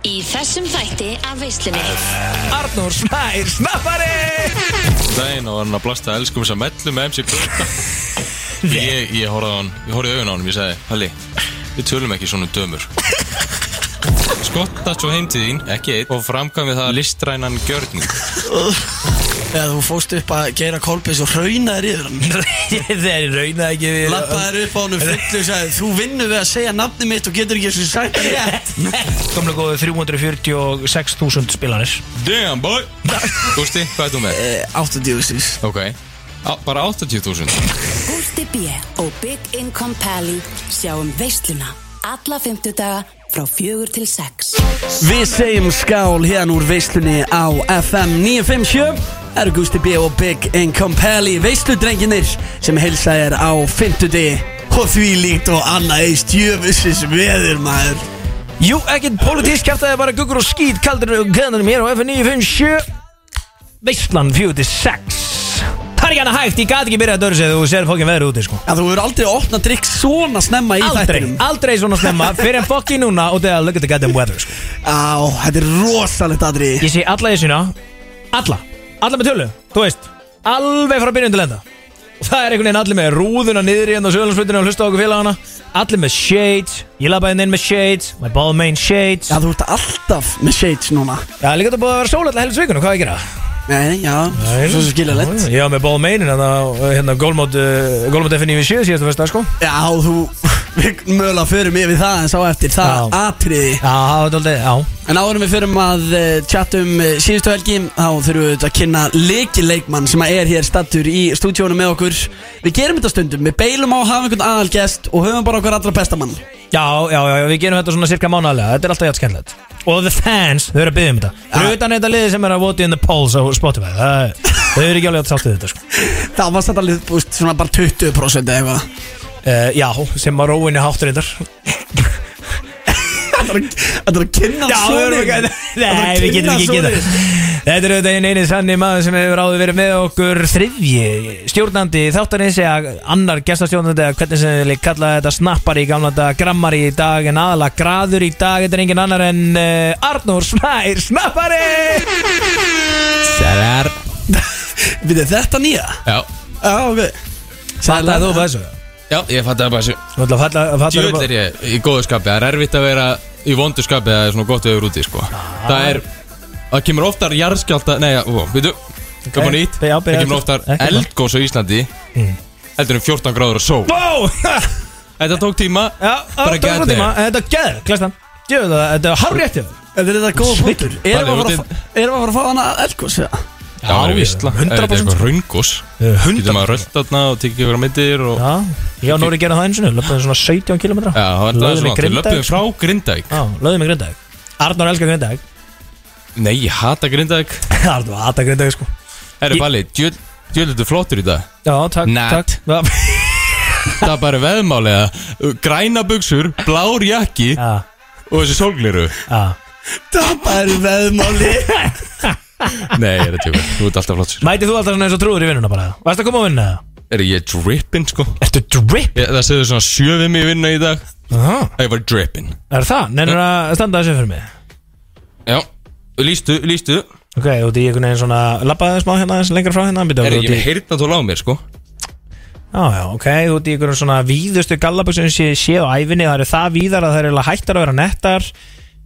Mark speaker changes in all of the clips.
Speaker 1: Í þessum þætti af veislunni
Speaker 2: Arnór Snær Snappari
Speaker 3: daginn og var hann að blasta elskum þess að mellu með MC Björn ég, ég horfði á hann, ég horfði í augun á hann og ég sagði, Halli, við tölum ekki svona um dömur skottast svo heim til þín, ekki einn og framkvæmið það listrænan gjörning
Speaker 4: Eða þú fóst upp að gera kolbis og raunaðir yfir hann
Speaker 2: Þeir rauna ekki við
Speaker 4: Lappaðir upp á hann fullu og sagði Þú vinnur við að segja nafni mitt og getur ekki þessu sagt það rétt
Speaker 2: Komlega góðu 346.000 spilanir
Speaker 3: Damn boy Gústi, hvað er þú með?
Speaker 4: Eh, 80 stís
Speaker 3: Ok, á, bara 80.000
Speaker 5: Gústi B. og Big Income Pally sjáum veisluna alla fymtudaga frá fjögur til sex.
Speaker 4: Við segjum skál hérna úr veislunni á FM 957 Það eru Gusti B og Big Income Pally Veisludrenginir sem heilsa er á 50 Og því líkt og annað eist Jöfusins veður maður
Speaker 2: Jú, ekkert pólitísk kæftaði bara guggur og skýt kaldur og gæðanum hér á F957 Veistland 46 Það er ekki annað hægt, ég gæti ekki byrjað að dörra sig þú sér fokkin veður úti sko
Speaker 4: En þú verður aldrei að opna drikk svona snemma í
Speaker 2: Aldrei,
Speaker 4: þættinum
Speaker 2: aldrei svona snemma fyrir en fokkin núna og þegar look at the goddamn weather sko
Speaker 4: Á, þetta er rosalegt aðri
Speaker 2: Ég sé alla þessina Alla, alla með tölu, þú veist Alveg frá byrjun til enda Og það er einhvern veginn allir með rúðuna niður hérna á Söðlandsflutinu og hlusta á okkur félagana Allir með shades, ég labbaði inn með shades My ball main shades
Speaker 4: Já, þú ert alltaf með shades núna
Speaker 2: Já, líka þetta búið að vera sól alltaf helgisvíkun og hvað er að gera?
Speaker 4: Nei, já, svo sem skilja lett
Speaker 2: Já, með ball mainin, hérna, hérna gólmót, uh, gólmót FNV 7 síðast að fyrsta, sko
Speaker 4: Já, þú, við mögulega förum yfir það en sá eftir það
Speaker 2: Já.
Speaker 4: atriði
Speaker 2: Já, það var dálítið, já
Speaker 4: En áðurum við förum að uh, chatta um uh, síðustu helgi þá þurfum við auðvitað að kynna leikileikmann sem að er hér stattur í stúdíónu með okkur Við gerum þetta stundum, við beilum á að hafa einhvern aðalgest og höfum bara okkar allra besta mann
Speaker 2: Já, já, já, já, við gerum þetta svona cirka mánalega Þetta er alltaf hjátt skemmtilegt Og the fans, þau eru að byggja um þetta Þau eru utan þetta liði sem er að voti in the polls á Spotify Það- Þau eru ekki alveg að sáttið þetta, sko
Speaker 4: Það var satt alveg, þú veist, svona bara 20% eða eitthvað
Speaker 2: Uh, já, sem að róinni háttur reyndar
Speaker 4: Þetta er að kynna
Speaker 2: við, nei, við getum ekki geta Þetta er auðvitað einn einið sannig maður sem hefur áður verið með okkur þriðji stjórnandi þáttarins eða annar gestastjórnandi eða hvernig sem við kalla þetta snappari í gamla dag, grammari í dag en aðalega graður í dag, þetta er engin annar en uh, Arnór Snær, snappari Sælar
Speaker 4: Við þetta nýja?
Speaker 3: Já,
Speaker 4: Já, ok
Speaker 2: Fattaði þú
Speaker 4: Sælar.
Speaker 2: bara þessu?
Speaker 3: já, ég fatt að bara þessu
Speaker 2: Þú ætla að falla- fattaði
Speaker 3: Djöfull er
Speaker 2: bara-
Speaker 3: ég í góðu skapi, það er erfitt að vera í vondu skapi það er svona gott veður úti, sko Það er, það kemur oftar jarðskjálta, nei, ó, veitu, koma nýtt
Speaker 2: Já,
Speaker 3: Það
Speaker 2: byrja
Speaker 3: kemur
Speaker 2: aftur.
Speaker 3: oftar
Speaker 2: Ekki Mm. bara.
Speaker 3: eldgós á Íslandi heldur um 14 gráður og sól
Speaker 2: Vó!
Speaker 3: Þetta tók tíma
Speaker 2: Já,
Speaker 3: Bara
Speaker 2: það er
Speaker 3: get
Speaker 2: góð tíma,
Speaker 3: there.
Speaker 2: þetta er gæður, klæstan Djöðu, þetta er harréttið
Speaker 4: Þetta er þetta góða punktur Erum við að fara að
Speaker 3: Þannig,
Speaker 4: fá- erum við að fara að fá hana elgos eða?
Speaker 3: Já, það er vísla
Speaker 2: 100%.
Speaker 3: Er þetta eitthvað raungos? Getur maður rölt þarna og tekið ykkur myndir og...
Speaker 2: Eh, Já, ég og Nóri gerði það eins og nú, löpum svona 17 km
Speaker 3: Já, það var það svona Við löpum
Speaker 2: frá
Speaker 3: frá Grindavík
Speaker 2: Já, löðum við Grindavík Arnur elskar Grindavík
Speaker 3: Nei, ég hata Grindavík
Speaker 2: Arnur hata Grindavík sko
Speaker 3: Herru,
Speaker 2: Ég-
Speaker 3: Palli, djöld þetta flottur í dag
Speaker 2: Já, takk,
Speaker 3: Nat.
Speaker 2: takk Já,
Speaker 3: Það er bara veðmálega Græna buksur, blár jakki
Speaker 2: já,
Speaker 3: og þessi sólgliru
Speaker 2: já
Speaker 4: Það eru veðmáli
Speaker 3: Nei, ég er að tjóka Þú ert alltaf flottur
Speaker 2: Mætið þú alltaf svona eins og trúður í vinnuna bara Varst að koma á vinnuna það?
Speaker 3: Er ég drippin, sko?
Speaker 2: Ertu drip?
Speaker 3: Ég, það segður svona sjöfið mig í vinna í dag
Speaker 2: Aha.
Speaker 3: Það er bara drippin
Speaker 2: Er það? Nennir að standa þessu fyrir mig
Speaker 3: Já, lístu, lístu
Speaker 2: Ok, út í einhvern veginn svona Lappaði smá hérna aðeins lengra frá hérna býttu,
Speaker 3: Er
Speaker 2: út
Speaker 3: ég
Speaker 2: í-
Speaker 3: með heyrnatól á mér, sko?
Speaker 2: Já, já, ok, þú ert í einhverjum svona víðustu gallaböksum sem ég séð á æfinni, það eru það víðar að það eru eiginlega hættar að vera nettar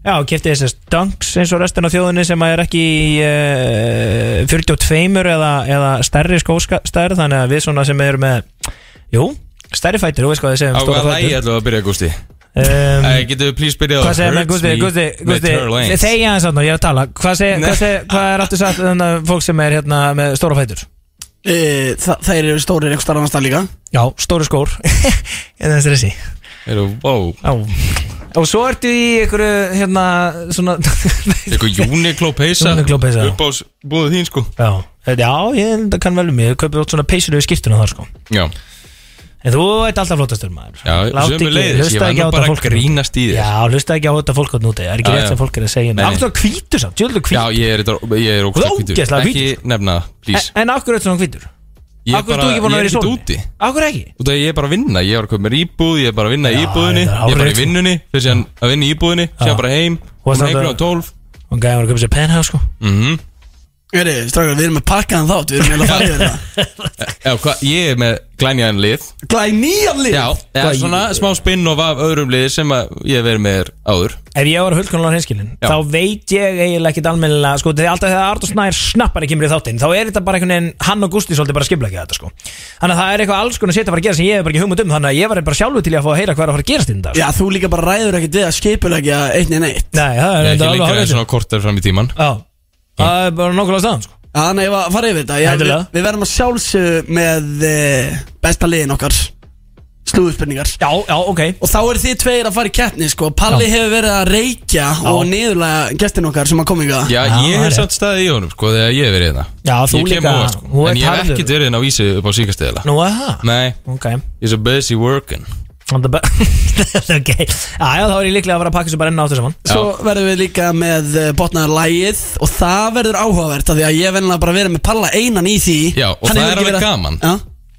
Speaker 2: Já, kefti þessi dunks eins og restin af þjóðinni sem að er ekki í uh, 42 eða, eða stærri skóstærð þannig að við svona sem eru með Jú, stærri fætur, þú veist hvað þið
Speaker 3: Á
Speaker 2: segjum
Speaker 3: hvaða
Speaker 2: stóra
Speaker 3: lægi ætlum við að byrja, Gústi?
Speaker 2: fætur
Speaker 3: Æ, getur við please byrjað á
Speaker 2: Hvað segir maður,
Speaker 3: Hurts
Speaker 2: Gusti,
Speaker 3: Me
Speaker 2: Gusti,
Speaker 3: með
Speaker 2: Gusti,
Speaker 3: Trevor Lane?
Speaker 2: þegja hans aðna, ég er að tala Hvað, seg,
Speaker 3: Nei.
Speaker 2: hvað, seg, hvað er aftur satt þannig að fólk sem er hérna með stóra fætur?
Speaker 4: Eh, Þa, Þeir eru stórir einhver starf annars það líka
Speaker 2: Já, stóru skór, en þessi resi
Speaker 3: Eru, vá,
Speaker 2: Já Og svo ertu í einhverju hérna svona
Speaker 3: eitthvað Uniqlo peysa
Speaker 2: Uniqlo peysa, já.
Speaker 3: Upp á s- búið þín, sko
Speaker 2: Já, þetta, já, ég þetta kann vel um mig Ég kaupið út svona peysinu við skiptuna þar sko
Speaker 3: Já,
Speaker 2: En þú ert alltaf flottastur maður
Speaker 3: já,
Speaker 2: Lát
Speaker 3: sömu
Speaker 2: ekki-
Speaker 3: leiðis Ég
Speaker 2: hlusta
Speaker 3: var
Speaker 2: ekki á
Speaker 3: nú
Speaker 2: þetta
Speaker 3: bara að
Speaker 2: fólk þarna úti.
Speaker 3: grínast í þér
Speaker 2: Já, hlusta ekki á þetta fólk að núti Það er ekki
Speaker 3: Já,
Speaker 2: rétt
Speaker 3: já.
Speaker 2: sem fólk er að segja
Speaker 3: Nei,
Speaker 2: mér
Speaker 3: nei.
Speaker 2: Akkur hvítur samt, tjóðlega
Speaker 3: Já,
Speaker 2: hvítur
Speaker 3: ég er, þetta- ég er
Speaker 2: Þú
Speaker 3: ógæslega
Speaker 2: ert
Speaker 3: hvítur
Speaker 2: ógeðslega Eh,
Speaker 3: Ekki nefna, það, please
Speaker 2: En, en akkur er svona hvítur?
Speaker 3: Ég er
Speaker 2: Akkur
Speaker 3: bara,
Speaker 2: þú ekki búin að
Speaker 3: ég
Speaker 2: vera
Speaker 3: er
Speaker 2: í
Speaker 3: ekki
Speaker 2: sólni?
Speaker 3: úti
Speaker 2: Akkur ekki?
Speaker 3: Út af ég er bara að vinna, ég var að koma mér íbúð, ég er bara að vinna í
Speaker 2: Já, þetta er
Speaker 3: íbúðinni, ég er bara
Speaker 2: hárrétt,
Speaker 3: í
Speaker 2: sko.
Speaker 3: vinnunni, fyrir síðan að vinna í íbúðinni, síðan
Speaker 2: Já.
Speaker 3: bara heim,
Speaker 2: Hún
Speaker 3: Hún heikur á 12
Speaker 2: Hún gæði að köpa sér penthouse sko
Speaker 3: Mhm.
Speaker 4: Heri, strákar, við erum með pakkaðan þátt Við erum með að fara yfir það
Speaker 3: Já, hva, ég er með glænjaðan lið
Speaker 4: Glæð nýjan lið
Speaker 3: Já, já
Speaker 4: Glæ-
Speaker 3: svona smá spinn og af öðrum lið sem að ég hef verið með þér áður
Speaker 2: Ef ég var hulkunulega hinskilin
Speaker 3: Já.
Speaker 2: Þá veit ég eiginlega ekkit almennilega Sko þegar alltaf þegar Artur Snær snappari kemur í þáttinn Þá er þetta bara einhvern veginn Hann og Gusti svolítið bara skipla ekki þetta sko Þannig að það er eitthvað alls konar sétt að fara að gera Sem ég hef bara ekki hugmynd um Þannig að ég var bara sjálfur til í að fá að heyra hvað er að fara að gerast í þetta
Speaker 4: Já, þú líka bara ræður ekkert við að skipulegja eitt neina eitt
Speaker 2: Nei, það er
Speaker 3: Ég er
Speaker 2: þetta
Speaker 3: ekki
Speaker 2: alveg
Speaker 3: lengra en
Speaker 2: hálfveitur.
Speaker 3: svona kortar fram í tíman
Speaker 2: Já, það er bara nokkulega staðan sko
Speaker 4: Já, þannig að fara yfir þetta Já, við,
Speaker 2: Endilega.
Speaker 4: við verðum að sjálfsögðu með e, besta liðin okkar Slúðspurningar
Speaker 2: Já, já, ok
Speaker 4: Og þá eru þið tveir að fara í keppni sko Palli hefur verið að reykja og niðurlega gestin okkar sem að koma ykkar
Speaker 3: Já,
Speaker 2: Já,
Speaker 3: ég
Speaker 2: það er
Speaker 3: hef
Speaker 2: rétt.
Speaker 3: samt staðið í honum, sko, þegar ég hef verið hérna
Speaker 2: Já, þú
Speaker 3: Ég kem
Speaker 2: líka,
Speaker 3: á það, sko.
Speaker 2: þú
Speaker 3: En
Speaker 2: ert
Speaker 3: ég hef
Speaker 2: harður.
Speaker 3: ekkert verið hérna á vísi upp á síkasteðila
Speaker 2: Nú að það
Speaker 3: Nei,
Speaker 2: Ok
Speaker 3: ég er svo busy working
Speaker 2: Það er bara- Ok Já, já, þá er ég líklega að fara að pakka sér bara enn áttu saman
Speaker 4: Svo verðum við líka með eh, botnaðar lægið Og það verður áhugavert af Því að ég er venlega bara verið með Palla einan í því
Speaker 3: Já, og
Speaker 4: Hann
Speaker 3: það er
Speaker 4: hefur ekki
Speaker 3: alveg
Speaker 4: verið að-
Speaker 3: gaman.
Speaker 4: Já,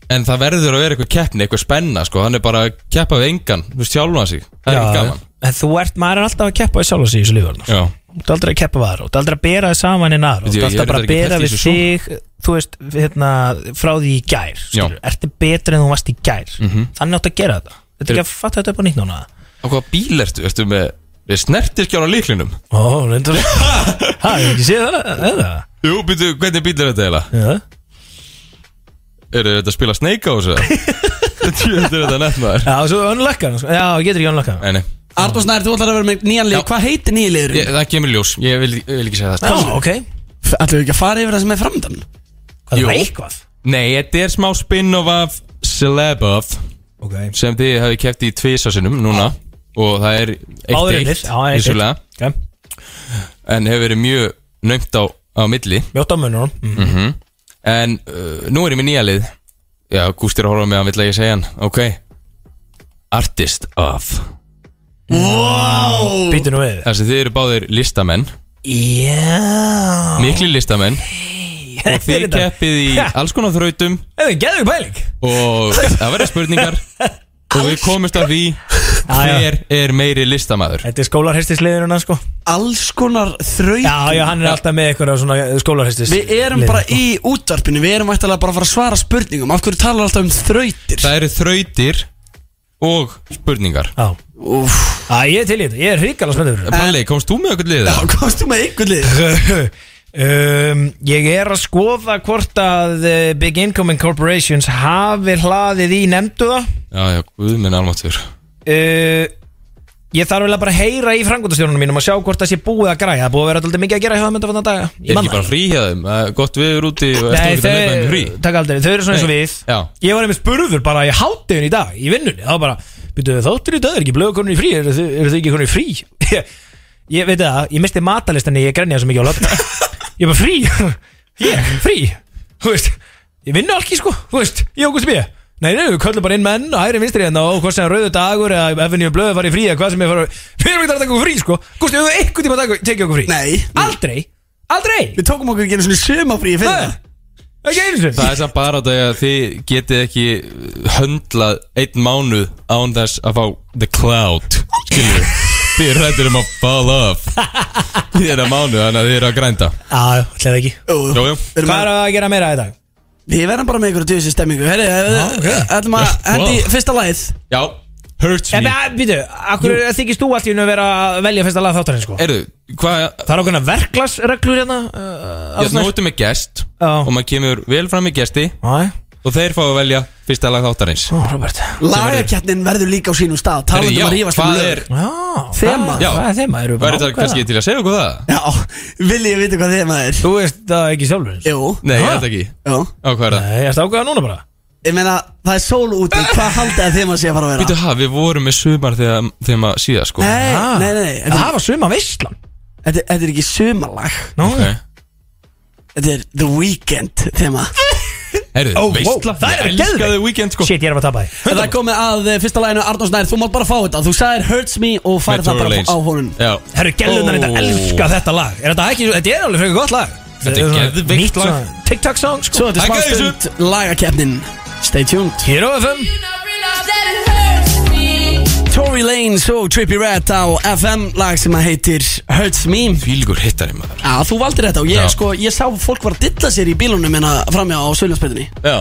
Speaker 3: En það verður að vera eitthvað keppni, eitthvað spenna, sko Hann er bara að keppa við engan, þú veist, sjálfa sig Það er ekki gaman
Speaker 2: En þú ert, maður er alltaf að keppa í sjálf sig í þessu lífi Arnar.
Speaker 3: Já,
Speaker 2: Þú ert aldrei að keppa við aðra, þú ert aldrei að bera þið saman en aðra Þú
Speaker 3: Veitu,
Speaker 2: ert
Speaker 3: ég- ég
Speaker 2: alltaf
Speaker 3: er
Speaker 2: bara að bera
Speaker 3: reyndar ekki pælt í
Speaker 2: við
Speaker 3: þessu
Speaker 2: þig Þú veist, hérna, frá því í gær skilur. Ertu betur en þú varst í gær
Speaker 3: Mhm.
Speaker 2: Þannig áttu að gera þetta Þetta er ekki að fatta þetta upp á nýtt núna
Speaker 3: á hvaða bíl ertu? Ertu með, er snertiskjána líklinum?
Speaker 2: Ó, reyndur Ha, ég hef ekki séð það, eða
Speaker 3: Jú, býtu, hvernig bíl er þetta eiginlega?
Speaker 2: Já.
Speaker 3: Eru þetta að spila Snake á þessu? Þetta er þetta nefnmaður
Speaker 2: Já, svo önlökkar Já, getur ekki önlökkar
Speaker 3: Nei, nei,
Speaker 4: Arnór Snær, þú ætlar að vera með nýjan lið
Speaker 3: Já.
Speaker 4: Hvað heitir nýjan liður?
Speaker 3: ég, það kemur í ljós, ég vil, ég vil ekki segja það
Speaker 2: Já, ok
Speaker 4: Ætlum við ekki að fara yfir það sem er framdann?
Speaker 2: Hvað
Speaker 3: Jú.
Speaker 2: er eitthvað?
Speaker 3: Nei, þetta er smá spin-off af Celeboff
Speaker 2: Ok
Speaker 3: sem þið hefði kæft í tvisasinnum núna og það er
Speaker 2: Báður eitt
Speaker 3: eitt eitt
Speaker 2: Já, eitt
Speaker 3: vissulega,
Speaker 2: Ok
Speaker 3: en hefur verið mjög naumt á, á milli
Speaker 2: Mjótt á mununum mm.
Speaker 3: en uh, nú er ég með nýja lið já, Gústi er að horfa með hann, vill að ég segja hann ok Artist of
Speaker 2: Býtu nú við
Speaker 3: þar sem þið eru báðir listamenn
Speaker 2: Já
Speaker 3: mikli listamenn og þið
Speaker 2: Þetta-
Speaker 3: keppið í
Speaker 2: Ha.
Speaker 3: alls konar þrautum
Speaker 2: Þetta er geðug pæling
Speaker 3: og það verða spurningar og við komumst að því
Speaker 2: já.
Speaker 3: hver er meiri listamæður
Speaker 2: Þetta er skólarhestisliðurinn sko
Speaker 4: Alls konar þraut
Speaker 2: Já, já, hann er alltaf með eitthvað svona skólarhestis sko.
Speaker 4: Við erum bara í útvarpinu, við erum ættilega bara að fara að svara spurningum Af hverju talar alltaf um þrautir?
Speaker 3: það eru þrautir og spurningar
Speaker 2: Já
Speaker 4: Úff
Speaker 2: Æ, ég er til í þetta Ég er hrikalega spenntur fyrir
Speaker 3: Palli, komst þú með okkur liðið?
Speaker 4: Já, komst þú með einhvern lið?
Speaker 2: þetta. um, Ég er að skoða hvort að eh, Big Income Corporations hafi hlaðið í nefndu það
Speaker 3: Já, já, guð minn almáttur
Speaker 2: uh, Ég þarf vel að bara að heyra í frangundastjórnunum mínum og sjá hvort það sé búið að græja Það er búið að vera alltaf mikið að gera hjá það myndafann að daga
Speaker 3: Er ekki bara frí hjá þeim? Það er Gott viður úti og eftir
Speaker 2: Nei,
Speaker 3: ekki að leipa þeim í frí
Speaker 2: þau, takk aldrei, þau eru svona eins og
Speaker 3: Nei,
Speaker 2: við
Speaker 3: já.
Speaker 2: Ég var einmitt spurður bara í háttegin í dag Í vinnunni, þá bara Býtu þau þáttur í dag, er ekki blöðu konur í frí Eru þau, eru þau ekki konur í frí? ég veit það, ég misti matalistan Ég grenja svo mikið á lofn Ég bara frí, ég, frí Þú veist, ég vinna alki sko Þú veist, ég okkur sem ég Nei, nei, við köllum bara inn menn og hægri vinstri hérna og hvað sem rauðu dagur eða ef við blöðu farið frí eða hvað sem ég farið Við erum ekki að taka okkur frí, sko Gústi, hefur eitthvað tíma að taka- tekið okkur frí?
Speaker 4: Nei.
Speaker 2: Aldrei, aldrei
Speaker 4: Við tókum okkur ekki einu svona sömafrí fyrir
Speaker 2: Nei,
Speaker 4: það
Speaker 2: Ekki einu sinni
Speaker 3: Það er samt bara þetta að þið getið ekki höndlað einn mánuð án þess að fá the cloud Skilju Þið er rættir um að fall off Þið er að mánuð, þannig að þið eru að grænda
Speaker 2: Já, ætlaði ekki
Speaker 4: Jú,
Speaker 3: Jú, jú
Speaker 4: Við erum
Speaker 2: Hvað er
Speaker 4: að-
Speaker 2: að gera meira í dag?
Speaker 4: Við verðum bara með einhverju djöðsins stemmingu Herri,
Speaker 2: ok.
Speaker 4: ætlum að hendi í
Speaker 3: Wow.
Speaker 4: fyrsta lagið
Speaker 3: Já, hurts
Speaker 2: En
Speaker 3: me
Speaker 2: býtu, akkur þykist þú allt í unum að vera að velja fyrsta lag þáttarinn sko?
Speaker 3: Erðu, hvað
Speaker 2: Það er okkurna verklagsreglur hérna uh,
Speaker 3: Já, nú ertu með gest
Speaker 2: Já.
Speaker 3: Og maður kemur vel fram í gesti
Speaker 2: Æ,
Speaker 3: Og þeir fá að velja fyrsta lag þáttarins
Speaker 2: ó, Robert
Speaker 4: Lagakjarnin verður líka á sínum
Speaker 3: Heyrðu,
Speaker 4: stað Talandi um
Speaker 3: já,
Speaker 4: að rífast um
Speaker 3: hvað
Speaker 4: lög.
Speaker 3: er-
Speaker 2: Já,
Speaker 4: Þema.
Speaker 2: hvað-
Speaker 3: Já.
Speaker 2: Hvað er þema? Erum við
Speaker 3: Var
Speaker 2: bara
Speaker 3: þetta
Speaker 2: ákveða
Speaker 3: kannski til að segja okkur það?
Speaker 4: Já, vil ég vita hvað þema er
Speaker 2: Þú veist það ekki sjálfur eins?
Speaker 4: Jú,
Speaker 3: Nei, ég
Speaker 2: Ha?
Speaker 3: held ekki
Speaker 4: jú
Speaker 3: Á hvað er það?
Speaker 2: Nei, ég ætti ákveða núna bara
Speaker 4: Ég meina, það er sól úti Hvað haldið að þema sé að fara að
Speaker 3: Býtu
Speaker 4: vera?
Speaker 3: ha, við vorum með sumar þegar, þegar maður síða sko
Speaker 4: Nei,
Speaker 2: Ah.
Speaker 4: Eh, nei, nei, nei þetta
Speaker 2: Það
Speaker 4: er-
Speaker 2: var suma veistlan
Speaker 4: Þetta er- þetta er ekki sumalag
Speaker 2: Nú,
Speaker 3: okay.
Speaker 4: Þetta er The Weeknd þema
Speaker 3: Herðu,
Speaker 2: Ó,
Speaker 3: veistla
Speaker 2: wow, það er
Speaker 3: Ég elskaði
Speaker 2: geðveikt.
Speaker 3: weekend sko
Speaker 2: shit, ég er að fara að tapa
Speaker 4: Það
Speaker 2: því
Speaker 4: er komið að eh, fyrsta laginu Arnór Snær Þú mátt bara fá þetta Þú sagðir Hurts Me og
Speaker 3: Með
Speaker 4: farið það
Speaker 3: Tory
Speaker 4: bara
Speaker 3: Lanez.
Speaker 4: á honum
Speaker 3: Já
Speaker 2: Herru, hérna, gælunar þetta
Speaker 3: Ó.
Speaker 2: elska þetta lag Er þetta ekki, þetta er alveg frekar gott lag
Speaker 3: Þetta er
Speaker 2: svona
Speaker 3: geðveikt
Speaker 2: nýtt
Speaker 3: lag.
Speaker 2: svona TikTok song sko
Speaker 4: Svo þetta er
Speaker 3: Taka
Speaker 4: smá
Speaker 3: þessu.
Speaker 4: stund lagakeppnin Stay tuned
Speaker 2: Hér á FM
Speaker 6: You know, realize that it hurts me.
Speaker 4: Tory Lanez og Trippie Redd á FM lag sem að heitir Hurts Me
Speaker 3: Fylgur hittari maður
Speaker 4: Já, þú valdir þetta og ég,
Speaker 3: Já.
Speaker 4: sko, ég sá fólk var að dilla sér í bílunum hérna en að framjá á Söljansbyrðinni
Speaker 3: Já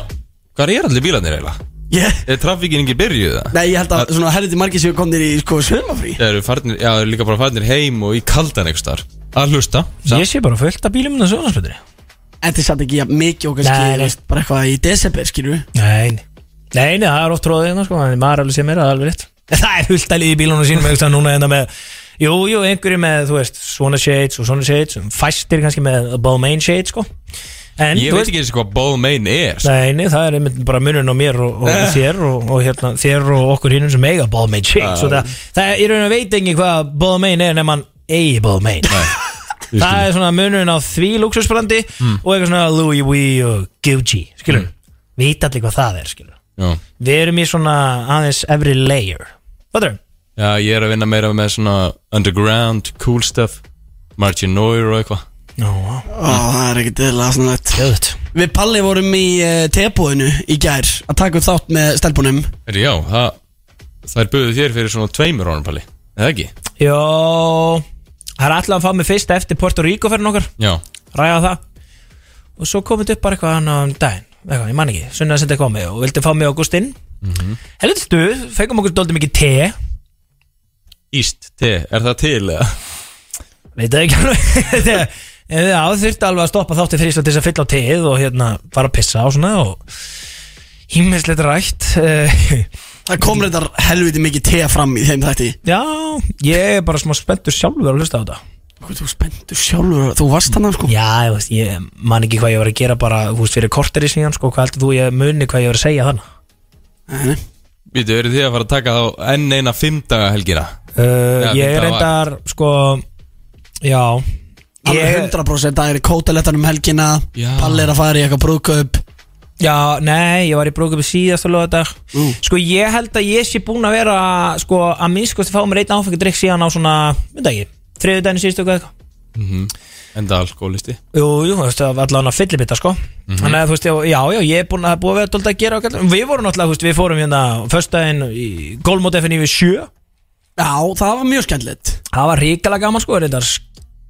Speaker 3: Hvað er allir bílarnir eiginlega?
Speaker 4: Ég,
Speaker 3: Er trafíkinn ekki byrjuð það?
Speaker 4: nei, ég held að svona herriti margir séu komnir í, sko, sömafrí
Speaker 3: Það eru farnir, já, það eru líka bara farnir heim og í kaldan einhvers þar Að hlusta
Speaker 2: Ég sé bara fullt af bílum hérna, innan sjónarsbyrði
Speaker 4: Þetta er samt ekki jafn mikið og
Speaker 2: Nei,
Speaker 4: kannski,
Speaker 2: nei.
Speaker 4: veist, bara eitthvað í desember, skilur við
Speaker 2: Nei, nei, nei, það er oft tróðið hérna sko, en maður alveg sé mér að það er alveg rétt En Það er fullt að liði í bílunum sínum einhvers staðar núna enda með Jú, jú, einhverju með, þú veist, svona shades og svona shades um, Fæstir kannski með Balmain shades, sko En,
Speaker 3: Ég
Speaker 2: þú
Speaker 3: veit ekki eins og hvað Balmain er sko.
Speaker 2: Nei, nei, það er einmitt bara munurinn á mér og, og þér og, og hérna, þér og okkur hinnum sem eiga Balmain shades
Speaker 3: Ah.
Speaker 2: og það, það er í raun og veit ekki hvað Balmain er nefn hann eigi Balmain Það er svona munurinn á því luxusbrandi
Speaker 3: Mm.
Speaker 2: og eitthvað svona Louis V og Gucci, skilur mm. Vita allir hvað það er, skilur
Speaker 3: Já.
Speaker 2: Við erum í svona aðeins every layer Fattur?
Speaker 3: já, ég er að vinna meira með svona underground, cool stuff Margin Noir og eitthvað
Speaker 2: Já, wow.
Speaker 4: Ó,
Speaker 3: Mm.
Speaker 4: það er ekkert eðla svona þetta
Speaker 2: gæðut
Speaker 4: Við Palli vorum í uh, tebúinu í gær að taka upp þátt með stelpunum
Speaker 3: Er, já, það, það er buðið þér fyrir svona tveimur árum, Palli Eða ekki?
Speaker 2: Jó, það er allan að fá mig fyrst eftir Puerto Rico fyrir nokkar
Speaker 3: Já,
Speaker 2: Ræða það Og svo komið upp bara eitthvað annað um daginn eitthvað, Ég man ekki, sunnaði sem þetta komið og vildi fá mig Augustinn mm -hmm. Helviti stuð, fengum okkur dóldi mikið te
Speaker 3: Íst, te, er það til eða?
Speaker 2: Veit það ekki alveg Þegar- En já, þurfti alveg að stoppa þátti fyrir Ísland til þess að fylla á teið og hérna fara að pissa á svona og himmislegt rætt eh,
Speaker 4: Það kom
Speaker 3: Mm.
Speaker 4: reyndar helviti mikið te fram í þeim þætti
Speaker 2: Já, ég er bara smá spenntur sjálfur að hlusta á þetta
Speaker 4: Hvað þú spenntur sjálfur, þú varst hann sko
Speaker 2: Já, ég, veist, ég man ekki hvað ég var að gera bara þú veist, fyrir korteri síðan, sko, hvað heldur þú ég muni hvað ég var að segja þannig
Speaker 4: Nei, nei.
Speaker 3: Býtu, eru þið að fara að taka þá enn eina fimmdaga helgina?
Speaker 2: uh, Ég
Speaker 3: Já, þetta
Speaker 2: er
Speaker 3: var-
Speaker 2: reyndar, sko Já
Speaker 4: Alveg
Speaker 2: ég,
Speaker 4: 100% það er kótalettan um helgina
Speaker 3: Já.
Speaker 4: Palli er að fara í eitthvað brúðkaup
Speaker 2: Já, nei, ég var í brúkupi síðast og loða þetta
Speaker 4: Mm.
Speaker 2: Sko, ég held að ég sé búin að vera sko, að minnskosti fá mér einn áfengadrykk síðan á svona, mynd ekki, þriðu daginn síðustu og eitthvað
Speaker 3: Mm Enda alkoholisti
Speaker 2: Jú, jú, þú veist, það var allavega fyllibita, sko
Speaker 3: Mhm.
Speaker 2: Þannig að, þú veist, já, já, ég er búin að það er búið að vera dálítið að gera og gæta Við vorum náttúrulega, þú veist, við fórum hérna Föstdæðin í Golmót FNI við sjö
Speaker 4: Já, það var mjög skemmtilegt
Speaker 2: Það var ríkala gaman, sko, reyndar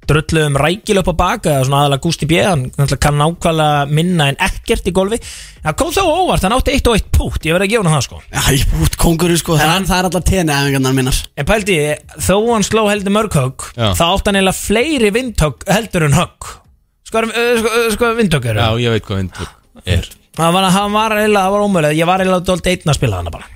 Speaker 2: Drulluðum um rækil upp á baka eða Svona aðalega Gústi B Hann náttúrulega kann nákvæmlega minna en ekkert í golfi Það kom þó á óvart, hann átti eitt og eitt pút Ég verði að gefa hann það, sko
Speaker 4: Já, ég er út kongurinn sko Það, það er alltaf teni efingarnar minnar
Speaker 2: En pældi, ég, þó hann sló heldur mörg högg
Speaker 3: Já.
Speaker 2: Þá átti hann eiginlega fleiri vindhögg heldur en högg Sko, eh, sko, eh, sko vindhögg eru
Speaker 3: Já, ég veit hvað vindhögg er
Speaker 2: Það var, hann var eiginlega, það var ómögulega Ég var eiginlega dólt einn að spila hana bara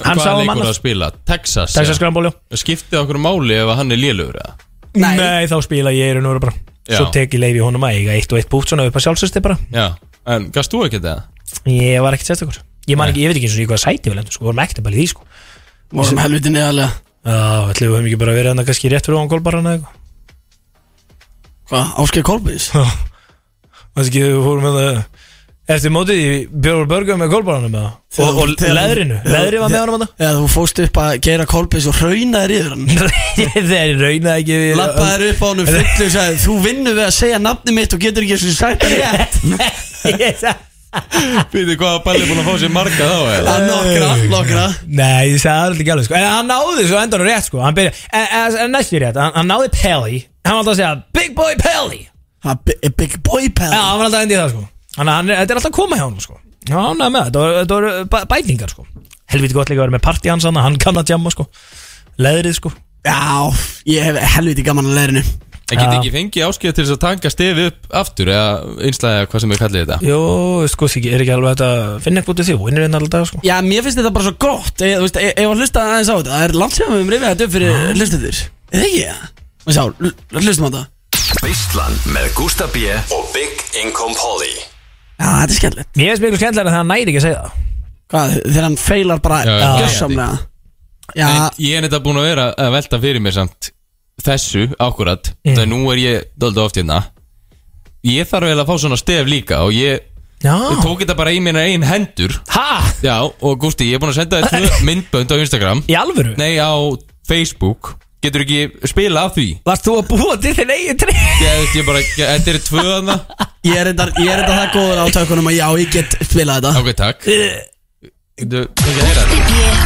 Speaker 2: Hann sá um
Speaker 3: Hvað leikur það að
Speaker 2: annars
Speaker 3: spila? Texas?
Speaker 2: Texas
Speaker 3: eða?
Speaker 2: Scramble, já
Speaker 3: Skiptið okkur máli ef hann er lélugur eða?
Speaker 4: Nei.
Speaker 2: Nei, þá spila ég í raun og veru bara Svo
Speaker 3: Já.
Speaker 2: teki leifi honum að eiga eitt og eitt bútt Svona upp að sjálfsösti bara
Speaker 3: Já, en gafst þú ekki þetta?
Speaker 2: Ég var ekkert sérstakur Ég, man ekki, ég veit ekki eins og ég hvað sæti við lendum sko, Við vorum ekkert að bæli því sko
Speaker 4: Sem helviti neðalega
Speaker 2: Já, ætli við höfum ekki bara verið hann kannski rétt fyrir ofan gólbarana eða eitthvað
Speaker 4: Hvað, Áskei Kolbins?
Speaker 2: Þannig ekki við fórum með það Eftir mótið í Björgur Börgum með gólbarana með það Og, og
Speaker 4: Þegar-
Speaker 2: leðrinu, leðri var með honum hann
Speaker 4: Já, þú fóst upp að gera Kolbins og raunaðir yfir hann
Speaker 2: Þeir raunaði ekki við-
Speaker 4: Lappaðir upp á honum fullu og sagði Þú vinnur við að segja nafni mitt og getur ekki eins og sagt það rétt
Speaker 3: Býtið hvað að Balli er búin að fá sér marga þá eða?
Speaker 4: Það er nokkra, nokkra
Speaker 2: Nei, ég sagði það ekki alveg sko. En hann náði svo endan rétt sko. Hann byrja, en, en, en næstu rétt, hann, hann náði Pelli Hann var alltaf að segja Big Boy Pelli
Speaker 4: Ha, bi- Big boy
Speaker 2: Já,
Speaker 4: pal
Speaker 2: hann var alltaf að enda í það sko. Þannig að hann er- þetta er alltaf að koma hjá hann sko. Já, hann er með það, þetta voru- þetta voru bæ- bætingar sko. Helviti gott líka að vera með partí hans hann Hann kann að jamma sko. Leðrið sko.
Speaker 4: Já, ég hef helviti gaman að leirinu
Speaker 3: En getið
Speaker 2: Já.
Speaker 3: ekki fengið áskjöf til þess að tanka stefi upp aftur eða einslæða hvað sem við kallið þetta?
Speaker 2: Jó, sko, þið er ekki alveg hægt að finna eitthvað út í því Vinnir einn alltaf sko.
Speaker 4: Já, mér finnst þetta bara svo gott Ég, þú veist, ég, ég var að hlusta aðeins á þetta Það er langt sem við höfum rifið þetta upp fyrir hlustendur Eða ekki það? Og sjá, l- hlustum á þetta
Speaker 6: Veislan með Gústa B og Big Income Polly
Speaker 4: Já, þetta er skemmtilegt
Speaker 2: Mér finnst miklu skemmtilega að það næri ekki að segja það
Speaker 4: Hvað, þegar hann feilar bara
Speaker 3: Já, já, já.
Speaker 4: gjössamlega Já,
Speaker 3: En ég er þetta búin að vera að velta fyrir mér samt þessu akkurat
Speaker 2: Mm.
Speaker 3: Það nú er ég döldu oft hérna Ég þarf eiginlega að fá svona stef líka og ég ég
Speaker 2: Já,
Speaker 3: tók þetta bara í minna einn hendur
Speaker 2: ha,
Speaker 3: Ah. Já, og Gústi, ég er búin að senda þér tvö myndbönd á Instagram
Speaker 2: í alvöru
Speaker 3: Nei, á Facebook Getur ekki spila af því
Speaker 2: Varst þú að búa til þinn eigin tré?
Speaker 3: Ég, ég, ég bara, ég, þetta er tvö þarna
Speaker 4: ég er þetta Ég er þetta það góður á tökunum að já, ég get spilað þetta
Speaker 3: Ok, takk Þú, þú ekki að heyra þetta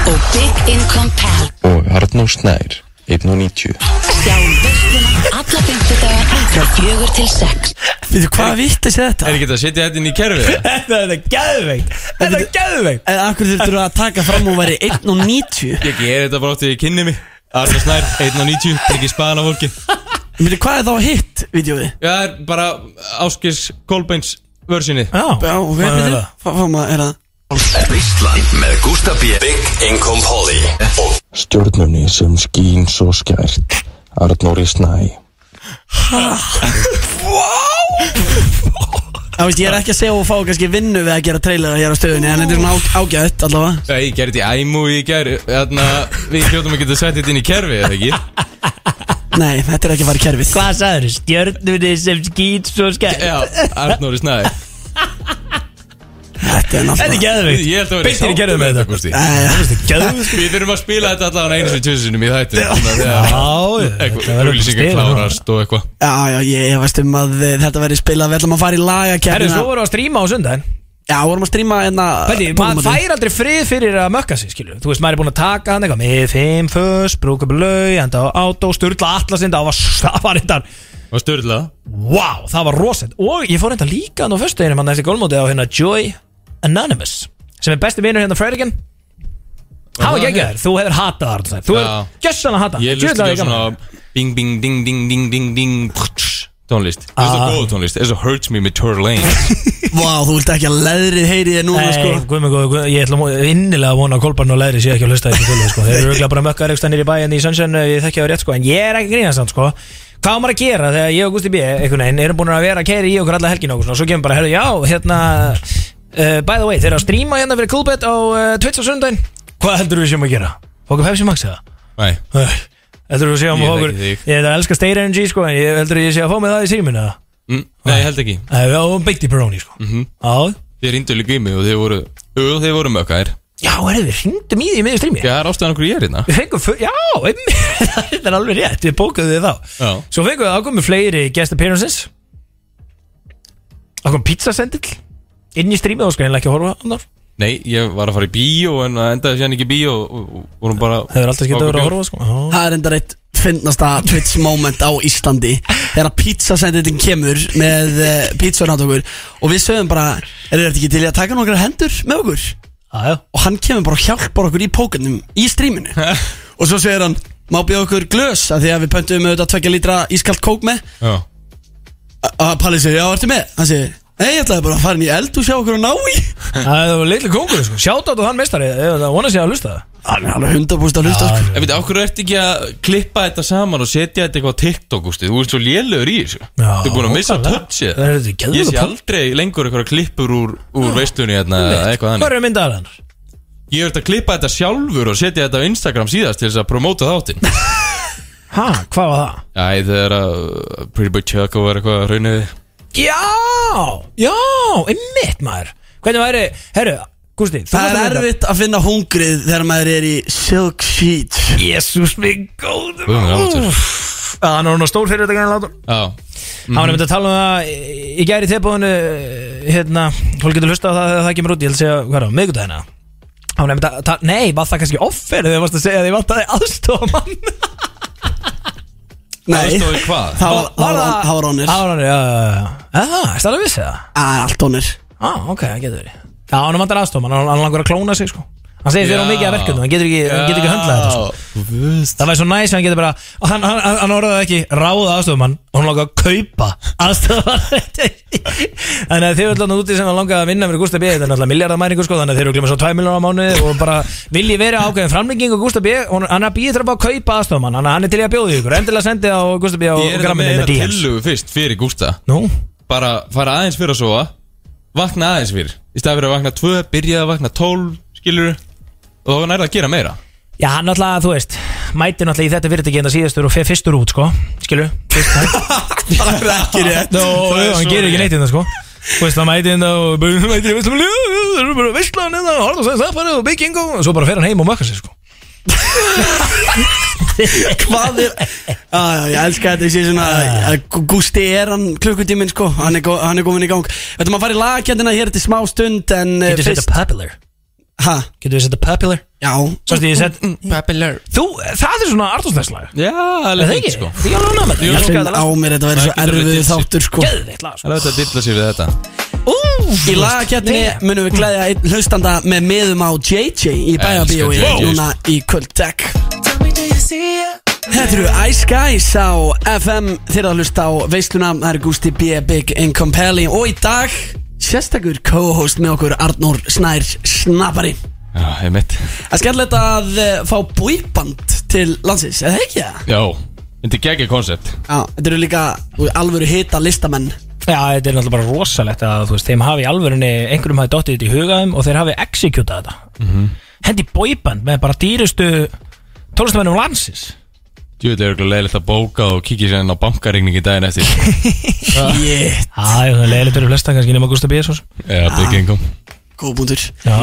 Speaker 5: og Big Income Pal
Speaker 7: og af Arnó Snær, 1.90.
Speaker 5: Sjáum veisluna alla fymtudaga frá fjögur til sex.
Speaker 4: Við þú, hvaða vitt er þetta?
Speaker 3: Er ekki þetta að setja þetta inn í kerfið? eða?
Speaker 2: Þetta þetta er gæðveikt Þetta er gæðveikt
Speaker 4: Eða akkur þurftur að taka fram og væri 1 og 90
Speaker 3: Ég ger þetta bara átti ég kynni mig Arna Snær, 1.90, ekki spaðan á fólki
Speaker 4: Við þú, hvað er þá hitt, vídjóði?
Speaker 3: Já, það er bara Áskis Kolbeins vörsinni
Speaker 2: Já,
Speaker 4: Já, ok,
Speaker 2: hvað er
Speaker 4: við þú,
Speaker 2: það?
Speaker 4: fáum að, er það
Speaker 6: Veistlan með Gústa B Big Income Polly Og
Speaker 7: Stjórnunni sem skín svo skært, Arnóri Snær.
Speaker 4: Já, veist, ég er ekki að segja og fá kannski vinnu við að gera trailera hér á stöðunni En þetta er svona á- ágætt allavega
Speaker 3: Já, ég gerði þetta í æmu í ger Þarna, við hljóttum að geta sett þetta inn í kerfið, eða ekki?
Speaker 4: Nei, þetta er ekki að fara í kerfið
Speaker 2: Hvað sagður? Stjörnunni sem skýt svo skæð
Speaker 3: Já, Arnóri Snæði
Speaker 4: Þetta er
Speaker 2: Þetta er
Speaker 4: náttúrulega Eh,
Speaker 2: gæðveikt
Speaker 3: Ég held að vera
Speaker 2: Beintir í gerðum með þetta
Speaker 3: Gústi
Speaker 2: Þetta er gæðveikt
Speaker 3: sko. Við þurfum að spila þetta allavega einu sinni tjóðsinnum í þættu
Speaker 2: Já, þetta verður
Speaker 3: Auglýsingar
Speaker 2: stigið núna.
Speaker 3: klárast og eitthvað
Speaker 4: Já, já, ég efast um að eh, þetta verði spilað Við ætlum að fara í
Speaker 3: Hérna-
Speaker 2: Herru, svo
Speaker 4: lagakerfina
Speaker 2: voru að stríma á sundaginn
Speaker 4: Já, vorum að stríma hérna
Speaker 2: Hvernig, maður fær aldrei frið fyrir að mökka sig, skilju Þú veist, maður er búin að taka hann eitthvað Með fimm fös, brúka blöi, enda á átó Sturla allasinda, það var, það var reyndar
Speaker 3: Og styrla
Speaker 2: Vá, það var rosend Og ég fór reyndar líka nú fyrstu einum Hann eftir gólmóti á hérna Joy Anonymous Sem er besti vinur hérna Fredrigan Hann var geggjör, þú hefur hatað það Arnar Snær. Þú
Speaker 3: Já.
Speaker 2: hefur gjössan að hata
Speaker 3: Ég
Speaker 2: Djöfull
Speaker 3: lusti
Speaker 2: var
Speaker 3: ekki á
Speaker 2: gaman.
Speaker 3: svona Bing, bing, ding, ding, ding, ding, ding prtsch, Tónlist Þú veist
Speaker 2: Ah.
Speaker 3: það góð tónlist Eða svo hurts me með Tour Lane
Speaker 4: Vá, þú vilt ekki að leðrið heyri þér núna, sko
Speaker 2: Nei, guðmur, guðmur, ég ætla að- innilega að vona að Kolbarn og Leðri sé ekki að hlusta þessu fjölu sko. Þeir eru örgulega bara mökkar eitthvað nýri bæ en í Sunshine, eh, ég þekki það rétt sko En ég er ekki að grínast hann sko Hvað á maður að gera þegar ég og Gusti B einhvern veginn erum búin að vera að keiri í okkur alla helgin og okkur svona, svo kemur bara, herru, já, hérna uh, By the way, þeir eru að stríma hérna fyrir Coolbet á uh, Twitch á sundaginn Hvað heldur við séum að gera? Fokka Pepsi Max eða?
Speaker 3: Nei
Speaker 2: Æ, Heldur við séum að okkur
Speaker 3: Ég þekki þig.
Speaker 2: Ég er að elska State Energy sko En ég heldur ég sé að fá mig það í síminu eða?
Speaker 3: Mm, Nei, ég held ekki
Speaker 2: Æ, Já, beitt í Peroni sko
Speaker 3: Mhm.
Speaker 2: Já,
Speaker 3: Þið rindu líka í mig og þið voru Jú, þið voru mökkaðir
Speaker 2: já, herru, við hringdum í því í miðjum strími
Speaker 3: Já, það er ástæðan okkur ég er hérna
Speaker 2: Við fengum, fu- já, einmitt, þetta er alveg rétt, við bókuðum við þá
Speaker 3: Já.
Speaker 2: Svo fengum við ákomið fleiri guest appearances Ákomið pizzasendill Inn í strímið og skrænilega ekki að horfa annar
Speaker 3: Nei, ég var að fara í bíó en það endaði sér ekki í bíó og- og og vorum bara
Speaker 2: Það er alltaf skipt að vera að horfa sko Já.
Speaker 4: Það er enda reitt finnasta Twitch moment á Íslandi Þegar að pizzasenditin kemur með uh, pizzanátt okkur Og við sögum bara, er þetta ekki til í að taka nokkra hendur með okkur?
Speaker 2: Já, já.
Speaker 4: og hann kemur bara og hjálpar okkur í pókarnum í stríminu og svo segir hann má bjóða okkur glös af því að við pöntum auðvitað tvekja lítra ískalt kók með
Speaker 3: Já
Speaker 4: og Palli segir já, ertu með? hann segir nei, ég ætlaði bara að fara inn í eld og sjá okkur að ná í
Speaker 2: Það var litli kongur sko, sjátátt og hann mestari Það vona sér að hlusta
Speaker 4: hann er alveg hundabúst að hlusta sko.
Speaker 2: það
Speaker 3: En veit, okkur ert ekki að klippa þetta saman og setja þetta eitthvað á TikTok, ústu? þú ert svo lélögur í þessu Þú
Speaker 2: Já,
Speaker 3: ert búin að missa
Speaker 2: ókvæðlega.
Speaker 3: touchið
Speaker 2: Það er þetta geðveikur
Speaker 3: Ég sé
Speaker 2: punkt.
Speaker 3: aldrei lengur eitthvað klippur úr, úr veistunni hérna, eða eitthvað
Speaker 2: Hvað
Speaker 3: þannig
Speaker 2: eru myndaðar hann?
Speaker 3: Ég ert að klippa þetta sjálfur og setja þetta á Instagram síðast til þess að promóta þáttinn
Speaker 2: Ha, hvað var það?
Speaker 3: Æ, það er að uh, Pretty Boy Choco er eitthvað raunniði
Speaker 2: Já, já, einmitt maður Hvernig væri, herru, Gústi þú varst
Speaker 4: það
Speaker 2: að
Speaker 4: er
Speaker 2: mynda-
Speaker 4: erfitt að finna hungrið þegar maður er í silk sheet
Speaker 2: Jésús minn góður
Speaker 3: Guð minn almáttugur.
Speaker 2: Úff. Já, Hann var nú stór fyrir þetta grann látum
Speaker 3: Já,
Speaker 4: Mhm.
Speaker 2: Hann var nefndi að tala um það í- Í gæri tilbúinu Hérna, fólk getur hlusta á það þegar það kemur út Ég held að segja, hvað er það, miðgudagina Hann var nefndi að, ta- nei, var það kannski offer Þegar varst að segja að ég vantaði aðstofa mann
Speaker 4: nei,
Speaker 3: aðstofi hvað?
Speaker 4: það var- það var það var honir
Speaker 2: Það var honir, já, já, já Það er stærlega vissið það
Speaker 4: það er allt honir
Speaker 2: Á, ok, það getur verið Já, hann vantar aðstofa mann, hann- hann langar að klóna sig sko Hann segir fyrir
Speaker 3: Já.
Speaker 2: á mikið af verkefnum, hann getur ekki, hann getur ekki höndlað þetta sko. Það væri svo næs að hann getur bara og Hann, hann, hann- hann orðaði ekki ráða aðstofumann og Hún langaði að kaupa aðstofumann Þannig að þið eru alltaf úti sem hann langaði að vinna með Gústa B Þetta er náttúrulega miljardamæringu sko Þannig að þeir eru glimma svo 2 miljonar á mánuði Og bara vilji vera ákveðin framlenging og Gústa B Hún hann er að býða þarf að kaupa aðstofumann Þannig að hann er til í að bjóða ykkur Endilega sendi á Gústa B og
Speaker 3: Ég er þetta
Speaker 2: gramminni
Speaker 3: með
Speaker 2: með
Speaker 3: þetta
Speaker 2: DMs
Speaker 3: tillugu fyrst fyrir Gústa
Speaker 2: Nú,
Speaker 3: bara fara aðeins fyrir að sofa vakna aðeins fyrir í stað fyrir að vakna 2, byrja að vakna 12 skilur og þá nærða að gera meira
Speaker 2: já hann náttúrulega, þú veist Mæti náttúrulega í þetta fyrirtæki en það síðastur og fer fyrstur út sko Skilu, fyrst,
Speaker 4: það er ekki rétt
Speaker 2: Nó,
Speaker 3: Það er
Speaker 2: hann
Speaker 3: svo
Speaker 2: gerir ekki
Speaker 3: rétt.
Speaker 2: neitt innan sko Þú veist, hann mæti inn og bara, hann mæti inn og það er bara hérna, veistlan inn og harða og segja safarið og bygging og svo bara fer hann heim og mökkar sér sko
Speaker 4: hvað er já, já, ég elska þetta, ég sé svona að Gú- Gústi er hann klukkutíminn sko hann er, go- hann er komin í gang Þetta maður farið lagkjöndina hér til smá stund en eh,
Speaker 2: Getur þetta popular
Speaker 4: Ha?
Speaker 2: Getur við setja popular?
Speaker 4: Já
Speaker 2: Svo að ég sett
Speaker 3: Popular
Speaker 2: Þú, það er svona Arnórsnæsslag
Speaker 3: Já,
Speaker 2: Er
Speaker 3: alveg
Speaker 2: það
Speaker 3: fínt
Speaker 2: ekki?
Speaker 3: sko
Speaker 2: Því ég lána með
Speaker 4: Ég finn á mér þetta verið
Speaker 3: Maður
Speaker 4: svo
Speaker 3: getur verið
Speaker 4: erfið
Speaker 3: dysið.
Speaker 4: þáttur sko
Speaker 2: Geðveitt lag sko.
Speaker 3: Það er þetta að dilla sér við þetta
Speaker 2: Úff.
Speaker 4: Í
Speaker 2: hérna
Speaker 4: lagakjarni munum við glæðja einn hlustanda með miðum á JJ í bæjabíói
Speaker 3: Elskar JJ.
Speaker 4: núna í kvöld Takk Þetta eru Ice Guys á FM þeirra að hlusta á veisluna það eru Gusti B, Big and Compelling og í dag sérstakur co-host með okkur Arnór Snær Snappari
Speaker 3: Já, ég mitt
Speaker 4: Það er skemmtilegt að eh, fá búiband til landsins, eða ekki það?
Speaker 3: Já, þetta er geggjað koncept
Speaker 4: Já, þetta eru líka þú, alvöru hita listamenn
Speaker 2: Já, þetta er náttúrulega bara rosalegt að þú veist, þeim hafi í alvörunni, einhverjum hafi dottið þetta í hugaðum og þeir hafi executað þetta mm Hendi boyband með bara dýrustu tólestamennum landsins
Speaker 3: Jú, þetta er eitthvað leiðilegt að bóka og kíkja sér inn á bankaregningi daginn eftir
Speaker 4: Jétt,
Speaker 2: Já, það er leiðilegt fyrir flesta, kannski nema Gustaf Bíðarsson
Speaker 3: Já, þetta er gengum
Speaker 4: góð búndur
Speaker 2: Já,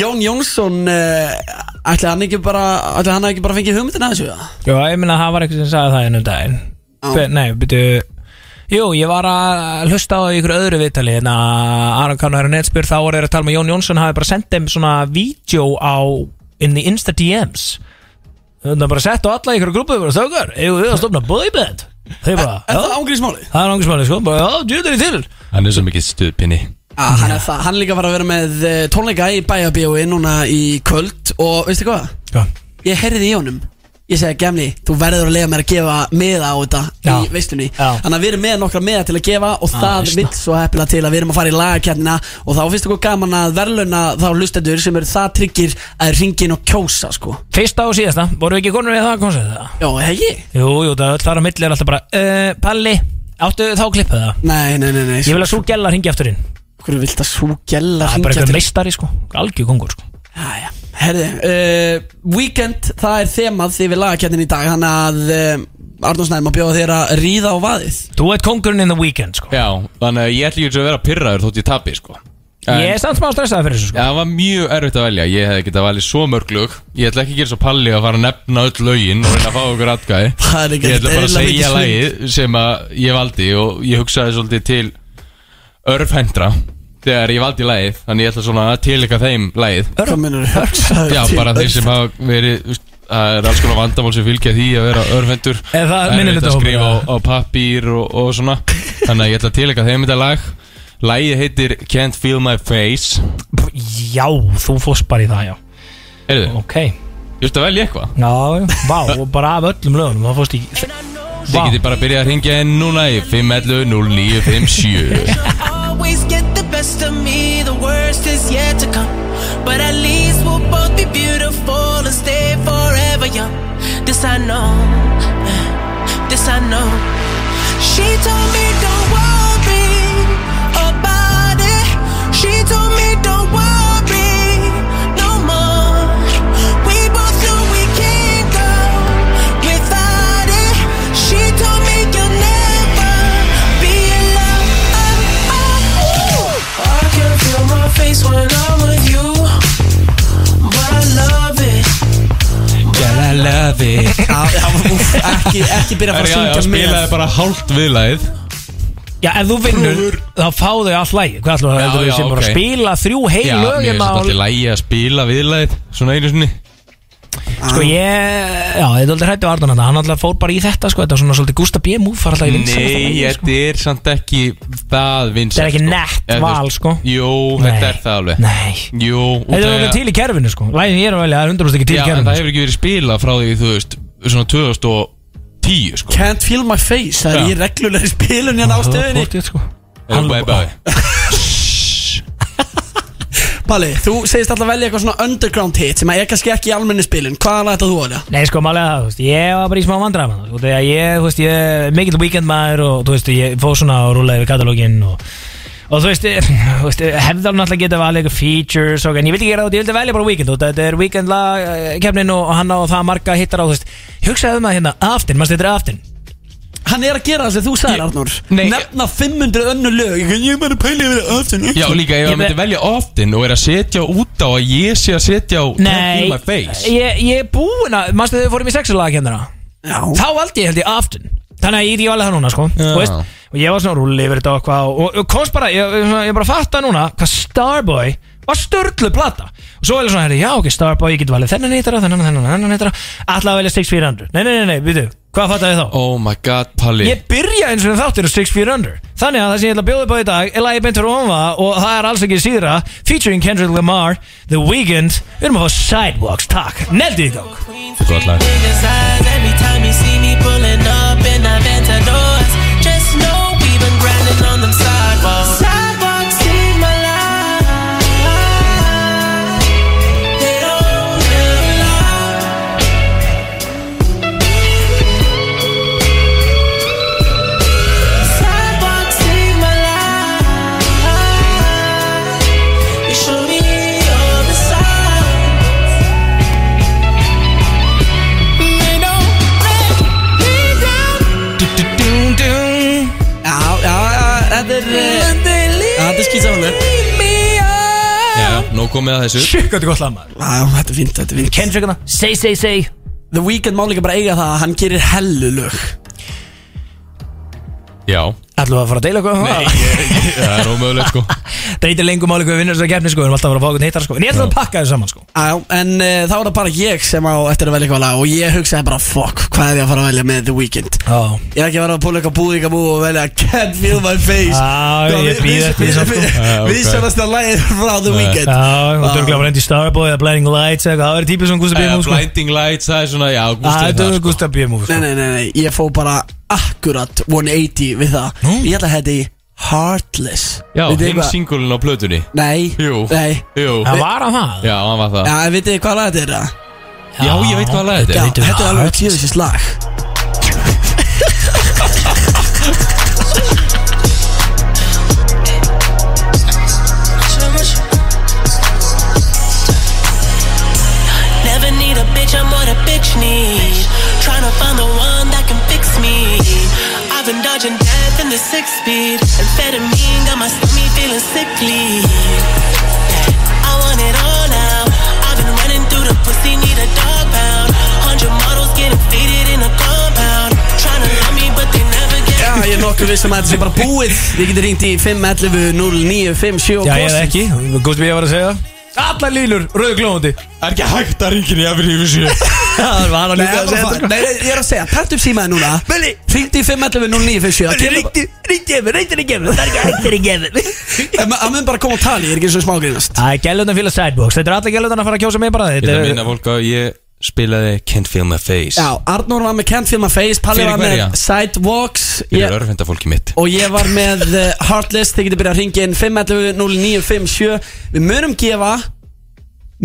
Speaker 4: Jón Jónsson uh, ætli hann ekki bara ætli hann hafi ekki bara fengið hugmyndina að þessu eða?
Speaker 2: Já, ég meina, það var eitthvað sem sagði það ennum daginn
Speaker 4: Já.
Speaker 2: Hver, Nei, byrju Jú, ég var að hlusta á ykkur öðru viðtali hérna, Aron Kánu er að netspyr þá voru þeir að tala með Jón Jónsson hafi bara sendt þeim svona vídeo á in the Insta DMs Það er bara sett á alla ykkur grúpu og stökar, eigum við að stofna boyband Þeir bara,
Speaker 4: Er það
Speaker 2: já,
Speaker 4: ángrísmáli?
Speaker 2: það er ángriðsmáli sko bara, já, djúður í til
Speaker 3: Hann er svo mikið stuðpinni
Speaker 4: Ah, hann, er það, hann er líka var að vera með eh, tónleika í bæjabíói núna í kvöld og veistu hvað?
Speaker 2: Já,
Speaker 4: Ég heyrði í honum Ég segi Gemli, þú verður að lega mér að gefa miða á þetta í
Speaker 2: Já.
Speaker 4: veistunni
Speaker 2: Já.
Speaker 4: Þannig að við erum með nokkra miða til að gefa og það
Speaker 2: veisla.
Speaker 4: vill svo heppila til að við erum að fara í lagakjarnina og þá finnst okkur gaman að verðlauna þá lustendur sem eru það tryggir að ringin og kjósa sko
Speaker 2: fyrsta og síðasta, voru ekki konur við það konsert það?
Speaker 4: Já, hegi?
Speaker 2: Jú, jú, það er öll þar á milli er alltaf bara uh, Palli, áttu þá klippið það?
Speaker 4: Nei, nei, nei, nei sko.
Speaker 2: Ég vil að sú gæla hringi aftur inn
Speaker 4: Hverju vilt að svo gælla
Speaker 2: Það er bara eitthvað meistari sko, algjör kongur sko
Speaker 4: Jæja, herði uh, Weekend, það er þemað því við lagakjarnin í dag Þannig að uh, Arnór Snær má bjóða þér að ríða á vaðið
Speaker 2: Þú ert kongurinn in the weekend sko
Speaker 3: Já, þannig að ég ætla ekki að vera pyrraður þótt ég tapi sko En-
Speaker 2: Ég er samt smá stressaði fyrir þessu
Speaker 3: Já,
Speaker 2: sko
Speaker 3: það var mjög erfitt að velja Ég hefði getað valið svo mörg lög Ég ætla ekki að gera svo palli að fara að nefna öll lögin og reyna að fá okkur atkvæði
Speaker 4: Það er ekki
Speaker 3: Ég ætla bara að
Speaker 4: eðlilega
Speaker 3: segja
Speaker 4: mikið
Speaker 3: lagið sem að ég valdi og ég hugsaði svolítið til örfhendra þegar ég valdi lagið þannig ég ætla svona að tilika þeim lagið
Speaker 4: Hvað munur hugsaðu
Speaker 3: Já, bara þeir sem hafa verið þú veist, Það er alls konar vandamál sem fylgja því að vera örfendur
Speaker 2: Eða það minnir
Speaker 3: erfitt
Speaker 2: þetta
Speaker 3: að
Speaker 2: hópur,
Speaker 3: skrifa á,
Speaker 2: já.
Speaker 3: á pappír og, og svona Þannig að ég ætla að tilika þeim þetta lag Lagið heitir Can't Feel My Face
Speaker 2: Já, þú fórst bara í það já
Speaker 3: Heyrðu,
Speaker 2: Ok, já,
Speaker 3: Þú veist að velja eitthvað
Speaker 2: já, vá, og bara af öllum lögunum Það fórst í
Speaker 3: Þið
Speaker 2: Vá,
Speaker 3: getið bara að byrja að ringja inn núna í 511 0957
Speaker 8: always get the best of me, the worst is yet to come. But at least we'll both be beautiful and stay forever young. This I know, this I know. She told me don't worry about it. She told me don't worry no more. We both know we can't go without it. She told me you'll never be in love. Oh, oh, oh. I can feel my face when I'm with you, but I love it.
Speaker 3: I love it
Speaker 4: Ekki, ekki byrja að
Speaker 3: Það
Speaker 4: fara
Speaker 3: að
Speaker 4: að syngja með
Speaker 3: spilaði bara hálft viðlagið
Speaker 2: já, ef þú vinnur Þá fá þau all lægi Hvað ætlum
Speaker 3: Já,
Speaker 2: að þau
Speaker 3: já,
Speaker 2: sem bara
Speaker 3: ok.
Speaker 2: að spila þrjú heil
Speaker 3: Já, mér er
Speaker 2: lögum
Speaker 3: þetta
Speaker 2: á
Speaker 3: alltaf lægi að spila viðlagið Svona einu sinni
Speaker 2: Sko ég, já, þetta er aldrei hrættu Arnón þetta Hann alltaf fór bara í þetta sko Þetta var svona svolítið Gustaf B. Múf Far alltaf í vinsælasta
Speaker 3: Nei,
Speaker 2: lagið, sko.
Speaker 3: þetta er samt ekki það vinsælt
Speaker 2: Þetta er ekki nett
Speaker 3: Eða, þú
Speaker 2: val,
Speaker 3: veist,
Speaker 2: sko.
Speaker 3: Jú,
Speaker 2: Nei.
Speaker 3: þetta er það alveg
Speaker 2: Nei
Speaker 3: Jú, út
Speaker 2: Þetta
Speaker 3: af-
Speaker 2: er til í kerfinu sko Lægin ég er að velja, það er 100% ekki til
Speaker 3: Já,
Speaker 2: í
Speaker 3: en
Speaker 2: kerfinu sko.
Speaker 3: það hefur ekki verið spilað frá því, þú veist, svona 2010 sko
Speaker 4: Can't feel my face, það er
Speaker 3: Já.
Speaker 4: í reglulegri spilun hérna á
Speaker 2: Það var
Speaker 4: stöðinni
Speaker 2: pottþétt, sko.
Speaker 3: Eða, Bye bye
Speaker 4: Palli, þú segist alltaf velja eitthvað svona underground hit sem að er kannski ekki í almenni spilun Hvaðan ætlað þú að velja?
Speaker 2: Nei sko málega það, þú veist, ég var bara í smá vandræðum með það, sko, þegar ég, þú veist, ég er mikill weekend maður og þú veist, ég fóð svona og rúlaði við katalóginn og, og þú veist, ég- þú veist, hefði alveg náttúrulega getað valið eitthvað features og en ég vildi ekki gera þetta, ég vildi velja bara weekend og þetta er weekend lag, eh, kefnin og hann á það marga hittar á, þú veist, hugsaðu maður hérna, aftin, maður stættir aftin,
Speaker 4: Hann er að gera það sem þú sagðir Arnór
Speaker 3: Nei.
Speaker 4: Nefna 500 önnu lög Ég ég er bara að pæli yfir það aftur
Speaker 3: Já, líka ef
Speaker 2: Ég
Speaker 3: ég myndi
Speaker 2: ve-
Speaker 3: velja oftin og er að setja út á að ég sé að setja á Can't
Speaker 2: nei,
Speaker 3: feel my face
Speaker 2: ég, ég er búin að, maður stættir fórum í sexalaga kemdina,
Speaker 4: Já,
Speaker 2: þá valdi ég held ég aftin þannig að ég er ekki valið það núna sko
Speaker 3: Já.
Speaker 2: Þú veist, og ég var svona rúli yfir þetta og hvað og, og komst bara, ég, ég, svona- ég bara fatta núna hvað Starboy var störlu plata og svo er það svona, herri, já ok, Starboy, ég get valið þennan heitara, þennan, þennan, þennan heitara alltaf að velja 6400, nei, nei, nei, nei, við hvað fattar þið þá?
Speaker 3: Oh my god, Palli
Speaker 2: Ég byrja eins og þeim þáttir á 6400 Þannig að það sem ég ætla að bjóða upp á í dag er lagið beint frá Óma og það er alls ekki síðra featuring Kendrick Lamar, The Weeknd Við erum að fá Sidewalks, takk Neldi í gang
Speaker 3: Gott lag
Speaker 8: Niggas eyes every time you see me pulling up in Aventadors. Just know we've been grinding on them sidewalks. Sidewalks save my life. They don't ever lie. Sidewalks save my life. You show me all the signs. They don't break me down.
Speaker 4: Já, já, já, þetta er eh, Já, þetta er skýtsamlega
Speaker 3: Já, nóg komið að þessu
Speaker 2: Sjökk, þetta er gott lag maður
Speaker 4: Já, þetta er fínt, þetta er fínt
Speaker 2: Kendrick hana, say, say, say
Speaker 4: The Weeknd má líka bara eiga það að hann gerir hellu lög
Speaker 3: Já,
Speaker 2: Ætlum við að fara að deila eitthvað?
Speaker 3: það er ómögulegt sko
Speaker 2: Það heitir lengum áli hvað við vinnur þess að keppni sko Við erum alltaf að fara að fá eitthvað heitar sko En ég ætla að pakka þau saman sko
Speaker 4: Já, en uh, þá er það bara ég sem á eftir að velja eitthvað lag og ég hugsaði bara fuck, hvað er ég að fara að velja með The Weeknd
Speaker 2: Já,
Speaker 4: Ég er ekki að vera að púla eitthvað búið eitthvað búið og velja Can't feel my face
Speaker 2: Já, ég býð eftir því samt, sko.
Speaker 3: Já, ok.
Speaker 4: Við sjónast að lægið frá The Weeknd
Speaker 2: já, og dörgla var endi Starboy eða Blinding Lights eða eitthvað. Það verður típið svona Gustaf B.
Speaker 3: Eh,
Speaker 2: Mú sko
Speaker 3: Blinding Lights, það er svona, já,
Speaker 2: Það er
Speaker 3: Gustaf
Speaker 2: dörgla Gustaf B. Mú
Speaker 4: Nei,
Speaker 2: sko
Speaker 4: nei, nei, nei, ég fó bara akkurat 180 við það
Speaker 2: Nú?
Speaker 4: Ég ætla að hætti Heartless
Speaker 3: Já,
Speaker 4: Vitið þið
Speaker 3: hinn
Speaker 4: hvað-
Speaker 3: singulinn á plötunni
Speaker 4: Nei,
Speaker 3: Jú.
Speaker 4: nei
Speaker 3: Jú,
Speaker 2: Það var hann það?
Speaker 3: já, hann var það
Speaker 4: Já, en vitið þið hvað lag þetta er það?
Speaker 3: Já, ég veit hvað lag
Speaker 4: Já,
Speaker 3: þetta er
Speaker 4: þetta er alveg
Speaker 2: Heartless.
Speaker 4: tjóðisins lag
Speaker 8: Never need a bitch, I'm what a bitch need. Tryna find the one that can fix me. I've been dodging death in the six speed. Amphetamine got my stomach feeling sickly. I want it all now. I've been running through the pussy, need a dog pound. Hundred models getting faded in a compound. Tryna love me, but they never get.
Speaker 4: Já, ég er nokkuð vissum að þetta sé bara búið Þið getur ringt í 511 0957
Speaker 2: Já, ég
Speaker 4: og kosið.
Speaker 2: eða ekki, Gústi B. var að segja það Allar línur, rauðu glóðandi
Speaker 3: Það er ekki hægt að ringin í efri yfir sér
Speaker 2: Það var hann
Speaker 4: Nei, það er bara typ fakt. Nei, nei, ég er að segja, tært upp símaði núna
Speaker 2: Vili,
Speaker 4: Ringt í 511 0957 kemur-
Speaker 2: ríkti yfir, ríkti yfir Það er ekki hættir ekki yfir
Speaker 4: En ma- Það mun bara koma að tala, ég er ekki eins og smágrínast
Speaker 2: Það er gælundan félag sidebox Þetta er allar gælundan að fara að kjósa mig bara
Speaker 3: Ég
Speaker 2: Þetta
Speaker 3: ætla að
Speaker 2: er
Speaker 3: minna fólk að ég spilaði Can't Feel My Face
Speaker 4: Já, Arnór var með Can't Feel My Face Palli
Speaker 3: Fyrir
Speaker 4: var
Speaker 3: hverja?
Speaker 4: með Sidewalks
Speaker 3: Ég er
Speaker 4: ég,
Speaker 3: örfenda fólki mitt
Speaker 4: Og ég var með uh, Heartless Þið getur byrjað að ringa inn 511-0957 Við munum gefa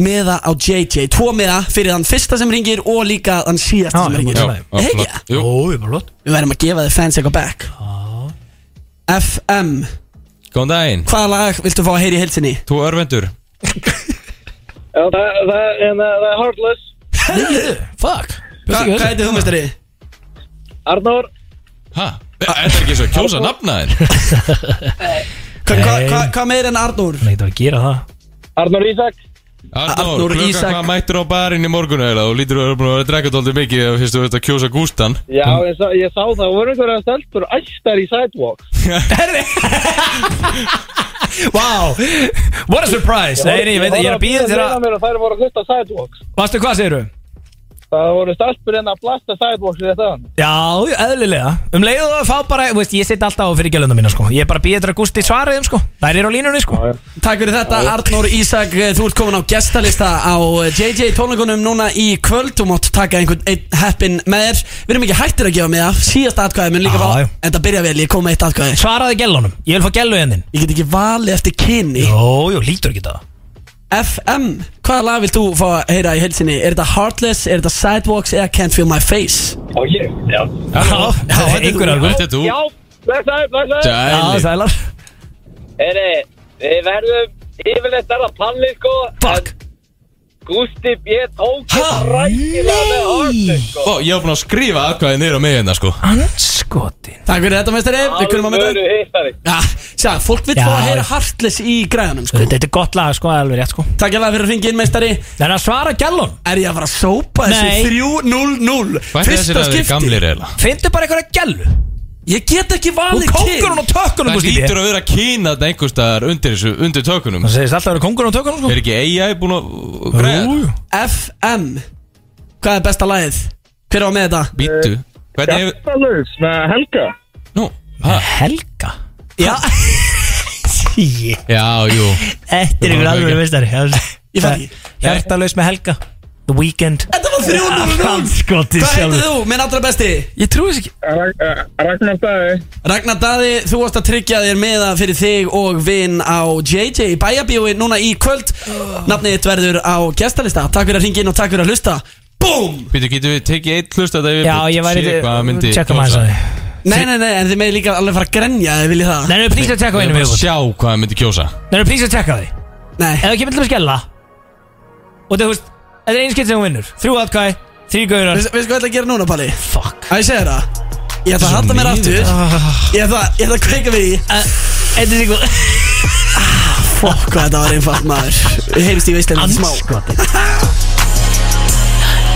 Speaker 4: Meða á JJ Tvo meða fyrir þann fyrsta sem ringir Og líka þann
Speaker 2: Já,
Speaker 4: síðasta sem
Speaker 2: já,
Speaker 4: ringir
Speaker 2: já,
Speaker 3: já,
Speaker 4: Ekki?
Speaker 3: flott. Jú.
Speaker 2: Ó, ég var lott
Speaker 4: Við verðum að gefa þið fans eitthvað back FM
Speaker 3: Góðan daginn,
Speaker 4: Hvaða lag viltu fá að heyra í heilsinni?
Speaker 3: þú örfendur
Speaker 9: Já, það, það, en það það er Heartless
Speaker 2: Fuck
Speaker 4: Hva, hvað heitir þú, mistari?
Speaker 9: Arnór
Speaker 3: Hæ? Er það ekki svo að kjósa nafnaðin?
Speaker 4: Hvað hva,
Speaker 2: Nei.
Speaker 4: hva, hva meir en Arnór?
Speaker 2: Nei, það var að gera það
Speaker 9: Arnór Ísak
Speaker 3: Arnór,
Speaker 4: Arnór
Speaker 3: klukka
Speaker 4: Ísak.
Speaker 3: hvað mættur á barinn í morgun eða og lítur að vera að drekka tóldi mikið og fyrstu að kjósa gústan
Speaker 9: Já, ég sá, ég sá það, voru einhverja stelpur æstar í Sidewalk
Speaker 2: Wow, what a surprise Nei, nei, ég veit, ég er að býða þér að
Speaker 9: að Þær voru að hlusta Sidewalks
Speaker 2: Vastu hvað segir
Speaker 9: Það voru stelpur en að blasta Sidewalks í þetta
Speaker 2: Já, eðlilega Um leiðu að fá bara, þú veist, ég sitt alltaf á fyrir gælundan mína sko Ég er bara að býða þér að Gústi svarið þeim sko Það er á línunni sko
Speaker 4: Takk fyrir þetta Arnór Ísak eh, Þú ert komin á gestalista á eh, JJ tónleikunum núna í kvöld Þú mátt taka einhvern einn heppin með þér Við erum ekki hættir að gefa með það Síðast atkvæði mun líka
Speaker 2: Já,
Speaker 4: fá
Speaker 2: já.
Speaker 4: En það byrja vel, ég kom með eitt atkvæði
Speaker 2: Svaraði gælunum, ég vil fá gælu hérna hennin
Speaker 4: Ég get ekki valið eftir kynni
Speaker 2: Jó, jú, lítur ekki það
Speaker 4: FM, hvaða lag vilt þú fá að heyra í helsinni? Er þetta Heartless, er þetta Sidewalks eða Can't Feel My Face?
Speaker 9: Já, ég, já
Speaker 2: Já, einhverjar
Speaker 3: Þetta
Speaker 2: alveg
Speaker 3: er þú
Speaker 9: Já, blessaði, blessaði
Speaker 2: Já,
Speaker 3: Sæli
Speaker 2: sælar
Speaker 9: Heri, við verðum yfirleitt er að palli sko
Speaker 2: Fuck
Speaker 9: Gústi B. tók
Speaker 2: Ha?
Speaker 9: þetta rækilega með Arnór sko
Speaker 3: Ó, Ég var búin að skrifa aðkvæðin niður á mig hérna sko
Speaker 2: Anskotin
Speaker 4: Takk fyrir þetta, meistari Við kunum að mynda
Speaker 9: Alvöru hittari
Speaker 4: Já, sjá, fólk vil
Speaker 2: Já.
Speaker 4: fá að heyra Heartless í græðanum sko
Speaker 2: Þetta er gott lag, sko, alveg rétt, sko
Speaker 4: Takk alveg fyrir að ringa inn, meistari
Speaker 2: En að svara gælun
Speaker 4: Er ég að fara að sópa
Speaker 2: Nei.
Speaker 4: þessu 3-0-0
Speaker 3: Hvað er þessi að þeir gamlir eða?
Speaker 2: Findu bara einhverja gælu
Speaker 4: Ég get ekki
Speaker 2: Hún
Speaker 4: valið
Speaker 2: kóngur hún á tökkunum,
Speaker 3: Það
Speaker 2: Gústi B
Speaker 3: lítur að vera kýna þetta einhverstaðar undir þessu, undir tökunum
Speaker 2: Það segist alltaf að vera kóngur hún á tökkunum sko.
Speaker 3: Er ekki AI búin að að græja?
Speaker 2: Jú, jú.
Speaker 4: FM Hvað er besta lagið? Hver á með þetta?
Speaker 3: Býtu Hvernig hefur
Speaker 9: Hjartalaus með Helga
Speaker 3: Nú ha?
Speaker 2: Helga
Speaker 4: Já,
Speaker 2: Tíu
Speaker 3: Já, jú
Speaker 2: Þetta er ykkur alveg veistari
Speaker 4: Ég fann ekki.
Speaker 2: Hjartalaus með Helga The Weeknd
Speaker 4: þetta var 300
Speaker 2: Franskoti
Speaker 4: Hvað heitir
Speaker 2: sjálf
Speaker 4: þú, minn allra besti? Ég trúi þess ekki
Speaker 9: Rag- eh, Ragnar Dæði
Speaker 4: Ragnar Daði, þú varst að tryggja þér meða fyrir þig og vinn á JJ í bæjabíói núna í kvöld Nafnið þitt verður á gestalista Takk fyrir að ringa inn og takk fyrir að hlusta BOOM!
Speaker 3: Býtu, getur við tekið eitt hlust að það
Speaker 2: Já, ég væri Tjekka maður þess að þið
Speaker 4: Nei, nei, nei, en þið meði líka alveg fara að grenja ef þið viljið það
Speaker 2: Nei, nei, please að tjekka á
Speaker 3: Við
Speaker 2: einu
Speaker 3: erum að
Speaker 2: viðbútt
Speaker 3: sjá hvað það myndi kjósa
Speaker 2: Nei, nei, please að tjekka á því
Speaker 4: Nei,
Speaker 2: Ef það kemur til að skella Og það, þú veist Þetta er einskilt sem hún vinnur Þrjú atkvæði Þrjú gaurar
Speaker 4: við við sko ætla að gera núna, Palli
Speaker 2: Fuck
Speaker 4: Að ég segja það Ég ætla að halda mér aftur
Speaker 3: niður.
Speaker 4: Ég ætla, ég ætla að kveika við í
Speaker 2: Þetta er ykkur
Speaker 4: Fokk, hvað þetta var einfalt maður Við heyrjumst í veislega smá
Speaker 2: Anskoti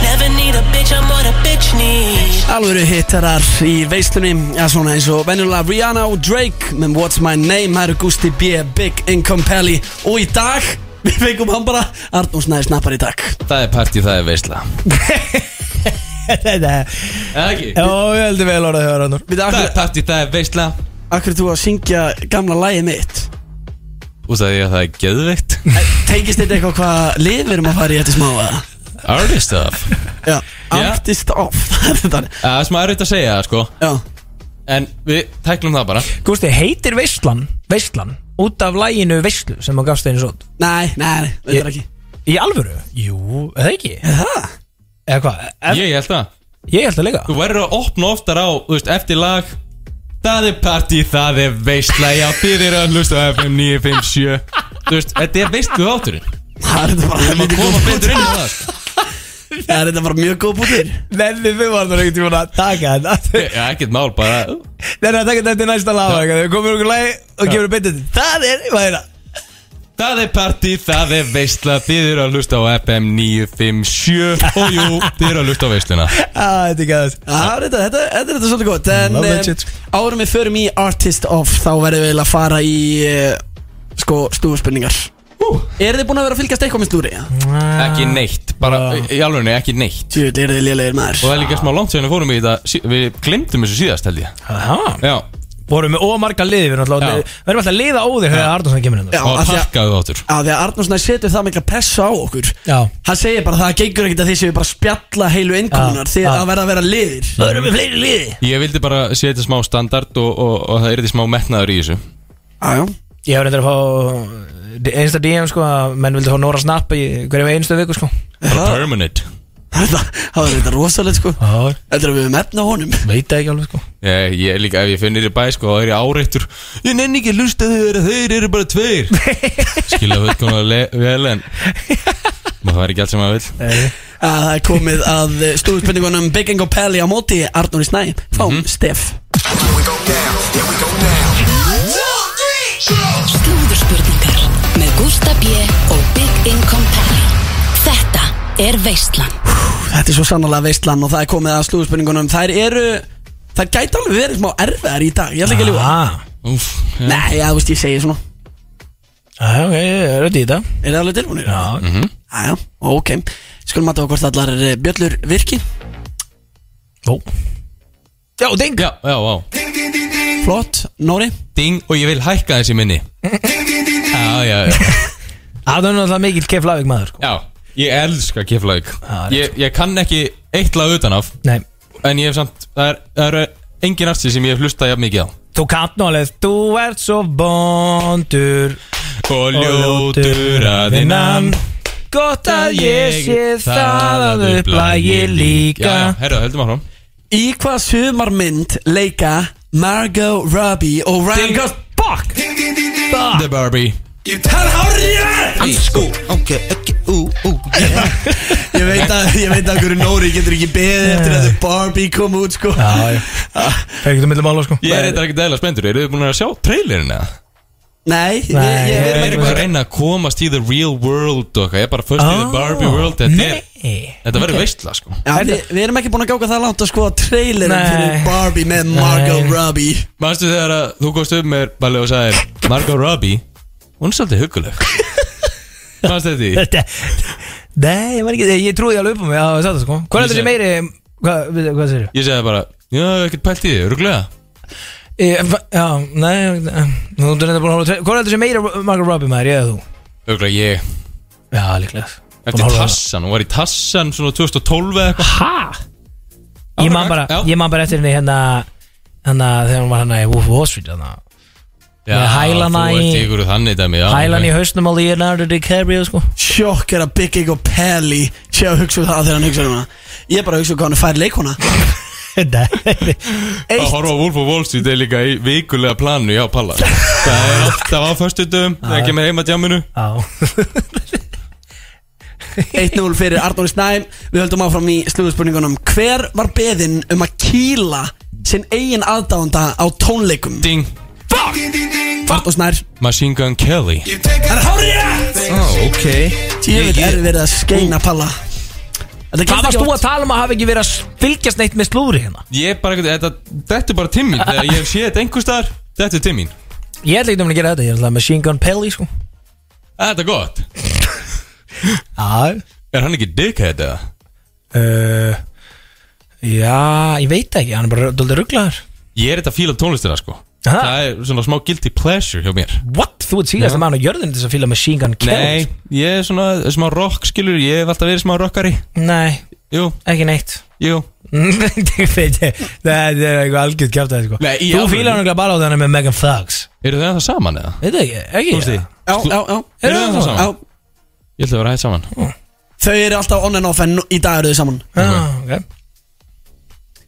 Speaker 8: Never need a bitch, I'm what a bitch needs.
Speaker 4: Alvöru hittarar í veislunni Já, svona eins og venjulega Rihanna og Drake Með What's My Name, það eru Gusti B, Big Income Pelli Og í dag, við fengum hann bara Arnús Snæði snappar í dag
Speaker 3: Það er partí, það er veisla
Speaker 2: Þetta er
Speaker 3: Eða ekki?
Speaker 2: Jó, ég heldur vel orðað hefur hann
Speaker 4: Við
Speaker 3: Það
Speaker 4: akkur,
Speaker 3: er partí, það er veisla
Speaker 4: akkur þú að syngja gamla lagið mitt
Speaker 3: Út af því að það er geðveikt
Speaker 4: Tengist þetta eitthvað hvað lið við erum að fara í þetta smá eða?
Speaker 3: Artist stuff
Speaker 4: Já, artist off Þetta er-
Speaker 3: Það er smá erfitt að segja það, sko
Speaker 4: Já,
Speaker 3: En við tæklum það bara
Speaker 2: Gústi, heitir Veistlan Veistlan Út af læginu Veistlu Sem hún gafst einu svont
Speaker 4: nei, nei, nei, þetta er ekki
Speaker 2: Í alvöru? Jú, eða ekki
Speaker 4: Það?
Speaker 2: Eða hvað? Ef-
Speaker 3: Ég held það
Speaker 2: Ég held að leika
Speaker 3: Þú verður að opna oftar á, þú veist, eftir lag Það er partí, það er veistla Já, þið eru að hlusta á FM 957 Þú veist, þetta er veistlu átturinn
Speaker 4: Það er þetta bara
Speaker 3: Það er að
Speaker 4: helviti góð
Speaker 3: koma
Speaker 4: bútur
Speaker 3: betur inn í það sko.
Speaker 4: Það er þetta bara mjög góð bútur
Speaker 2: Nenni, við varum það ekkert tíma að taka þetta
Speaker 3: Já, ekkert mál, bara
Speaker 2: Nenni að taka þetta til næsta laga Þegar komur okkur lagi og gefur beint þetta Það er, hvað er það?
Speaker 3: Það er partí, það er veistla Þið eru að hlusta á FM 957 Og jú, þið eru að hlusta á veistluna
Speaker 2: Á, þetta er gæðast
Speaker 4: Já, þetta, þetta, þetta er þetta svolítið gott En
Speaker 2: Love that
Speaker 4: eh,
Speaker 2: shit. sko.
Speaker 4: árum við förum í Artist Off Þá verðum við eiginlega að fara í eh, Sko, stúfspurningar uh. Er þið búin að vera að fylgjast eitthvað með stúri?
Speaker 3: Ekki neitt, bara í alveg ekki neitt
Speaker 4: Tjöld, er þið lélegir
Speaker 3: Og
Speaker 4: maður
Speaker 3: það er líka smá langt sér en við fórum í þetta sí- Við glemdum þessu síðast held ég
Speaker 2: Aha.
Speaker 3: Já,
Speaker 2: Vorum við ómarga liði Við erum
Speaker 3: Já.
Speaker 2: alltaf við erum alltaf að liða óðir Þegar Arnarsson kemur hérna. inn
Speaker 4: Já,
Speaker 3: og
Speaker 4: af því að
Speaker 3: pakkaðu áttur
Speaker 4: Já, því að Arnarsson setur það mikla pressu á okkur
Speaker 2: Já.
Speaker 4: Hann segir bara það gengur ekkert að þið séu bara að spjalla heilu innkomunar
Speaker 2: Já,
Speaker 4: Þið
Speaker 2: já.
Speaker 4: að verða að vera liðir Það verðum við fleiri liði
Speaker 3: Ég vildi bara setja smá standard og, og, og það er smá metnaður í þessu
Speaker 4: Já, já
Speaker 2: Ég hef reyndar að fá Einsta DM sko að Menn vildi fá Nóra Snapp Í hverjum einstu viku sko
Speaker 3: Bara permanent
Speaker 4: Það það var þetta rosalegt sko
Speaker 2: Já
Speaker 4: Þetta er að við höfum efna honum
Speaker 2: Veit það ekki alveg sko
Speaker 3: Ég, Eh, ég líka, ef ég finn nýri bæ, sko, þá er ég áreittur Ég nenni ekki að lusta þeir, þeir eru bara tveir Skilja fullkomlega le- vel en Maður fær ekki allt sem maður vil
Speaker 4: Að það er komið að stúfspurningunum Big Ingo Pelli á móti Arnur í snæ Fáum Steff
Speaker 5: Slúðurspurningar með Gústa B. og Big Income Pally. Þetta er Veistland.
Speaker 4: Þetta er svo sannlega veistlan og það er komið að slúðspurningunum Þær eru, þær gæti alveg verið smá erfiðar í dag Ég ætla ekki að ljúga
Speaker 2: Ah,
Speaker 3: Úf, ja.
Speaker 4: Nei, já, þú veist, ég segi svona
Speaker 2: já, ok, ég er auðvitað í þetta
Speaker 4: Er það alveg tilbúinir?
Speaker 2: Já.
Speaker 4: Já, Mhm. já, ok Skulum að það hvort allar eh, bjöllur virki
Speaker 2: Ó. Já, ding
Speaker 3: Já, já, já
Speaker 4: Flott, Nóri
Speaker 3: Ding, og ég vil hækka þessi minni Já, já, já
Speaker 2: Það er náttúrulega mikill kef lafík maður sko.
Speaker 3: Já, ég elska keflaug
Speaker 2: Já, rétt.
Speaker 3: ég, ég kann ekki eitt lag utanaf
Speaker 2: Nei,
Speaker 3: En ég hef samt, það er- það eru engin arti sem ég hef hlustað jafn mikið á
Speaker 2: þú kannt nú alveg Þú ert svo bondur
Speaker 3: Og ljótur að innan
Speaker 2: Gott að ég sé það að upplægi líka
Speaker 3: Já, já, herru, höldum áfram
Speaker 4: Í hvað sumarmynd leika Margot Robbie og Ryan
Speaker 3: Ding.
Speaker 4: Gosling
Speaker 2: Fuck Ah.
Speaker 3: The Barbie
Speaker 4: Það er hárið Ég veit að, ég veit að hverju Nóri getur ekki beðið eftir að The Barbie kom út sko
Speaker 2: Já, já Fer ekki til millum ála sko
Speaker 3: Ég er eitthvað ekki dæla spendur, eru þið búin að sjá trailerina?
Speaker 4: Nei, ég,
Speaker 2: Nei,
Speaker 4: ég,
Speaker 3: Við
Speaker 4: ég,
Speaker 3: erum
Speaker 2: ég-
Speaker 3: ekki bara að reyna að komast í the real world okkar Ég er bara first in the
Speaker 2: Ah,
Speaker 3: Barbie world Þetta, er,
Speaker 2: nei.
Speaker 3: þetta verður veistla sko
Speaker 4: Já, við, við erum ekki búin að gáka það langt að skoða trailerin
Speaker 2: Nei.
Speaker 4: fyrir Barbie með Margot
Speaker 2: Nei.
Speaker 4: Robbie
Speaker 3: Manstu þegar að þú komst upp með Balli og sagðir Margot Robbie, hún er svolítið huguleg Manstu þetta í?
Speaker 2: Þetta- Nei, ég var ekki, ég trúði alveg upp á mig að það sko Hvað er þetta sem meiri, hvað, við- hvað segir
Speaker 3: Ég segði bara, já, ekkert pælt í því, rúglega
Speaker 2: þú? Já, nei, eh, þú ert reynda búin að horfa á tre- Hvað er þetta sem meiri Margot Robbie maður, ég eða þú?
Speaker 3: Rúglega ég,
Speaker 2: Já, líklega Búin að
Speaker 3: eftir
Speaker 2: horfa á hana.
Speaker 3: Tassan, hún var í Tassan svona 2012 eða eitthvað
Speaker 2: Hæ? Ég man bara,
Speaker 3: Já.
Speaker 2: ég man bara eftir henni hérna Hérna, þegar hún var hérna í Wolf of Wall Street hérna.
Speaker 3: Já,
Speaker 2: Með hælana
Speaker 3: þú
Speaker 2: í-
Speaker 3: ert í ykkur þannig dæmi já,
Speaker 2: Hælan í
Speaker 3: ok.
Speaker 2: hausnum á Leonardo DiCaprio sko
Speaker 4: Sjokk er að Big Ego Pelli sé að hugsa um það þegar hann hugsa um það Ég er bara að hugsa um hvað hann er fær leikona
Speaker 2: Nei
Speaker 3: Að horfa á Wolf of Wall Street er líka í vikulega planu, já, Palla Það er alltaf á föstudum, það er ekki með heima djáminu
Speaker 2: Já
Speaker 4: 1-0 fyrir Arnóri Snæm Við höldum áfram í slúðspurningunum Hver var beðinn um að kýla sinn eigin aðdáanda á tónleikum?
Speaker 3: Ding,
Speaker 4: Arnór Snær
Speaker 3: Machine Gun Kelly
Speaker 4: Það er hárið
Speaker 3: oh, ok
Speaker 4: Tjöfitt er verið að skeina Palla Þetta
Speaker 2: Hvað
Speaker 4: gerist
Speaker 2: varst
Speaker 4: ekki
Speaker 2: þú
Speaker 4: oft.
Speaker 2: að tala um að hafa ekki verið að fylgjast neitt með slúðri hérna?
Speaker 3: Ég er bara, þetta, þetta er bara timmín Þegar ég hef séð þetta einhvers staðar, þetta er timmín
Speaker 2: Ég ætla ekki um að gera þetta, ég ætla Machine Gun Pelly sko
Speaker 3: Þetta er gott
Speaker 2: Já
Speaker 3: Er hann ekki dickhead eða?
Speaker 2: uh, Já, ég veit ekki, hann er bara dóldi rugglaður
Speaker 3: Ég er þetta að fíla tónlistina sko
Speaker 2: Aha.
Speaker 3: Það er svona smá guilty pleasure hjá mér
Speaker 2: What? Þú ert síðast að mann á jörðinu til þess að fýla Machine Gun Kelly
Speaker 3: Nei, ég er svona smá rock skilur Ég hef alltaf verið smá rockari
Speaker 2: sko. Nei,
Speaker 3: Jú,
Speaker 2: ekki neitt
Speaker 3: jú
Speaker 2: Ég veit ég, Það er eitthvað algjörð kjátt að sko
Speaker 3: Nei, í
Speaker 2: Þú
Speaker 3: alvöru?
Speaker 2: fýlar hann bara á þannig með Megan Fox
Speaker 3: Eru þau ennþá saman eða?
Speaker 2: Veit ekki, ekki
Speaker 3: Þú veist því?
Speaker 2: það?
Speaker 4: Já, já, já
Speaker 3: Eru þau ennþá
Speaker 4: Já,
Speaker 3: saman? Ég ætla að vera hægt saman
Speaker 4: Þau eru alltaf on and off en nú- í dag eru þau saman
Speaker 2: Já, ok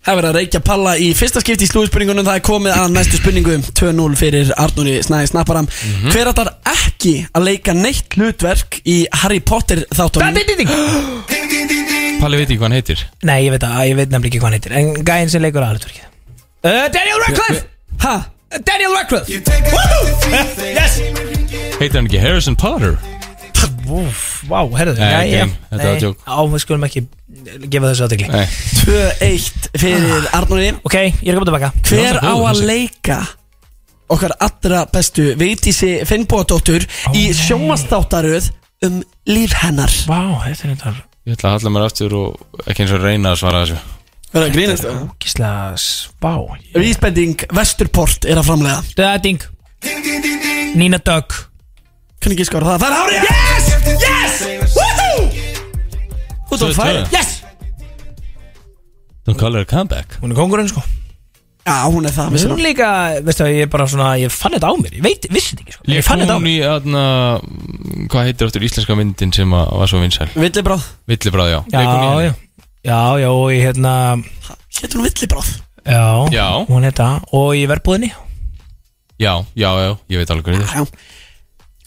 Speaker 4: Það er verið að reykja palla í fyrsta skipti í slúðspurningunum Það er komið að næstu spurningu 2-0 fyrir Arnóri Snæði Snapparam Hver ætlar ekki að leika neitt hlutverk í Harry Potter þáttunum?
Speaker 3: Palli veit ekki hvað hann heitir
Speaker 2: Nei, ég veit að, ég veit nefnilega ekki hvað hann heitir En gæinn sem leikur aðalutverkið uh, Daniel Radcliffe
Speaker 4: Ha?
Speaker 2: Uh, Daniel Radcliffe Woohoo! Uh, Yes
Speaker 3: Heitir hann ekki Harrison Potter?
Speaker 2: Úf, vá, herðu
Speaker 3: Nei,
Speaker 2: jæja.
Speaker 3: ok, þetta var
Speaker 2: Nei,
Speaker 3: djók.
Speaker 2: Á, við skulum ekki gefa þessu aðtekli
Speaker 3: Nei
Speaker 4: 2-1 fyrir Arnóri
Speaker 2: Ok, ég er að koma tilbaka
Speaker 4: Hver
Speaker 3: Ljóta
Speaker 4: á
Speaker 3: hljóð,
Speaker 4: að
Speaker 3: þessi.
Speaker 4: leika okkar allra bestu Vigdísi Finnbóðdóttur í
Speaker 2: nei.
Speaker 4: sjómasþáttaröð um líf hennar
Speaker 2: Vá, þetta er þetta
Speaker 3: Ég ætla að halla mér aftur og ekki eins og reyna að svara þessu
Speaker 4: Hvað er að grínast það?
Speaker 2: Gísla svá
Speaker 4: Vísbending Vesturport er að framlega
Speaker 2: Döðing Nina Dögg
Speaker 4: Hvernig ekki skora það? Það er hárið! Yes! Yes! Woohoo! Út á
Speaker 3: Tvö,
Speaker 4: færi
Speaker 3: tvö.
Speaker 2: Yes
Speaker 3: Don't call her a comeback
Speaker 2: Hún er kongurinn sko
Speaker 4: Já, hún er það
Speaker 2: Hún
Speaker 4: vissulega.
Speaker 2: er líka, veistu að ég er bara svona Ég fann þetta á mér, ég veit, vissi þetta ekki sko Ég
Speaker 3: Ég
Speaker 2: fann þetta á
Speaker 3: hún
Speaker 2: mér
Speaker 3: í aðna Hvað heitir aftur íslenska myndin sem að var svo vinsæl?
Speaker 4: Villibráð
Speaker 3: Villibráð, já Lék hún í
Speaker 2: Já,
Speaker 3: henni?
Speaker 2: já Já, já, og ég hérna
Speaker 4: Hétt hún Villibráð
Speaker 2: Já,
Speaker 3: Já.
Speaker 2: hún heita Og í verbúðinni
Speaker 3: Já, já, já, ég veit alveg hvernig
Speaker 4: Já,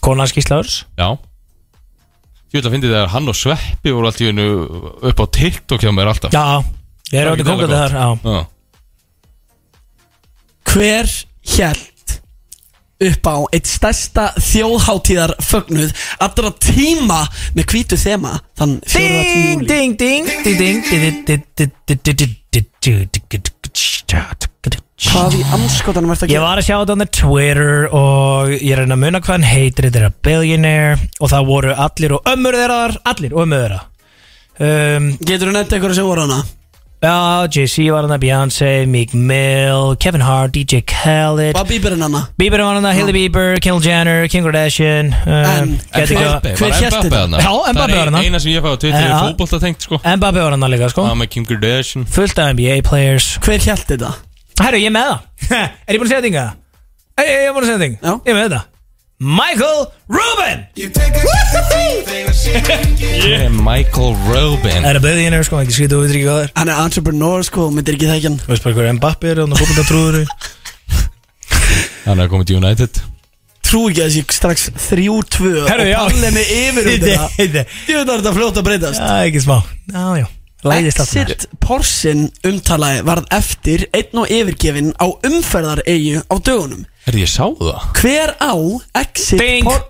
Speaker 2: Konans Gíslaurs
Speaker 3: Já Ég vil að fyndi þegar hann og Sveppi voru allt í hennu upp á TikTok hjá mér alltaf
Speaker 2: Já, ég er
Speaker 3: Það er
Speaker 2: orðið
Speaker 3: ekki
Speaker 2: kongurinn
Speaker 3: alveg
Speaker 2: þar Já
Speaker 3: Já.
Speaker 4: Hver hélt upp á eitt stærsta þjóðháttíðar fögnuð allra tíma með hvítu þema þann fjóruða
Speaker 2: Ding,
Speaker 4: tíma
Speaker 2: ding, ding, ding, ding, ding, ding, ding, ding, ding, ding, ding, ding, ding, ding, ding.
Speaker 4: Hvað í anskotanum verður að
Speaker 2: Ég
Speaker 4: gera?
Speaker 2: var að sjá þetta á Twitter og ég er að reyna að muna hvað hann heitir þetta er að billionaire og það voru allir og ömmur þeirra þar, allir og ömmur þeirra um,
Speaker 4: Getur þú nefnt einhverju sem voru hana?
Speaker 2: Já, JC var hann að Beyoncé, Meek Mill, Kevin Hart, DJ Khaled
Speaker 4: Var bíberinn hana?
Speaker 2: Bieber var hann að Hailey Bieber, Kendall Jenner, Kim Kardashian um,
Speaker 4: En-
Speaker 2: geti ekki að-
Speaker 3: Mbappe, var
Speaker 4: hver hélt
Speaker 3: Mbappe
Speaker 4: þetta?
Speaker 3: þarna?
Speaker 2: Já, Mbappe var
Speaker 3: Það er
Speaker 2: þarna.
Speaker 3: ein- eina sem ég fæði á Twitter
Speaker 2: Já.
Speaker 3: er fótbolta tengt sko
Speaker 2: Mbappe var hann að líka sko
Speaker 3: Það með Kim Kardashian
Speaker 2: Fullt af NBA players
Speaker 4: Hver hélt þetta?
Speaker 2: Herru, ég er með það Er ég búin að segja þinga? Ég, ég er búin að segja þing
Speaker 4: Já.
Speaker 2: Ég er með þetta Michael Rubin
Speaker 3: yeah. Michael Robin
Speaker 2: Það er að beðið hérna, sko, ekki skrítið og við tryggja hvað það er
Speaker 4: Hann er entrepreneur sko, myndir ekki þekkja hann
Speaker 2: Þú veist bara hverju Mbappi er og fótboltatrúður
Speaker 3: Hann er komið til United
Speaker 4: Trú ekki að þessi strax 3-2
Speaker 2: Herru, já.
Speaker 4: og pallið með yfir um þetta
Speaker 2: Þetta- þetta-
Speaker 4: Jú, það er þetta fljótt að breytast
Speaker 2: Það er ekki smá Já, já Læðist allt
Speaker 4: Exit Porsin umtalaði varð eftir einn og yfirgefin á umferðareyju á dögunum
Speaker 3: Herri, ég sá það
Speaker 4: Hver á Exit
Speaker 2: Ding.
Speaker 4: Por...